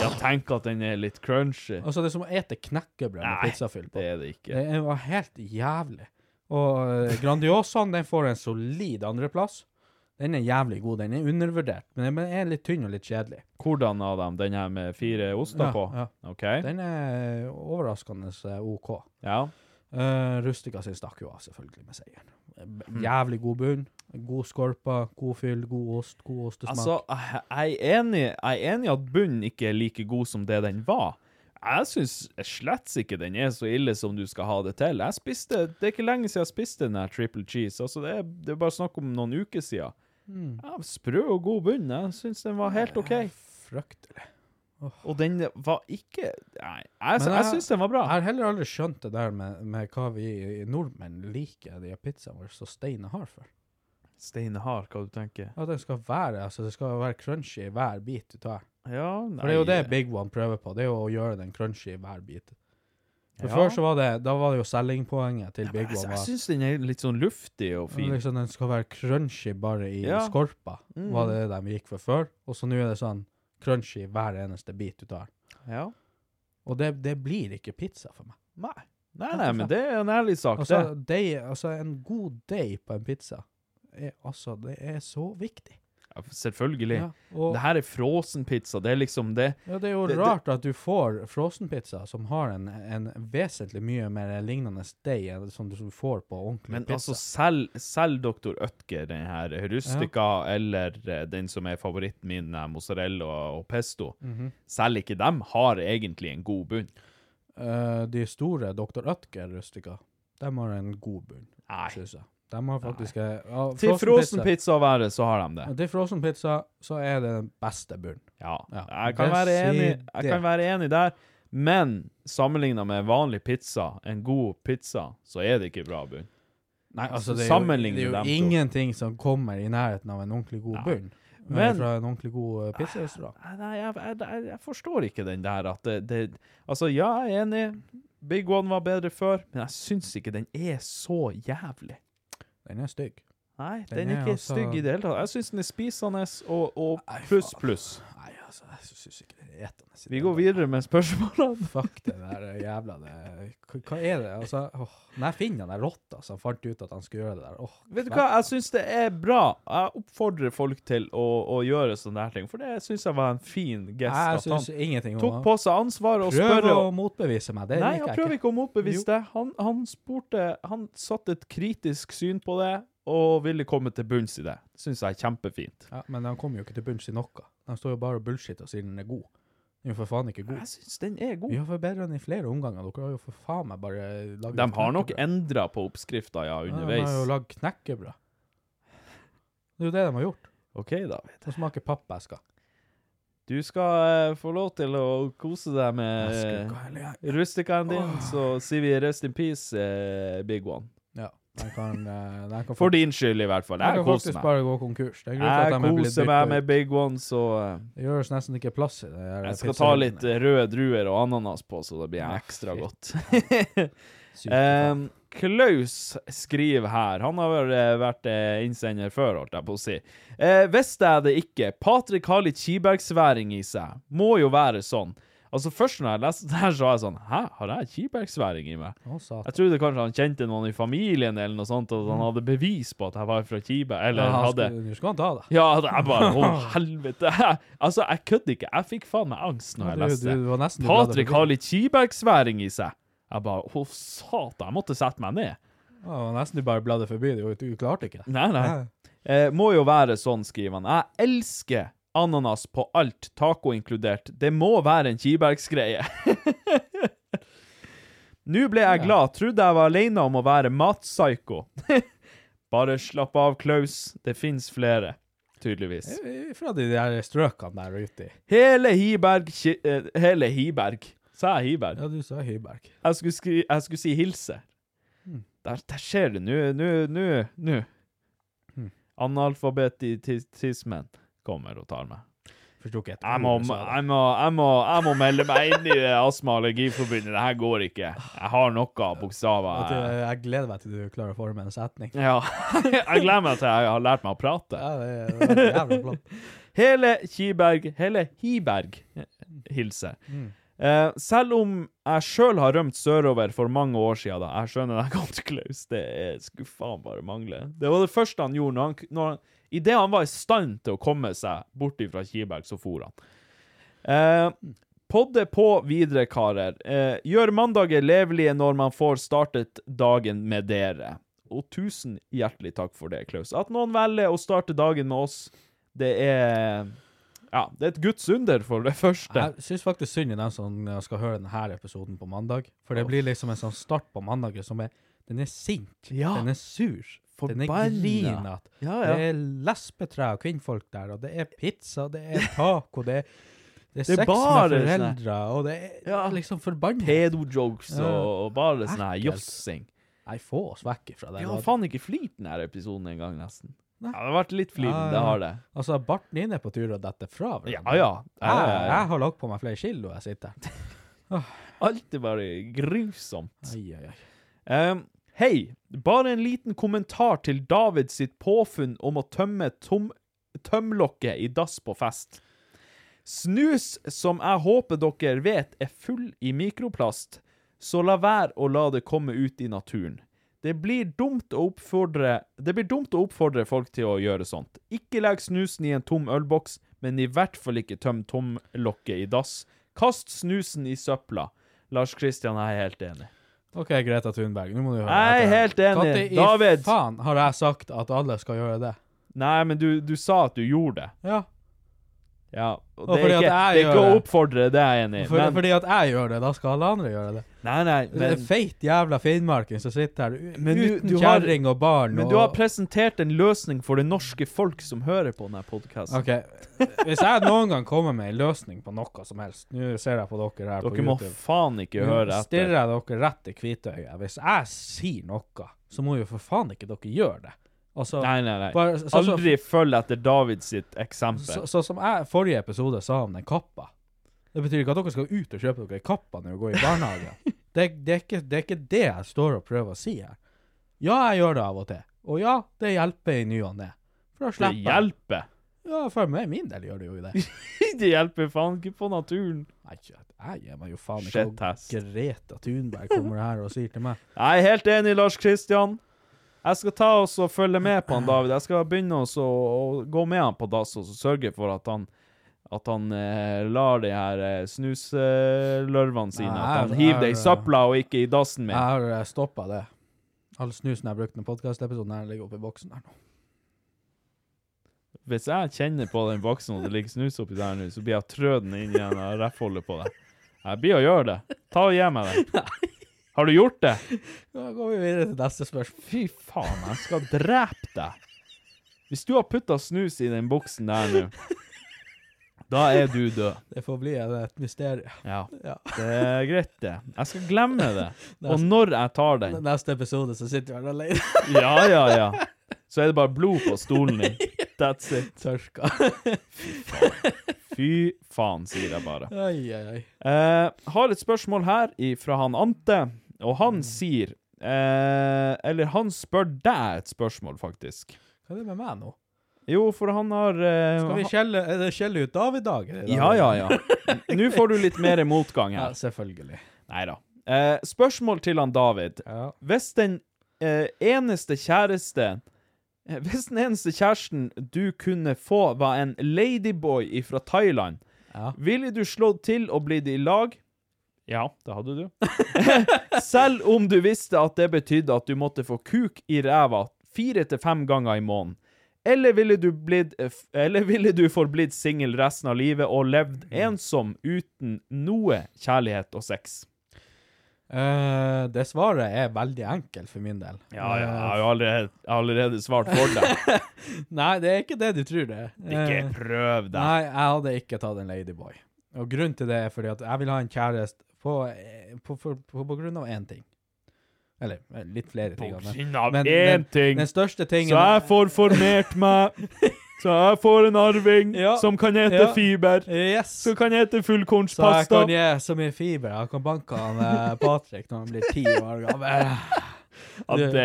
Ja, tenk at den er litt crunchy. Altså, det er som å ete knekkebrød med Nei, pizzafyll på. det er det ikke. Det var helt jævlig. Og eh, Grandiosaen den får en solid andreplass. Den er jævlig god. Den er undervurdert, men den er litt tynn og litt kjedelig. Hvordan av dem? Den her med fire oster Ja, på? ja. OK? Den er overraskende eh, OK. Ja. Eh, Rustica sin stakk jo av, selvfølgelig, med seieren. Mhm. Jævlig god bunn. God skorpa, god fyll, god ost, god ostesmak. Altså, jeg jeg er enig Jeg er enig at bunnen ikke er like god som det den var. Jeg syns slett ikke den er så ille som du skal ha det til. Jeg spiste, Det er ikke lenge siden jeg spiste den her triple cheese. Altså, det er, det er bare snakk om noen uker siden. Mm. Ja, sprø og god bunn. Jeg syns den var helt OK. Fryktelig. Og den var ikke Nei, jeg, Men jeg, syns den var bra. Jeg har heller aldri skjønt det der med, med hva vi nordmenn liker de pizzaene våre så steinhard for. Steinhard, hva du tenker At den skal være altså det skal være crunchy i hver bit du tar. Ja, nei For det er jo det Big One prøver på, det er jo å gjøre den crunchy i hver bit. For Ja. Før så var det da var det jo selgingpoenget til Big Jeg, One jeg var syns den er litt sånn luftig og fin. liksom, den skal være crunchy bare i Ja. skorpa, Mm. var det det de gikk for før. Og så nå er det sånn crunchy i hver eneste bit du tar. Ja. Og det, det blir ikke pizza for meg. Nei. Nei, nei, men det er en ærlig sak, Altså, det. deig, altså en god deig på en pizza, er, altså, det er så viktig. Ja, selvfølgelig. Ja, og- det her er frosenpizza. Det er liksom det Ja, det er jo Det- det- rart at du får frossenpizza som har en, en vesentlig mye mer lignende deig enn som du får på ordentlig Men pizza. altså, selv, selv Dr. Ødker, den her rustica, eller eh, den som er favoritten min, eh, mozzarella og, og pesto, Mhm. selv ikke dem har egentlig en god bunn. Eh, de store Dr. Ødker-rustika, de har en god bunn, synes jeg. De har faktisk en- ja, Til frossenpizza- frosenpizza å være, så har de det. Til frossenpizza så er det den beste bunnen. Ja, Ja, jeg kan, være enig, jeg desidert. kan være enig der, men sammenlignet med vanlig pizza, en god pizza, så er det ikke bra bunn. Nei, altså, det er jo, Sammenligne det er jo dem to. ingenting som kommer i nærheten av en ordentlig god bunn. Men- Men, fra en ordentlig god eh, pizzarestaurant. Nei, Nei, jeg, jeg, jeg, jeg forstår ikke den der at det, det Altså, ja, jeg er enig. Big One var bedre før, men jeg syns ikke den er så jævlig. Den er stygg. Nei, den, Den er er ikke altså- stygg i det hele tatt. Jeg syns den er spisende og, og pluss, pluss. Nei, altså, jeg syns ikke det etende. Vi går videre med spørsmålene. Fuck det der jævla det. Hva hva er det? Altså, åh, når jeg finner den der rotta som fant ut at han skulle gjøre det der åh, Vet du hva, jeg syns det er bra. Jeg oppfordrer folk til å, å gjøre sånne her ting, for det syns jeg var en fin gest. Jeg at synes han ingenting om tok han. på seg ansvaret og Prøv spørre å motbevise meg, det Nei, liker han jeg prøver ikke å motbevise Jo. det. Han, han spurte Han satte et kritisk syn på det, og ville komme til bunns i det. Det syns jeg er kjempefint. Ja, men han kommer jo ikke til bunns i noe. Han står jo bare og bullshitter og sier den er god. Den er jo for faen ikke god. Jeg syns den er god. Vi har forbedret den i flere omganger. Dere har jo for faen meg bare laget De har nok endra på oppskrifta, ja, Ja, de har jo underveis. lagd knekkebrød. Det er jo det de har gjort. OK, David. De smaker pappesker. Du skal eh, få lov til å kose deg Jeg med skal gå hele eh, rusticaen din, så sier vi rest in peace, eh, big one. Ja. De kan, eh, de kan For din skyld, i hvert fall. Jeg Jeg kan koser faktisk meg. bare gå konkurs. Det er en grunn til Jeg at de er blitt koser byttet meg med big one, så eh, ut. Det gjøres nesten ikke plass i det. her jeg skal ta pizzarullen. litt eh, røde druer og ananas på, så det blir ekstra godt. Sykt. Ehm, Klaus skriver her, han har vel, eh, vært eh, innsender før, holdt jeg på å si. Eh, visste jeg det ikke, Patrik har litt kibergsværing i seg. Må jo være sånn. Altså Først når jeg leste det her, så var jeg sånn Hæ, har jeg kibergsværing i meg? Å, satan. Jeg trodde kanskje han kjente noen i familien, eller noe sånt, og at han hadde bevis på at jeg var fra Kiberg. Eller Ja, han hadde skulle- Nå skal han ta det. Ja, jeg bare Å, helvete. altså, jeg kødder ikke. Jeg fikk faen meg angst når Ja, jeg du- leste du var nesten litt glad det Patrick ble har litt kibergsværing i seg. Jeg bare Å, satan. Jeg måtte sette meg ned. Ja, det var nesten du bare bladde forbi. det, og Du klarte ikke det. Nei, nei. Eh, må jo være sånn, skriver han. Jeg elsker ananas på alt, taco inkludert. Det må være en kibergsgreie. Nå ble jeg glad. Trodde jeg var alene om å være matpsycho. Bare slapp av, Klaus. Det fins flere, tydeligvis. Fra de der strøkene der ute. Hele Hiberg ki- eh, Hele Hiberg. Sa jeg Hiberg? Ja, du sa Hyberg. Jeg skulle, skri, jeg skulle si hilse. Hmm. Der, der skjer det. Nå, nå, nå, nå. Hmm. Analfabetismen kommer og tar meg. Forsto ikke et Jeg må, ord du sa der. jeg, må, jeg, må, jeg må melde meg inn i det Astma- og allergiforbundet. Det her går ikke. Jeg har noe av At du- bokstaver. Jeg gleder meg til du klarer å forme en setning. Ja. Jeg gleder meg til jeg har lært meg å prate. Ja, det er, det er jævla flott. Hele Kiberg, hele Hiberg hilser. Eh, selv om jeg sjøl har rømt sørover for mange år siden, da. Jeg skjønner deg godt, Klaus. Det er- skulle faen bare mangle. Det var det første han gjorde. Når han, når han, Idet han var i stand til å komme seg bort fra Kiberg, så for han. Eh, podde på videre, karer. Eh, gjør mandager levelige når man får startet dagen med dere. Og tusen hjertelig takk for det, Klaus. At noen velger å starte dagen med oss, det er Ja, det er et guds under, for det første. Jeg syns faktisk synd i dem som eh, skal høre denne episoden på mandag. For det blir liksom en sånn start på mandagen som er Den er sint. Ja. Den er sur. Forbanna. Den er grinete. Ja, ja. Det er lesbetre og kvinnfolk der, og det er pizza, det er taco, det er det er, Det er sex bare med sånn foreldre, og det er Ja. liksom forbanna. Pedo-jokes Ja. og, og bare sånn her Ekkelt. jossing. Nei, få oss vekk ifra det. Vi Nå- har faen ikke flirt denne episoden engang, nesten. Ah, Ja, Nei. det har vært litt flirt, Ja, det ja. har det. Altså, barten din er på tur å dette fra hverandre. Ja, Ah, ja. Jeg, Jeg- jeg har lagt på meg flere kilo jeg sitter her. Alt er bare grusomt. Ai, ai, ai. Ehm, Hei, bare en liten kommentar til David sitt påfunn om å tømme tom tømlokket i dass på fest. Snus, som jeg håper dere vet er full i mikroplast, så la være å la det komme ut i naturen. Det blir dumt å oppfordre, det blir dumt å oppfordre folk til å gjøre sånt. Ikke legg snusen i en tom ølboks, men i hvert fall ikke tøm tomlokket i dass. Kast snusen i søpla. Lars Kristian er helt enig. Ok, Greta Thunberg, nå må du høre Jeg er etter. helt enig. Katte, i David. faen har jeg sagt at alle skal gjøre det? Nei, men du, du sa at du gjorde det. Ja, Ja, og Og det er fordi at ikke, jeg det er ikke gjør å det. oppfordre, det er jeg enig i. for, Men, fordi at jeg gjør det, da skal alle andre gjøre det. nei, nei, det er men, feit jævla finnmarking som sitter her u- Men du- uten du har- kjerring og barn men og du har presentert en løsning for det norske folk som hører på denne podkasten. Ok, hvis jeg noen gang kommer med en løsning på noe som helst Nå ser jeg på dere her på Dere må YouTube. faen ikke høre Stirrer etter. jeg dere rett i hvitøyet. Hvis jeg sier noe, så må jo for faen ikke dere gjøre det. Altså, Nei, nei, nei. Bare- så- så- Aldri følg etter David sitt så, eksempel. så som jeg forrige episode sa om den kappa Det betyr ikke at dere skal ut og kjøpe dere kappa når dere går i barnehagen. det, det, er ikke, det er ikke det jeg står og prøver å si her. Ja, jeg gjør det av og til. Og ja, det hjelper i ny og ne. For da Det slipper jeg. hjelper. Ja, for meg, min del gjør det jo det. det hjelper faen ikke på naturen. Nei, jeg gir meg jo faen ikke Shit, ass. hva Greta Thunberg kommer her og sier til meg. Jeg er helt enig, Lars Kristian. Jeg skal ta oss og følge med på han, David. Jeg skal begynne oss å, å gå med han på dass og så sørge for at han, at han eh, lar de her eh, snuslørvene sine At han Nei, hiver det det i er- søpla og ikke i dassen min. Jeg har eh, stoppet det. All snusen jeg brukte i podkastepisoden, ligger oppe i boksen her nå. Hvis jeg kjenner på den boksen og det ligger snus oppi der nå, så blir jeg trøden inn igjen og reffholder på deg. Jeg blir å gjøre det. Ta og gi meg det. Har du gjort det? Da går vi videre til neste spørsmål. Fy faen, jeg skal drepe deg. Hvis du har putta snus i den boksen der nå, da er du død. Det får bli en- et mysterium. Ja. Ja. Det er greit, det. Jeg skal glemme det. Neste- Og når jeg tar den Neste episode så sitter vi her alene. Ja, ja, ja. Så er det bare blod på stolen din. That's it. Tørka. Fy faen, sier jeg bare. Ai, ai, ai. Eh, har et spørsmål her fra han Ante, og han sier eh, Eller han spør deg et spørsmål, faktisk. Hva er det med meg nå? Jo, for han har eh, Skal vi skjelle, er det skjelle ut David-dag? i dag? Ja, ja, ja. Nå får du litt mer motgang Ja, her. selvfølgelig. Nei da. Eh, spørsmål til han David. Hvis den eh, eneste kjæreste eh, Hvis den eneste kjæresten du kunne få, var en ladyboy fra Thailand, ville du slått til og blitt i lag? Ja, det hadde du. Selv om du visste at det betydde at du måtte få kuk i ræva fire til fem ganger i måneden. Eller ville du, blitt, eh, f- eller ville du forblitt singel resten av livet og levd ensom uten noe kjærlighet og sex? Eh, det svaret er veldig enkelt for min del. Ja, ja, jeg Eh. har jo allerede, jeg har allerede svart for deg. Nei, det er ikke det du tror det. er. Eh, Ikke prøv deg. Nei, jeg hadde ikke tatt en ladyboy. Og grunnen til det er fordi at jeg vil ha en kjæreste på, eh, på, på, på, på grunn av én ting. Eller eh, litt flere ting. På men- grunn av men én den- ting. Den største Så tingen jeg får formert meg. Så jeg får en arving Ja, som kan ete ja. fiber. Yes. Som kan ete Så jeg fullkornspasta. kan gi så mye fiber. Jeg kan banke han eh, Patrick når han blir ti år gammel. At det,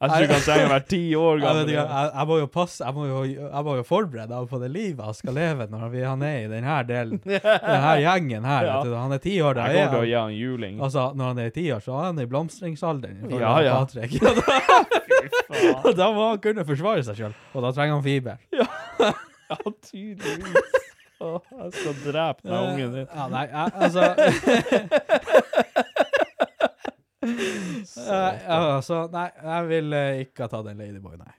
jeg tror ikke han trenger å være ti år Jeg, vet gammel. ikke, jeg, jeg må jo passe, jeg må jo, jeg må jo forberede ham på det livet han skal leve når vi, han er i denne delen, denne gjengen her. Ja. Vet du, han er ti år, da Jeg er kommer til å gi han han juling. Altså, når han er ti år, så er han i blomstringsalderen. ifølge Ja, ja. Patrick. Og da, og da må han kunne forsvare seg sjøl, og da trenger han fiber. Ja, tydeligvis. Å, jeg skal drepe den ungen din. Ja, nei, jeg, altså Eh, Altså, nei, jeg vil eh, ikke ha tatt en ladyboy, nei.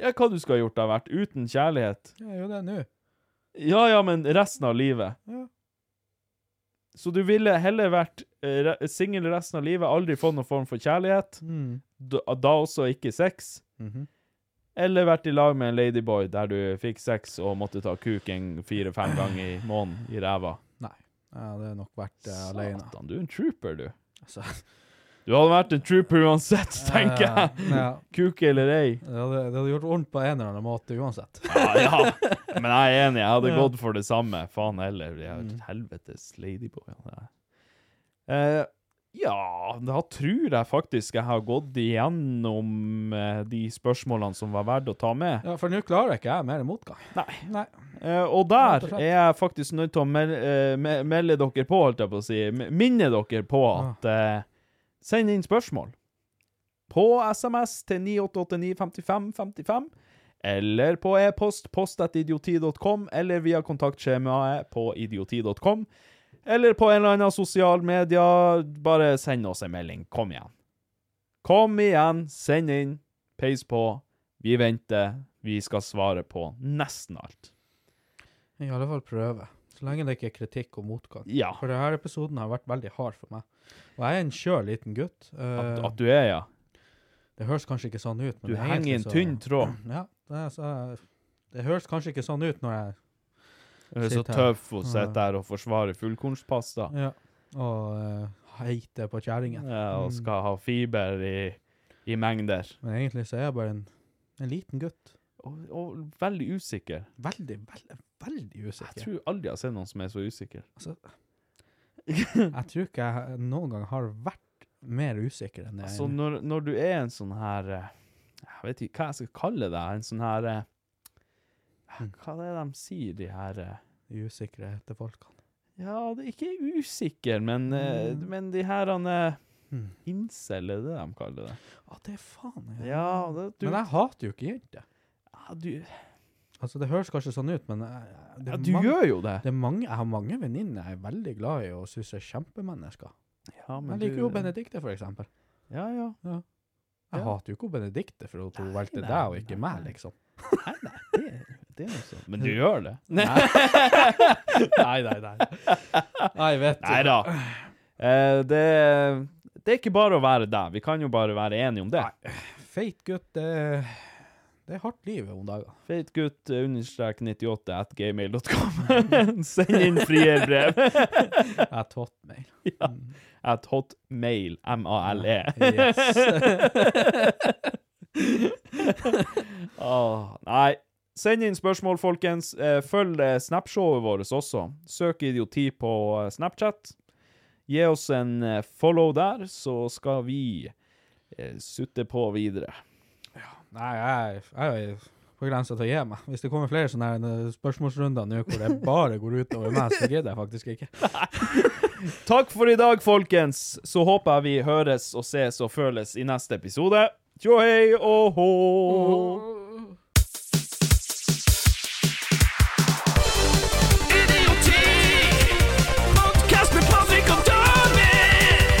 Ja, hva du skal ha gjort da, vært uten kjærlighet? Jeg gjør det nå. Ja, ja, men resten av livet. Ja. Så du ville heller vært eh, re singel resten av livet, aldri fått noen form for kjærlighet, Mm. da, da også ikke sex, Mhm. eller vært i lag med en ladyboy der du fikk sex og måtte ta kuken fire-fem ganger i måneden i ræva. Nei. Jeg hadde nok vært eh, alene. Satan, du er en trooper, du. Altså, Du hadde vært en trooper uansett, tenker Ja, jeg. Eh, ja. Kuk eller ei. det, hadde, det hadde gjort vondt på en eller annen måte uansett. Ja, ja. Men jeg er enig, jeg hadde Ja. Mm. gått for det samme. Faen heller. Jeg er et helvetes ladyboy. han der. Eh, ja, da tror jeg faktisk jeg har gått igjennom eh, de spørsmålene som var verdt å ta med. Ja, For nå klarer ikke jeg mer motgang. Nei. Nei. Eh, og Rett der og slett. er jeg faktisk nødt til å mel eh, me melde dere på, holdt jeg på å si. M- Minne dere på at eh, Send inn spørsmål. På SMS til 98895555, eller på e-post post.idioti.com, eller via kontaktskjemaet på idioti.com, eller på en eller annen sosial media. Bare send oss en melding. Kom igjen. Kom igjen, send inn. Peis på. Vi venter. Vi skal svare på nesten alt. I alle fall prøve. Så lenge det ikke er kritikk og motgang. Ja. For denne episoden har vært veldig hard for meg. Og jeg er en skjør liten gutt. Eh, At, at du er, ja. Det høres kanskje ikke sånn ut. men Du det er henger i en egentlig så- tynn tråd. Ja, det, er så, det høres kanskje ikke sånn ut når jeg Du er så Sitter her. tøff og sitter der og forsvarer fullkornspasta. ja, og eh, heiter på kjerringen. Ja, og Mm. skal ha fiber i, i mengder. Men egentlig så er jeg bare en, en liten gutt. Og, og veldig usikker. Veldig, veldig, veldig usikker. Jeg tror aldri jeg har sett noen som er så usikker. Altså, jeg tror ikke jeg noen gang har vært mer usikker enn jeg Altså, når, når du er en sånn her eh, Jeg vet ikke hva jeg skal kalle deg. En sånn her eh, Hm. Hva er det de sier, de her eh? Usikre til folkene. Ja, det er ikke usikker, men, eh, Mm. men de her han eh, Incel, er det de kaller det? Hm. Ja, det er faen. Ja, det, du, Men jeg hater jo ikke jenter. ja, du, Altså, det høres kanskje sånn ut, men jeg, jeg- det ja, er du mange- gjør jo det. Det er mange, jeg har mange venninner jeg er veldig glad i og syns er kjempemennesker. Ja, men jeg liker jo du- Benedicte, for eksempel. Ja, ja. Ja. Jeg Ja. hater jo ikke Benedicte for at hun valgte nei, deg og ikke nei, meg, nei. liksom. Nei, nei, det, det er noe sånt. Men du gjør det. Nei, nei, nei. Nei, nei vet du. Nei da. Eh, det, det er ikke bare å være deg. Vi kan jo bare være enige om det. Feit gutt, det, det er hardt liv om dagen. Feitgutt eh, understrek 98 at gmail.com. Send inn frierbrev. Jeg tått meg. ja. At hotmail, M-A-L-E. Åh, nei. Send inn spørsmål, folkens. Eh, Følg eh, Snapshowet vårt også. Søk idioti på eh, Snapchat. Gi oss en eh, follow der, så skal vi eh, sutte på videre. Nei, jeg, jeg er på grensa til å gi meg. Hvis det kommer flere sånne her, eh, spørsmålsrunder nå hvor det bare går ut over meg, så gidder jeg faktisk ikke. Takk for i dag, folkens. Så håper jeg vi høres og ses og føles i neste episode. Tjo hei og hå! Idioti! Podcast med Patrick og David!